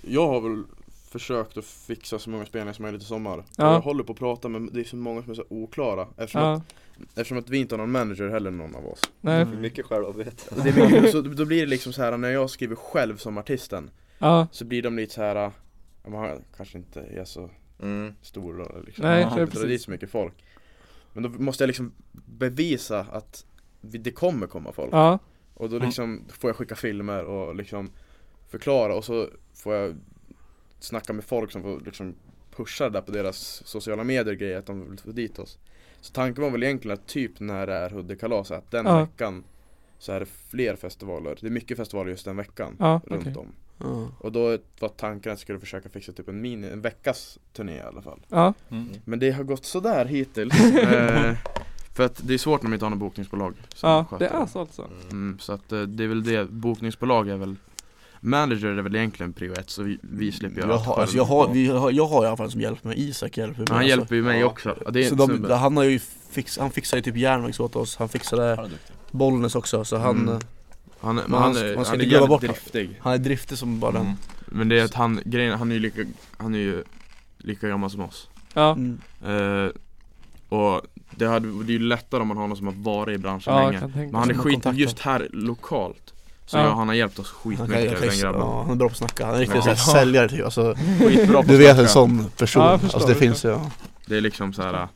Speaker 5: Jag har väl försökt att fixa så många spelningar som möjligt i sommar Och
Speaker 1: Ja.
Speaker 5: Jag håller på att prata men det är så många som är så oklara Eftersom,
Speaker 1: Ja.
Speaker 5: att, eftersom att vi inte har någon manager heller någon av oss
Speaker 1: Nej.
Speaker 5: Mm.
Speaker 6: Mycket självarbete.
Speaker 5: det är mycket, så Då blir det liksom så här när jag skriver själv som artisten
Speaker 1: Ja.
Speaker 5: Så blir de lite så här. ja, Man kanske inte är så
Speaker 6: Mm.
Speaker 5: stor då liksom
Speaker 1: Nej,
Speaker 3: Ja,
Speaker 5: Man
Speaker 1: det är
Speaker 5: kan inte dra dit
Speaker 1: precis.
Speaker 5: så mycket folk Men då måste jag liksom bevisa att vi- det kommer komma folk
Speaker 1: Ja.
Speaker 5: Och
Speaker 1: Mm.
Speaker 5: då liksom får jag skicka filmer och liksom förklara och så får jag snacka med folk som får liksom pusha det där på deras sociala medier grejer att de vill få dit oss. Så tanken var väl egentligen att typ när det är Huddekalas att den
Speaker 1: Ja.
Speaker 5: veckan så är det fler festivaler. Det är mycket festivaler just den veckan
Speaker 1: Ja,
Speaker 5: runt
Speaker 1: okej.
Speaker 5: om.
Speaker 4: Ja.
Speaker 5: Och då var tanken att jag skulle försöka fixa typ en mini, en veckas turné i alla fall.
Speaker 1: Ja.
Speaker 3: Mm.
Speaker 5: Men det har gått sådär hittills. eh, för att det är svårt när man inte har något bokningsbolag. som
Speaker 1: Ja,
Speaker 5: sköter
Speaker 1: det är så alltså.
Speaker 5: Mm, så att eh, det är väl det, bokningsbolag är väl Manager är väl egentligen prio ett så vi, vi slipper göra
Speaker 4: Jag
Speaker 5: allt
Speaker 4: har,
Speaker 5: själv.
Speaker 4: alltså jag, har, vi har, jag har i alla fall som hjälper mig, Isak hjälper mig
Speaker 5: Ja, Han
Speaker 4: alltså.
Speaker 5: hjälper ju mig
Speaker 2: Ja.
Speaker 5: också, Ja, det är
Speaker 4: Så
Speaker 5: en
Speaker 4: de,
Speaker 5: snubbe.
Speaker 4: han har ju fix, han fixade ju typ järnvägs åt oss, han fixade Bollnäs också så han,
Speaker 5: Mm. Han, men
Speaker 4: man
Speaker 5: han,
Speaker 4: ska-
Speaker 5: är-
Speaker 4: man ska
Speaker 5: han är
Speaker 4: inte glömma
Speaker 5: jävligt
Speaker 4: bort det.
Speaker 5: driftig
Speaker 4: han är driftig som bara den.
Speaker 2: Mm.
Speaker 5: Men det är att han, grejen är- han är ju lika, han är ju lika gammal som oss
Speaker 1: Ja.
Speaker 4: Mm.
Speaker 5: Eh, Och det, hade, det är ju lättare om man har någon som har varit i branschen
Speaker 1: Ja, jag
Speaker 5: länge
Speaker 1: kan tänka
Speaker 5: Men han är
Speaker 4: Som har
Speaker 5: skit,
Speaker 4: kontakter.
Speaker 5: just här lokalt Så
Speaker 1: Ja.
Speaker 5: ja. han har hjälpt oss
Speaker 4: Han, kan,
Speaker 5: skitmycket
Speaker 4: jag kan,
Speaker 5: den grabben
Speaker 4: ja, han är bra på att snacka, han är riktigt
Speaker 5: Ja.
Speaker 4: såhär säljare typ alltså,
Speaker 5: Skitbra på
Speaker 4: Du vet en
Speaker 5: snacka.
Speaker 4: sån person,
Speaker 1: Ja, jag förstår,
Speaker 4: alltså det
Speaker 1: jag
Speaker 4: finns ju ja.
Speaker 5: Det är liksom så här.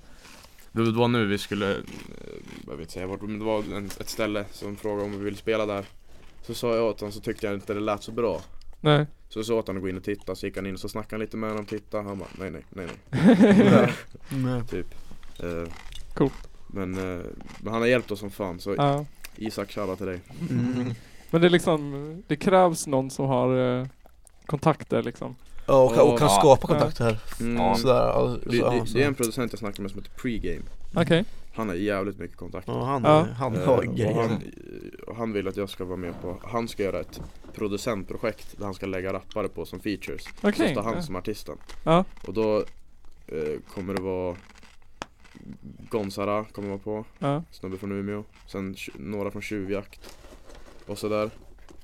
Speaker 5: Det var nu vi skulle, eh, jag vet inte säga vart, men det var en, ett ställe som frågade om vi ville spela där Så sa jag åt honom så tyckte jag inte det lät så bra
Speaker 1: Nej.
Speaker 5: Så jag sa åt honom att gå in och titta, så gick han in och så snackade han lite med honom, tittade, han bara nej nej nej nej Typ Eh,
Speaker 1: Coolt.
Speaker 5: men, eh, men han har hjälpt oss som fan så
Speaker 1: Ja.
Speaker 5: Isak shoutout till dig
Speaker 4: Mm.
Speaker 1: Men det är liksom, det krävs någon som har eh, kontakter liksom.
Speaker 4: Ja, och, kan- och kan
Speaker 2: Ja.
Speaker 4: skapa kontakter här,
Speaker 5: Mm.
Speaker 4: sådär alltså,
Speaker 5: Det,
Speaker 4: så, ja,
Speaker 5: det,
Speaker 4: så.
Speaker 5: det är en producent jag snackade med som heter Pregame
Speaker 1: Okej.
Speaker 5: Han har jävligt mycket kontakter
Speaker 4: Ja, han,
Speaker 1: Ja.
Speaker 4: han
Speaker 5: Eh,
Speaker 4: har
Speaker 5: och han,
Speaker 4: grejer
Speaker 5: eh, och han vill att jag ska vara med på, han ska göra ett producentprojekt där han ska lägga rappare på som features
Speaker 1: Okej.
Speaker 5: Så står han
Speaker 1: Ja.
Speaker 5: som artisten
Speaker 1: Ja.
Speaker 5: Och då eh, kommer det vara Gonzara kommer vara på,
Speaker 1: Ja.
Speaker 5: snubbe från Umeå Sen tj- några från Tjuvjakt Och sådär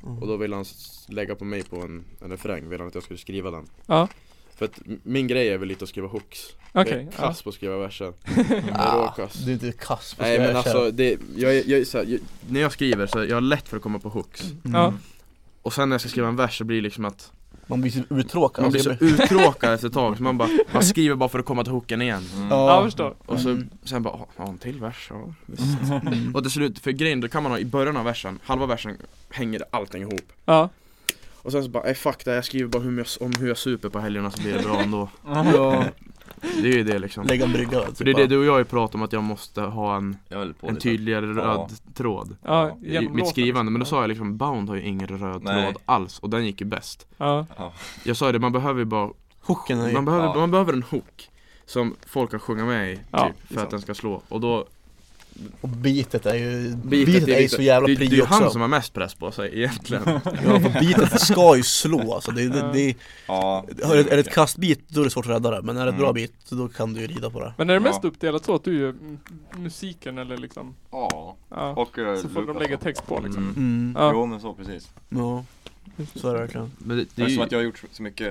Speaker 4: Mm.
Speaker 5: Och då vill han s- lägga på mig på en, en refräng, vill han att jag skulle skriva den
Speaker 1: Ja.
Speaker 5: För att m- min grej är väl lite att skriva hooks Jag
Speaker 1: Okej.
Speaker 5: är
Speaker 1: Ja.
Speaker 5: kass på att skriva verser Jag är
Speaker 4: Ah,
Speaker 5: råkass
Speaker 4: Du är inte kass på
Speaker 5: Nej men
Speaker 4: sådär,
Speaker 5: alltså, det, jag, är- jag, är så här, jag, när jag skriver så är jag har lätt för att komma på hooks
Speaker 4: Mm.
Speaker 1: Ja.
Speaker 5: Och sen när jag ska skriva en vers så blir det liksom att
Speaker 4: Man blir så uttråkad
Speaker 5: Man blir
Speaker 4: Alltså,
Speaker 5: så
Speaker 4: jag
Speaker 5: uttråkad efter ett tag så man bara, man skriver bara för att komma till hooken igen
Speaker 1: Ja, jag
Speaker 4: Ja,
Speaker 1: förstår.
Speaker 5: Och så,
Speaker 2: Mm.
Speaker 5: sen bara, "Åh, har en till vers? Ja, visst. Och till slut, för grejen då kan man ha i början av versen, halva versen hänger allting ihop
Speaker 1: Ja.
Speaker 5: Och sen så bara, nej fuck det, här, jag skriver bara hur jag, om hur jag super på helgerna så blir det bra ändå Det är ju det liksom
Speaker 4: lägga en brygga alltså,
Speaker 5: För det är det du och jag har ju pratat om att jag måste ha en,
Speaker 2: Jag höll på
Speaker 5: en
Speaker 2: lite.
Speaker 5: tydligare
Speaker 2: Ja.
Speaker 5: röd tråd
Speaker 1: Ja,
Speaker 5: i
Speaker 1: genom
Speaker 5: mitt
Speaker 1: låten.
Speaker 5: skrivande, men då sa jag liksom Bound har ju ingen röd
Speaker 2: Nej.
Speaker 5: tråd alls och den gick ju bäst
Speaker 1: Ja.
Speaker 5: Jag sa ju det, man behöver ju bara
Speaker 4: Hooken är
Speaker 5: Man
Speaker 4: ju...
Speaker 5: behöver,
Speaker 2: Ja.
Speaker 5: man behöver en hook Som folk kan sjunga med i, typ,
Speaker 1: Ja, det är
Speaker 5: för att den ska slå Och då,
Speaker 4: Och beatet är ju...
Speaker 5: beatet
Speaker 4: Beatet är ju
Speaker 5: lite-
Speaker 4: så jävla
Speaker 5: det, det är ju
Speaker 4: prio
Speaker 5: han
Speaker 4: också
Speaker 5: som har mest press på sig egentligen
Speaker 4: Ja, för beatet ska ju slå alltså det, det, det,
Speaker 2: Ja.
Speaker 4: Är det, är det ett kastbit då är det svårt att rädda det, men är det ett bra
Speaker 2: Mm.
Speaker 4: bit då kan du ju rida på det
Speaker 1: Men är det
Speaker 2: Ja.
Speaker 1: mest uppdelat så att du gör mm, musiken eller liksom?
Speaker 2: Ja.
Speaker 1: Ja.
Speaker 2: Och eh,
Speaker 1: Så får de
Speaker 2: Lukas
Speaker 1: lägga
Speaker 2: då.
Speaker 1: text på liksom.
Speaker 2: Mm.
Speaker 4: Mm,
Speaker 1: Ja.
Speaker 2: Jo men så precis.
Speaker 4: ja Så är det verkligen
Speaker 5: Men det,
Speaker 2: Det
Speaker 5: det
Speaker 2: är
Speaker 5: är ju,
Speaker 2: som att jag har gjort så mycket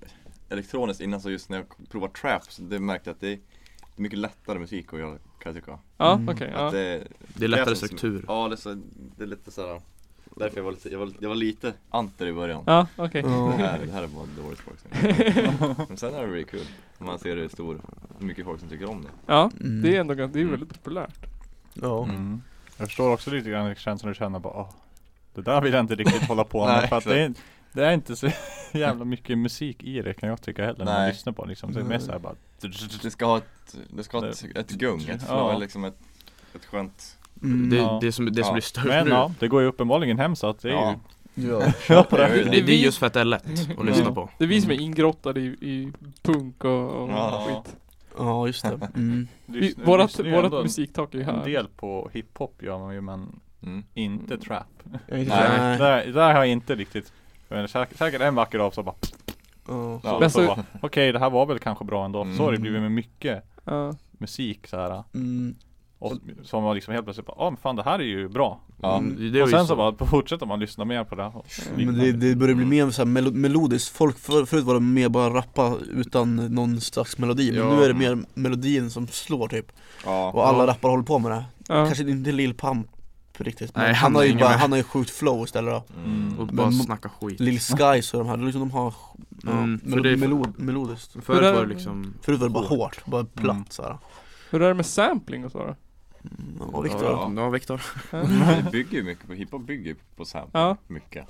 Speaker 2: eh, elektroniskt innan så just när jag provar trap så det märkte jag att det är det är mycket lättare musik att göra kan jag tycka.
Speaker 1: Ja,
Speaker 4: Mm.
Speaker 1: okej. ja.
Speaker 2: Att det,
Speaker 5: det är lättare
Speaker 2: krävs inte så
Speaker 5: struktur
Speaker 2: ja, det är, så, det är lite såhär Därför jag var lite, jag var, jag var lite anter i början.
Speaker 1: Ja, okej.
Speaker 2: Det,
Speaker 4: Ja.
Speaker 2: här, det här är bara dåligt folk som Men sen är det really kul. Om man ser hur stor, hur mycket folk som tycker om det.
Speaker 1: Ja,
Speaker 4: Mm.
Speaker 1: det är ändå ganska, det är ju väldigt populärt.
Speaker 4: Ja,
Speaker 3: Mm. Jag förstår också lite grann känslan du känner bara "Åh, Det där vill jag inte riktigt hålla på med
Speaker 2: Nej,
Speaker 3: för att det är, det är inte så jävla mycket musik i det kan jag tycka heller när man
Speaker 2: Nej.
Speaker 3: lyssnar på det, liksom. Det är mer såhär bara
Speaker 2: Det ska ha ett, det ska ha ett, ett gung, ett flow,
Speaker 3: Ja.
Speaker 2: liksom ett, ett skönt
Speaker 4: mm.
Speaker 5: Det,
Speaker 3: Ja.
Speaker 5: det, som, det som
Speaker 2: Ja.
Speaker 5: blir störst
Speaker 3: Men
Speaker 5: nu
Speaker 3: ja, det går ju uppenbarligen hem så att det är
Speaker 2: Ja.
Speaker 3: ju
Speaker 4: ja.
Speaker 3: Kör på
Speaker 2: Jag
Speaker 3: det!
Speaker 2: gör ju
Speaker 5: det,
Speaker 2: det.
Speaker 5: det är just för att det är lätt att lyssna
Speaker 1: Ja.
Speaker 5: på
Speaker 1: Det är vi som är ingrottade i, i punk och, och
Speaker 2: Ja.
Speaker 1: skit.
Speaker 4: Mm. ja just det mm.
Speaker 1: Vi,
Speaker 3: Lyssnar-
Speaker 1: vårat
Speaker 3: lyssnar ju ändå
Speaker 1: vårat
Speaker 3: en-
Speaker 1: musiktak är ju
Speaker 3: En
Speaker 1: här.
Speaker 3: del på hiphop gör man ju men
Speaker 2: mm.
Speaker 3: inte trap
Speaker 4: Nej.
Speaker 3: Där, där har jag inte riktigt men säkert, säkert en vacker dag så bara
Speaker 4: Ja.
Speaker 2: Ja.
Speaker 1: Men
Speaker 3: så
Speaker 1: så-
Speaker 3: bara, Okej det här var väl kanske bra ändå, så har det
Speaker 2: Mm.
Speaker 3: blivit med mycket
Speaker 1: Ja.
Speaker 3: musik så här.
Speaker 4: Mm.
Speaker 3: Och som var liksom helt plötsligt bara, ja ah, men fan det här är ju bra
Speaker 2: Ja.
Speaker 4: Mm.
Speaker 5: Det är
Speaker 3: Och
Speaker 5: ju
Speaker 3: sen så bara fortsätter man lyssna mer på det och
Speaker 4: Men det, det börjar bli mer så här melo- melodiskt, folk för, förut var det mer bara rappa utan någon slags melodi Men
Speaker 5: Ja.
Speaker 4: nu är det mer melodin som slår typ
Speaker 2: Ja.
Speaker 4: Och alla rappare håller på med det
Speaker 1: Ja.
Speaker 4: Kanske inte Lil Pump riktigt men
Speaker 5: Nej,
Speaker 4: han,
Speaker 5: han
Speaker 4: har ju
Speaker 5: hänger
Speaker 4: bara,
Speaker 5: med.
Speaker 4: han har ju sjukt flow istället då
Speaker 2: Mm.
Speaker 5: och bara
Speaker 4: Men-
Speaker 5: snacka skit
Speaker 4: Lil Skies och de här, det är liksom de har ja,
Speaker 5: Mm, för
Speaker 4: melo-
Speaker 5: det är-
Speaker 4: melod- melodiskt
Speaker 5: Förut var det liksom
Speaker 4: Förut var det bara hårt, bara platt
Speaker 3: Mm.
Speaker 4: såhär
Speaker 1: Hur är det med sampling och så då?
Speaker 4: Mm, Ja, Viktor
Speaker 5: Ja, ja Viktor
Speaker 2: Det Mm. bygger ju mycket på, hiphop bygger ju på sample,
Speaker 1: Ja.
Speaker 2: mycket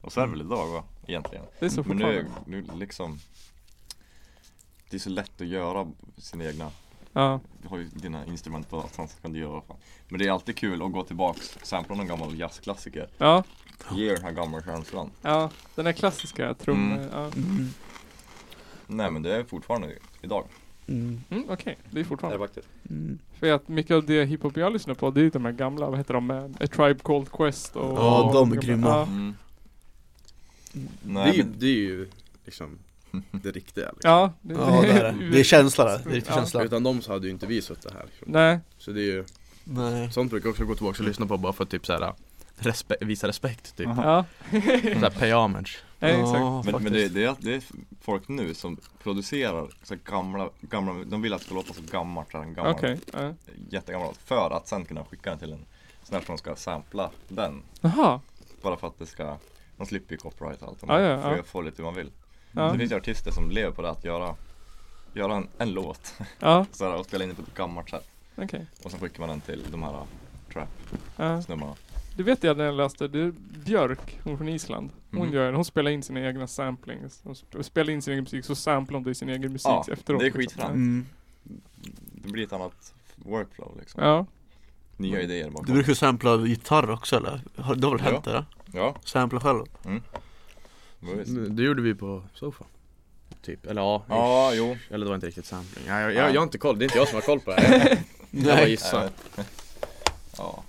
Speaker 2: Och så är det väl idag va, egentligen
Speaker 1: Det är så
Speaker 4: Mm,
Speaker 2: Men nu,
Speaker 1: fortfarande.
Speaker 2: nu liksom Det är så lätt att göra sina egna
Speaker 1: Ja.
Speaker 2: Du har ju dina instrument på allt, så kan du göra vad fan Men det är alltid kul att gå tillbaks, sampla någon gammal jazzklassiker
Speaker 1: ja,
Speaker 2: Ge den här gamla känslan
Speaker 1: ja, den här klassiska trum...
Speaker 2: Mm.
Speaker 1: Ja.
Speaker 4: mm.
Speaker 2: Nej men det är fortfarande idag
Speaker 4: Mm.
Speaker 1: Mm, okej, det är
Speaker 6: Det är
Speaker 1: fortfarande.
Speaker 6: faktiskt.
Speaker 4: Mm.
Speaker 1: För att mycket av det hiphop jag lyssnar på, det är ju de här gamla, vad heter de? Eh, A Tribe Called Quest och...
Speaker 4: Ja, de är
Speaker 1: och-
Speaker 4: grymma.
Speaker 1: Ja,
Speaker 2: mm.
Speaker 5: det är,
Speaker 2: Nej
Speaker 5: ju,
Speaker 2: men,
Speaker 5: det är ju liksom det riktiga liksom.
Speaker 1: ja, det,
Speaker 4: Ja det är det, det är känsla där, det är riktig
Speaker 1: Ja.
Speaker 4: känsla
Speaker 5: Utan dem så hade ju inte vi suttit här liksom.
Speaker 1: Nej,
Speaker 5: Så det är ju,
Speaker 4: Nej
Speaker 5: sånt brukar jag också gå tillbaka och lyssna på bara för att typ såhär respe Visa respekt typ,
Speaker 1: ja,
Speaker 5: såhär pay homage
Speaker 1: nej, exakt.
Speaker 2: men, men det, det, är, det är folk nu som producerar så här gamla, gamla, de vill att det ska låta så gammalt, så här en gammal
Speaker 1: Okej, ja.
Speaker 2: jättegammal för att sen kunna skicka den till en sån här som ska sampla den.
Speaker 1: Jaha,
Speaker 2: Bara för att det ska, man slipper ju copyright och allt och
Speaker 1: Ja,
Speaker 2: man
Speaker 1: ja,
Speaker 2: får
Speaker 1: ja.
Speaker 2: ju få lite hur man vill.
Speaker 1: ja,
Speaker 2: Det finns ju artister som lever på det att göra, göra en, en låt
Speaker 1: ja,
Speaker 2: så här, och spela in det på ett gammalt sätt.
Speaker 1: okej.
Speaker 2: Och sen skickar man den till de här äh, trap-snubbarna.
Speaker 1: Ja. Det vet jag när jag läste, det är Björk, hon från Island. Hon
Speaker 2: Mm.
Speaker 1: gör hon spelar in sina egna samplings. Hon sp- spelar in sin egen musik, så samplar hon det i sin egen musik
Speaker 2: Ja,
Speaker 1: efteråt.
Speaker 2: det är
Speaker 1: liksom.
Speaker 2: skitfränt.
Speaker 4: mm.
Speaker 2: Det blir ett annat workflow liksom.
Speaker 1: Ja,
Speaker 2: Nya idéer bara.
Speaker 4: Du brukar ju sampla gitarr också eller? Har- Det har väl
Speaker 2: Ja.
Speaker 4: hänt det?
Speaker 2: Ja,
Speaker 4: Sampla själv?
Speaker 2: men visst.
Speaker 5: Mm, Det gjorde vi på Sofa Typ, eller ja,
Speaker 2: Ja, jo.
Speaker 5: Eller det var inte riktigt sampling Nej, jag, jag, jag har inte koll, det är inte jag som har koll på det här Jag bara gissar
Speaker 2: Ja.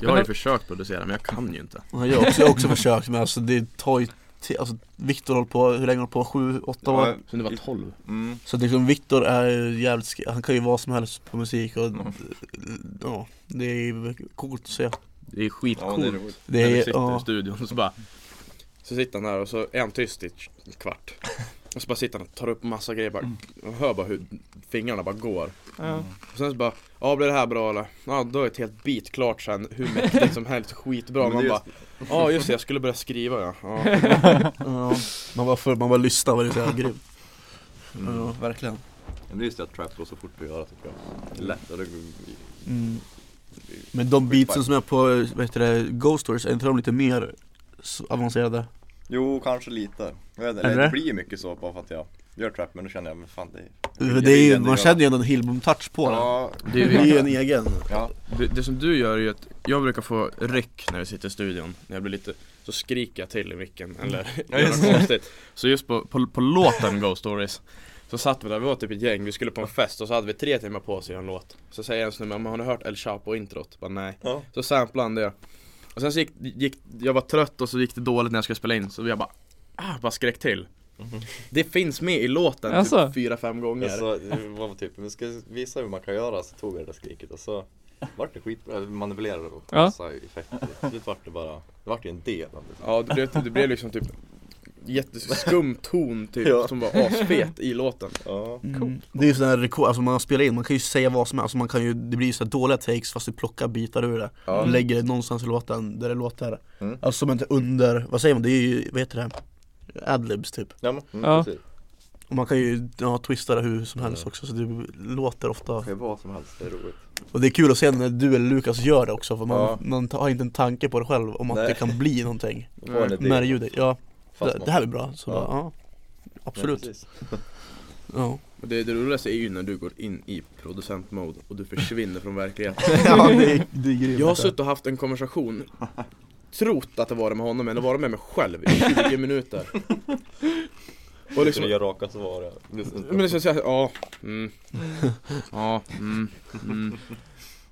Speaker 5: Jag har ju försökt producera men jag kan ju inte
Speaker 4: Ja, Jag har också, jag har också försökt men alltså det tar ju ti- Alltså Viktor har hållit på, hur länge har han hållit på? Sju, åtta år?
Speaker 2: Ja,
Speaker 5: Så det var 12
Speaker 2: Eh, mm.
Speaker 4: Så det är liksom Viktor är ju jävligt, sk- han kan ju vad som helst på musik och
Speaker 2: Mm.
Speaker 4: ja, det är ju coolt att se
Speaker 5: Det är
Speaker 2: ja, det är
Speaker 5: skitcoolt
Speaker 2: roligt.
Speaker 4: Det
Speaker 5: När vi
Speaker 4: är,
Speaker 5: sitter i
Speaker 4: ja,
Speaker 5: studion så bara Så sitter han där och så är han tyst i ett kvart Och så bara sitter han och tar upp massa grejer bara Och hör bara hur fingrarna bara går
Speaker 1: Ja.
Speaker 5: och Sen så bara, ja blir det här bra eller? Ja då är ett helt bit klart sen, hur mäktigt som helst, skitbra
Speaker 2: Men
Speaker 5: Man
Speaker 2: det är
Speaker 5: bara, ja just det jag skulle börja skriva ja, ja.
Speaker 4: Ja, man var full, man var lyssna vad det är så jävla grymt. Ja, Mm, verkligen.
Speaker 2: Men det är just det att trap går så fort på att göra tycker jag. Det är lättare att-
Speaker 4: Men de beatsen som är på vad heter det, Ghost Stories, är inte de lite mer s- avancerade?
Speaker 2: Jo, kanske lite. Jag vet, inte, eller
Speaker 4: Eller?
Speaker 2: det blir ju mycket så bara för att jag gör trap, men då känner jag, men fan det är...
Speaker 4: Det är ju,
Speaker 2: jag-
Speaker 4: man känner ju ändå en Hillbom-touch på den.
Speaker 2: Ja,
Speaker 5: Det,
Speaker 4: Det är ju en egen.
Speaker 2: ja.
Speaker 5: det, det som du gör är ju att jag brukar få ryck när vi sitter i studion När jag blir lite, så skriker jag till i micken eller
Speaker 2: Mm. Ja,
Speaker 5: gör
Speaker 2: just det.
Speaker 5: något konstigt Så just på, på, på låten Ghost Stories Så satt vi där, vi var typ ett gäng, vi skulle på en fest och så hade vi tre timmar på oss att göra en låt Så säger en snubbe, "Men har ni hört El Chapo introt? Bara nej
Speaker 2: Ja.
Speaker 5: Så samplade han det Och sen så gick, gick, jag var trött och så gick det dåligt när jag skulle spela in så jag bara, ah, bara skrek till Det finns med i låten
Speaker 1: Alltså?
Speaker 5: typ fyra, fem gånger
Speaker 2: Mm-hmm. Alltså, det var typ, vi ska visa hur man kan göra, så tog jag det där skriket och så vart det skitbra, vi manipulerade och
Speaker 1: Ja.
Speaker 2: massa effekter. Till slut vart det bara, det vart ju en del av det.
Speaker 5: Ja det blev, det blev liksom typ jätteskum ton typ
Speaker 2: Ja.
Speaker 5: som var asfet i låten
Speaker 2: Ja.
Speaker 4: Mm. Det är ju sådana här rekord, alltså man spelar in, man kan ju säga vad som helst, alltså man kan ju, det blir ju sådana dåliga takes fast du plockar bitar ur det
Speaker 5: Ja.
Speaker 4: och lägger det någonstans i låten där det låter
Speaker 2: Mm.
Speaker 4: Alltså som inte under, vad säger man, det är ju, vad heter det? Adlibs typ
Speaker 2: Ja, men, mm,
Speaker 1: Ja.
Speaker 2: precis.
Speaker 4: Och man kan ju ja, twista det hur som helst också så det låter ofta
Speaker 2: Det kan ju vara vad som helst, det är roligt.
Speaker 4: Och det är kul att se när du eller Lukas gör det också för man,
Speaker 2: Ja.
Speaker 4: man har inte en tanke på det själv om att
Speaker 2: Nej.
Speaker 4: det kan bli någonting
Speaker 2: Få en idé.
Speaker 4: med ljudet, ja
Speaker 2: Fast
Speaker 4: det,
Speaker 2: man-
Speaker 4: det här är bra, så
Speaker 2: Ja.
Speaker 4: ja. Bara, ja Absolut,
Speaker 2: Ja,
Speaker 4: ja,
Speaker 2: precis.
Speaker 5: Och det, det roligaste är ju när du går in i producentmode och du försvinner från verkligheten
Speaker 4: ja det, är, det är grymt alltså.
Speaker 5: Jag har suttit och haft en konversation Trott att det var det med honom men det var det med mig själv i 20 minuter Och
Speaker 2: Så
Speaker 5: liksom
Speaker 2: det gör raka svar ja.
Speaker 5: Men det känns såhär, ja, mm, ja, mm, mm.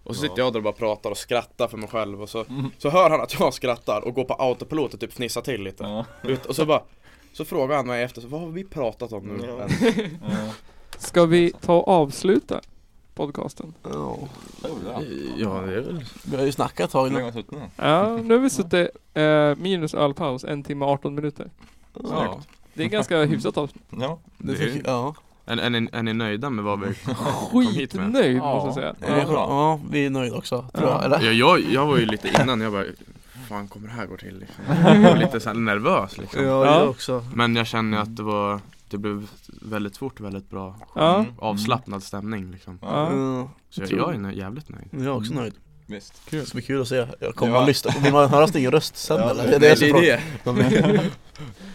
Speaker 5: Och så sitter jag där och bara pratar och skrattar för mig själv och så, så hör han att jag skrattar och går på autopilot och typ fnissar till lite
Speaker 3: Ja.
Speaker 5: Ut, Och så bara, så frågar han mig efter, så, vad har vi pratat om nu?
Speaker 2: Ja.
Speaker 1: Ska vi ta och avsluta podcasten?
Speaker 4: ja.
Speaker 2: Ja.
Speaker 5: Ja, det är väl
Speaker 4: Vi har ju snackat ett tag
Speaker 2: Hur
Speaker 4: nu
Speaker 2: länge har vi suttit nu?
Speaker 1: Ja, nu har vi suttit eh, minus ölpaus, en timme och 18 minuter.
Speaker 5: ja.
Speaker 1: Det är ganska hyfsat avsnitt.
Speaker 2: Ja.
Speaker 4: Det fick, ja.
Speaker 5: Är, är, ni, är ni nöjda med vad vi hit med.
Speaker 1: Skitnöjd
Speaker 3: Ja.
Speaker 1: måste jag säga.
Speaker 2: Ja.
Speaker 1: Ja.
Speaker 2: bra.
Speaker 4: ja, vi är nöjda också, tror
Speaker 1: Ja.
Speaker 4: jag, eller?
Speaker 5: Ja, jag, jag var ju lite innan, jag bara Fan kommer det här gå till liksom? Jag var lite så här nervös liksom
Speaker 4: Ja,
Speaker 1: Ja.
Speaker 4: jag också
Speaker 5: Men jag känner att det var Det blev väldigt fort väldigt bra
Speaker 1: Ja.
Speaker 2: Mm.
Speaker 5: Avslappnad stämning liksom
Speaker 1: Ja.
Speaker 4: Ja,
Speaker 5: Så jag,
Speaker 1: Tror-
Speaker 5: jag är nö- jävligt nöjd
Speaker 4: jag är också nöjd
Speaker 2: Visst.
Speaker 4: Det ska bli kul att se, jag kommer
Speaker 2: Ja.
Speaker 4: att lyssna, vill man höra sin röst sen
Speaker 2: Ja,
Speaker 4: eller?
Speaker 2: det-
Speaker 4: jag så frågar.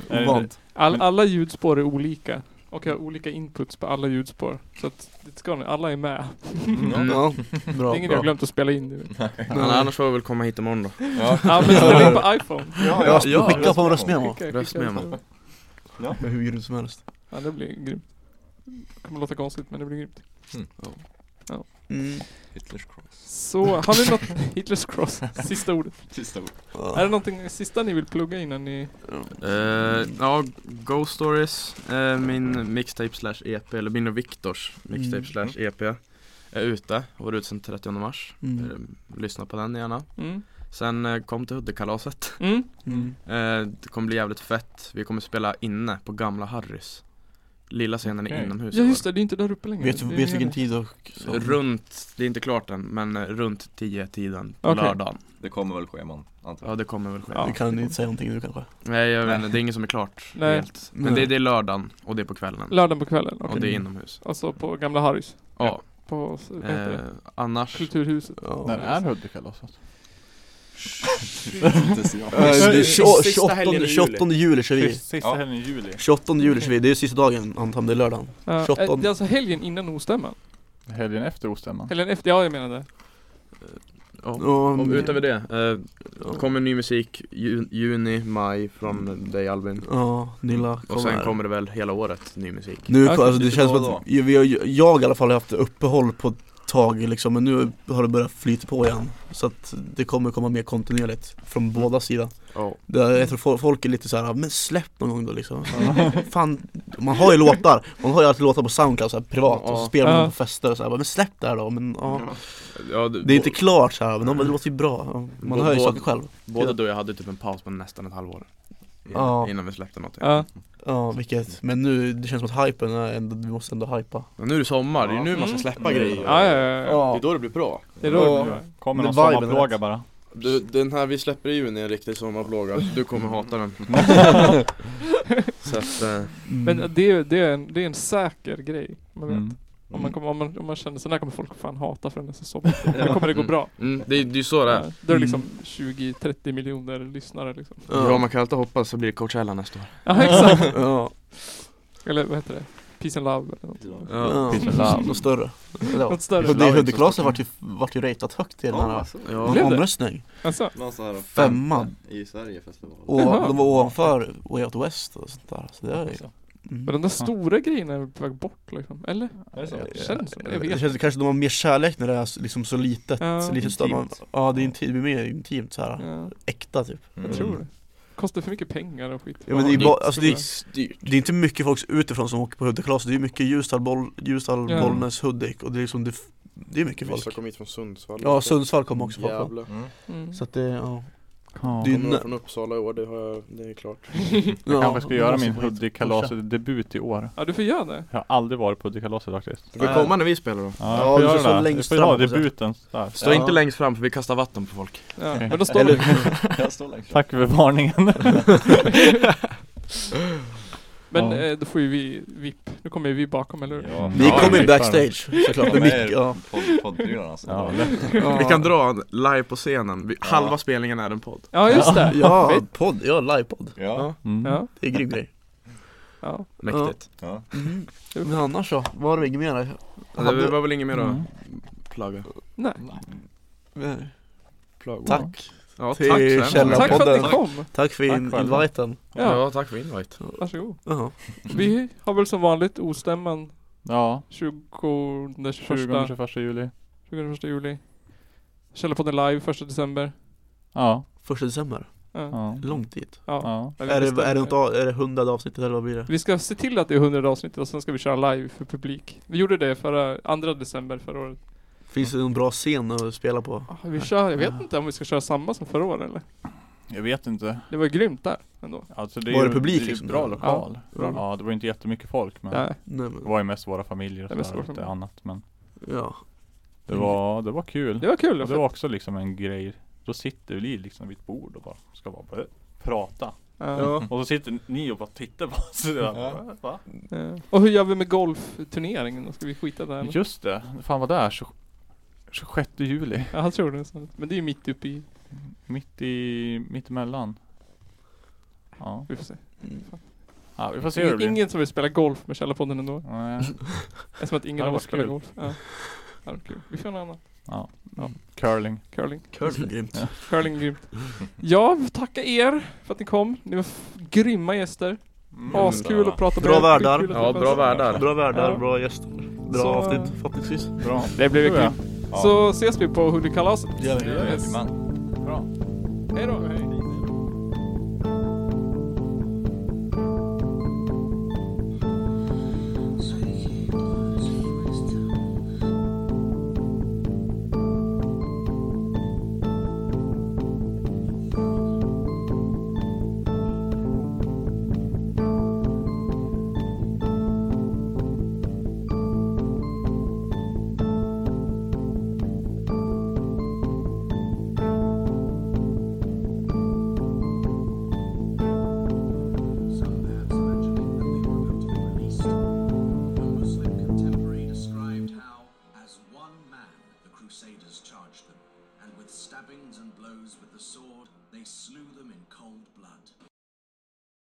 Speaker 4: Ovant.
Speaker 1: All, alla ljudspår är olika. Och jag har olika inputs på alla ljudspår. Så att det ska ni, alla är med.
Speaker 5: Mm.
Speaker 4: Ja,
Speaker 1: Det
Speaker 4: bra,
Speaker 1: är ingen jag har
Speaker 4: bra.
Speaker 1: glömt att spela in. nu.
Speaker 5: Men Annars får vi väl komma hit imorgon då
Speaker 2: Ja.
Speaker 1: Ja men spela in på iPhone.
Speaker 2: Ja,
Speaker 4: Jag ska skicka på en röstmemo,
Speaker 1: Skicka-
Speaker 5: Röstmemo.
Speaker 1: skicka-
Speaker 4: hur grymt som helst
Speaker 1: Ja det blir grymt. Det kommer låta konstigt men det blir grymt.
Speaker 4: mm.
Speaker 2: Hitlers cross.
Speaker 1: Så, har ni något, Hitlers cross, sista ordet.
Speaker 2: Sista ord.
Speaker 1: Är det någonting sista ni vill plugga innan ni...
Speaker 5: Eh, Ja, Ghost Stories eh, Min mixtape slash EP, eller min och Viktors mixtape
Speaker 4: Mm.
Speaker 5: slash EP Är ute, och var ute sen 30 mars
Speaker 4: Mm.
Speaker 5: Eh, Lyssna på den gärna
Speaker 1: Mm.
Speaker 5: Sen eh, kom till Huddekalaset
Speaker 1: Mm.
Speaker 4: Mm.
Speaker 5: Eh, Det kommer bli jävligt fett. Vi kommer spela inne på gamla Harrys. Lilla scenen är
Speaker 1: Okej.
Speaker 5: inomhus.
Speaker 1: Ja just det, det är inte där uppe längre.
Speaker 4: Vet du
Speaker 1: Det är
Speaker 4: vet vilken
Speaker 1: nere.
Speaker 4: tid och så?
Speaker 5: Runt, det är inte klart än, men eh, runt 10-tiden på
Speaker 1: Okej.
Speaker 5: lördagen.
Speaker 2: Det kommer väl scheman, antar
Speaker 5: Ja
Speaker 2: jag.
Speaker 5: det kommer väl ske.
Speaker 4: Du kan inte säga någonting nu kanske?
Speaker 5: Nej jag vet inte, det är inget som är klart
Speaker 1: Nej.
Speaker 5: helt. Men det, det är lördagen och det är på kvällen.
Speaker 1: Lördagen på kvällen, okej.
Speaker 5: Och det är inomhus.
Speaker 1: Alltså på gamla Harrys.
Speaker 5: Ja.
Speaker 1: På, så- vad heter det?
Speaker 5: Eh, annars,
Speaker 1: Kulturhuset.
Speaker 3: När är alltså? Huddekalaset?
Speaker 4: Eh, det är tjo-
Speaker 5: Sista helgen i
Speaker 4: 28,
Speaker 5: juli.
Speaker 4: 28 juli kör vi
Speaker 3: Sista
Speaker 2: Ja.
Speaker 3: helgen i juli.
Speaker 4: 28 juli kör vi, det är sista dagen Anton, det är lördagen
Speaker 1: Ja, eh,
Speaker 4: 28.
Speaker 1: det är alltså helgen innan Ostämman.
Speaker 3: Helgen efter Ostämman.
Speaker 1: Helgen efter, ja jag menade.
Speaker 5: ja.
Speaker 4: Ja,
Speaker 5: Och utöver det, eh,
Speaker 4: ja. Mm.
Speaker 5: kommer ny musik ju, juni, maj från dig Albin.
Speaker 4: Ja, Nilla
Speaker 5: Och sen
Speaker 4: här.
Speaker 5: kommer det väl hela året ny musik.
Speaker 4: Nu,
Speaker 1: Okej,
Speaker 4: alltså, det
Speaker 2: lite
Speaker 4: känns
Speaker 2: då och
Speaker 4: som att vi har, jag i alla fall har haft uppehåll på ett tag liksom, men nu har det börjat flyta på igen Så att det kommer komma mer kontinuerligt från båda sidor
Speaker 5: Ja.
Speaker 4: Det- Jag tror fol- folk är lite såhär, men släpp någon gång då liksom Fan, man har ju låtar, man har ju alltid låtar på Soundcloud så här, privat och
Speaker 5: Ja.
Speaker 4: så spelar
Speaker 1: Ja.
Speaker 4: man på fester och så här, bara, men släpp det här då, men ja
Speaker 5: Ja, du-
Speaker 4: Det är inte klart såhär, men de bara, det låter ju bra, Ja, man
Speaker 5: Bå-
Speaker 4: hör ju
Speaker 5: båda-
Speaker 4: saker själv
Speaker 5: Både du och jag hade typ en paus på nästan ett halvår innan,
Speaker 4: Ja.
Speaker 5: innan vi släppte något.
Speaker 1: Ja.
Speaker 4: Ja, vilket, men nu, det känns som att hypen är ändå, vi måste ändå hypa
Speaker 5: Men nu är det sommar, det är ju nu man ska släppa
Speaker 4: Mm.
Speaker 5: grejer.
Speaker 1: Mm. Ja, ja, ja, ja.
Speaker 5: Det är då det blir bra.
Speaker 1: Det är då
Speaker 4: Ja.
Speaker 1: det blir.
Speaker 3: Kommer
Speaker 4: Men
Speaker 3: någon
Speaker 4: viben är
Speaker 3: sommarplåga
Speaker 4: rätt.
Speaker 3: bara
Speaker 5: Du, den här vi släpper i juni är en riktig sommarplåga, du kommer hata den. Så att, eh,
Speaker 1: Men det, är- det, är en, det är en säker grej. Man vet.
Speaker 3: mm.
Speaker 1: Om, man kommer, om, man, om man känner sådär kommer folk fan hata för den är så sommar. Då kommer det gå bra.
Speaker 5: mm, det, är- det är ju så det är.
Speaker 1: Ja, Då är det liksom 20-30 miljoner lyssnare liksom.
Speaker 5: Ja, man kan alltid hoppas så blir det Coachella nästa år.
Speaker 1: Ja exakt.
Speaker 4: Ja,
Speaker 1: Eller vad heter det? Peace and love eller något. sånt.
Speaker 5: Ja,
Speaker 4: ja.
Speaker 3: Peace and love.
Speaker 4: något större
Speaker 1: Något större.
Speaker 4: Hudde- Hudiklasen vart ju, vart ju ratat högt i den här
Speaker 6: Alltså,
Speaker 5: ja.
Speaker 1: Blev det?
Speaker 4: omröstningen
Speaker 1: Alltså,
Speaker 6: Någon sån här
Speaker 4: Femma.
Speaker 6: femte I Sverige festival.
Speaker 4: Och
Speaker 1: Jaha.
Speaker 4: de var ovanför Way Out West och sånt där så det är ju
Speaker 1: men
Speaker 4: mm.
Speaker 1: de där stora grejerna är på väg bort liksom. Eller?
Speaker 3: Är det så?
Speaker 1: Det känns som det. Jag
Speaker 4: Det
Speaker 1: vet.
Speaker 4: känns kanske de har mer kärlek när det är liksom så litet,
Speaker 1: Ja.
Speaker 4: så litet stöd. Man-
Speaker 2: Intimt.
Speaker 4: Ja, det är intimt, det blir mer intimt så här.
Speaker 1: Ja,
Speaker 4: äkta typ
Speaker 2: Mm.
Speaker 1: jag tror det. Kostar för mycket pengar och skit.
Speaker 4: Ja men det är ju
Speaker 1: Ja,
Speaker 4: bara, alltså det är,
Speaker 5: Styrt.
Speaker 4: det är inte mycket folk utifrån som åker på Hudiklasen, det är mycket Ljusdal, Boll, Ljusdal
Speaker 1: Ja.
Speaker 4: Bollnäs, Hudik och det är liksom, det, f- det är mycket folk
Speaker 5: Vissa kom hit från Sundsvall.
Speaker 4: Ja, Sundsvall kom också folk från.
Speaker 5: Jävlar.
Speaker 2: Mm.
Speaker 1: Mm.
Speaker 4: Så att det, ja
Speaker 3: Ja.
Speaker 4: Det är
Speaker 5: Kommer
Speaker 4: nä-
Speaker 5: de från Uppsala i år, det, har jag, det är klart.
Speaker 3: Jag
Speaker 4: ja,
Speaker 3: kanske ska göra min
Speaker 4: måste-
Speaker 3: Hudik-kalaset-debut i år
Speaker 1: Ja du får göra det.
Speaker 3: Jag har aldrig varit på Hudik-kalaset faktiskt
Speaker 5: Du får komma när vi spelar då.
Speaker 4: Ja,
Speaker 3: Ja, jag får
Speaker 4: du
Speaker 3: göra
Speaker 4: får stå
Speaker 3: det.
Speaker 4: längst
Speaker 3: jag får ta
Speaker 4: fram på sätt.
Speaker 3: debuten där.
Speaker 5: Stå
Speaker 4: Ja.
Speaker 5: inte längst fram för vi kastar vatten på folk.
Speaker 1: Ja.
Speaker 3: Okej.
Speaker 1: Men då står
Speaker 4: Eller,
Speaker 1: de,
Speaker 2: Jag står längst fram.
Speaker 3: Tack för varningen
Speaker 1: Men
Speaker 3: Ja.
Speaker 1: eh, då får ju vi VIP. Nu kommer ju vi bakom eller hur?
Speaker 2: Ja.
Speaker 4: Vi
Speaker 3: Ja,
Speaker 4: kommer
Speaker 3: det
Speaker 4: ju
Speaker 3: är
Speaker 4: backstage såklart,
Speaker 2: Ja,
Speaker 4: med
Speaker 2: med
Speaker 4: mycket,
Speaker 2: er
Speaker 4: ja,
Speaker 2: podd- poddbryllan alltså.
Speaker 3: Ja,
Speaker 2: Ja.
Speaker 3: lätt.
Speaker 4: ja.
Speaker 5: Vi kan dra en live på scenen, vi, halva spelningen är en podd.
Speaker 1: Ja just det.
Speaker 4: Ja, podd, ja livepodd,
Speaker 2: Ja.
Speaker 3: Mm.
Speaker 1: Ja.
Speaker 4: det är en grym grej
Speaker 1: ja.
Speaker 5: Mäktigt.
Speaker 2: ja.
Speaker 4: mm. Men annars så, var det inget mer?
Speaker 5: Ja. Det var väl inget mer
Speaker 3: Mm.
Speaker 5: att plugga.
Speaker 1: Nej.
Speaker 4: Eh,
Speaker 5: Plugga.
Speaker 4: Tack,
Speaker 5: Ja,
Speaker 4: Till
Speaker 5: tack snälla.
Speaker 4: Källarpodden.
Speaker 1: Tack för att ni
Speaker 4: Podden.
Speaker 1: kom.
Speaker 4: tack för
Speaker 3: Tack
Speaker 4: in,
Speaker 3: själv.
Speaker 4: inviten
Speaker 1: Ja,
Speaker 5: Ja, tack för invite.
Speaker 1: varsågod.
Speaker 4: Jaha.
Speaker 1: Vi har väl som vanligt ostämman
Speaker 3: Ja,
Speaker 1: 20,
Speaker 3: 20
Speaker 1: 21,
Speaker 3: 21 juli
Speaker 1: 21 juli. Källarpodden live 1 december.
Speaker 3: Ja,
Speaker 4: Första december,
Speaker 1: Ja.
Speaker 3: ja,
Speaker 4: långt dit
Speaker 1: ja.
Speaker 3: ja.
Speaker 1: Ja, vi
Speaker 4: Är det,
Speaker 1: bestämmer
Speaker 4: är det något, av- är det hundrade avsnittet eller vad blir det?
Speaker 1: Vi ska se till att det är 100 avsnitt och sen ska vi köra live för publik. Vi gjorde det förra, 2 december förra året.
Speaker 4: Finns det någon bra scen att spela på?
Speaker 1: Ah, Vi kör, jag vet inte om vi ska köra samma som förra året eller?
Speaker 3: Jag vet inte
Speaker 1: Det var grymt där ändå.
Speaker 3: alltså, det
Speaker 4: Var
Speaker 3: är ju-
Speaker 4: det publik
Speaker 3: är ju
Speaker 4: liksom?
Speaker 3: bra
Speaker 4: Ja.
Speaker 3: lokal
Speaker 1: Bra.
Speaker 3: ja. det var ju inte jättemycket folk men
Speaker 1: Nej.
Speaker 4: Nej
Speaker 3: Det
Speaker 4: men,
Speaker 3: var ju mest våra familjer och
Speaker 1: Det är mest
Speaker 3: sådär och
Speaker 1: våra
Speaker 3: lite
Speaker 1: familjer. Mm.
Speaker 3: annat men
Speaker 4: ja
Speaker 3: Det var, det var kul
Speaker 1: Det var kul.
Speaker 3: Och det var också liksom en grej Då sitter vi liksom vid ett bord och bara ska bara börja prata
Speaker 1: Ja.
Speaker 3: Och så sitter ni och bara tittar på oss och jag bara, va?
Speaker 1: Ja. Och hur gör vi med golfturneringen då? Ska vi skita där? eller?
Speaker 3: Just det, fan vad det är 20 26 juli
Speaker 1: Ja, jag tror det. är så. Men det är ju mitt uppe i...
Speaker 3: Mitt i, mitt emellan Ja,
Speaker 1: Vi får se.
Speaker 4: Mm.
Speaker 3: ja vi får se hur det
Speaker 1: Ingen,
Speaker 3: blir
Speaker 1: ingen som vill spela golf med Källarpodden ändå.
Speaker 3: Nej.
Speaker 1: Eftersom att ingen
Speaker 3: Ja,
Speaker 1: av
Speaker 3: det
Speaker 1: oss
Speaker 3: var
Speaker 1: spelar
Speaker 3: kul.
Speaker 1: golf. Ja. Ja, det var kul. Vi får något annat.
Speaker 3: Ja.
Speaker 1: Ja.
Speaker 3: Curling.
Speaker 1: Curling.
Speaker 4: Curling, grymt
Speaker 1: Curling är grymt. Jag vill tacka er för att ni kom. Ni var f- grymma gäster.
Speaker 3: Mm.
Speaker 1: Askul att prata med
Speaker 4: Bra
Speaker 1: er.
Speaker 4: värdar.
Speaker 1: Skitkul att
Speaker 5: Ja,
Speaker 1: träffas.
Speaker 5: bra värdar.
Speaker 4: Bra
Speaker 1: Ja.
Speaker 4: värdar, bra gäster, bra
Speaker 1: Så-
Speaker 4: avsnitt förhoppningsvis
Speaker 3: Bra.
Speaker 1: Det blev ju
Speaker 3: Tror jag.
Speaker 1: kul. Så ses vi på Hulikalaset.
Speaker 4: Gör vi.
Speaker 1: Yes.
Speaker 2: Jajamän.
Speaker 3: Bra.
Speaker 1: Hej då. Hej.
Speaker 8: Stabbings and blows with the sword, they slew them in cold blood.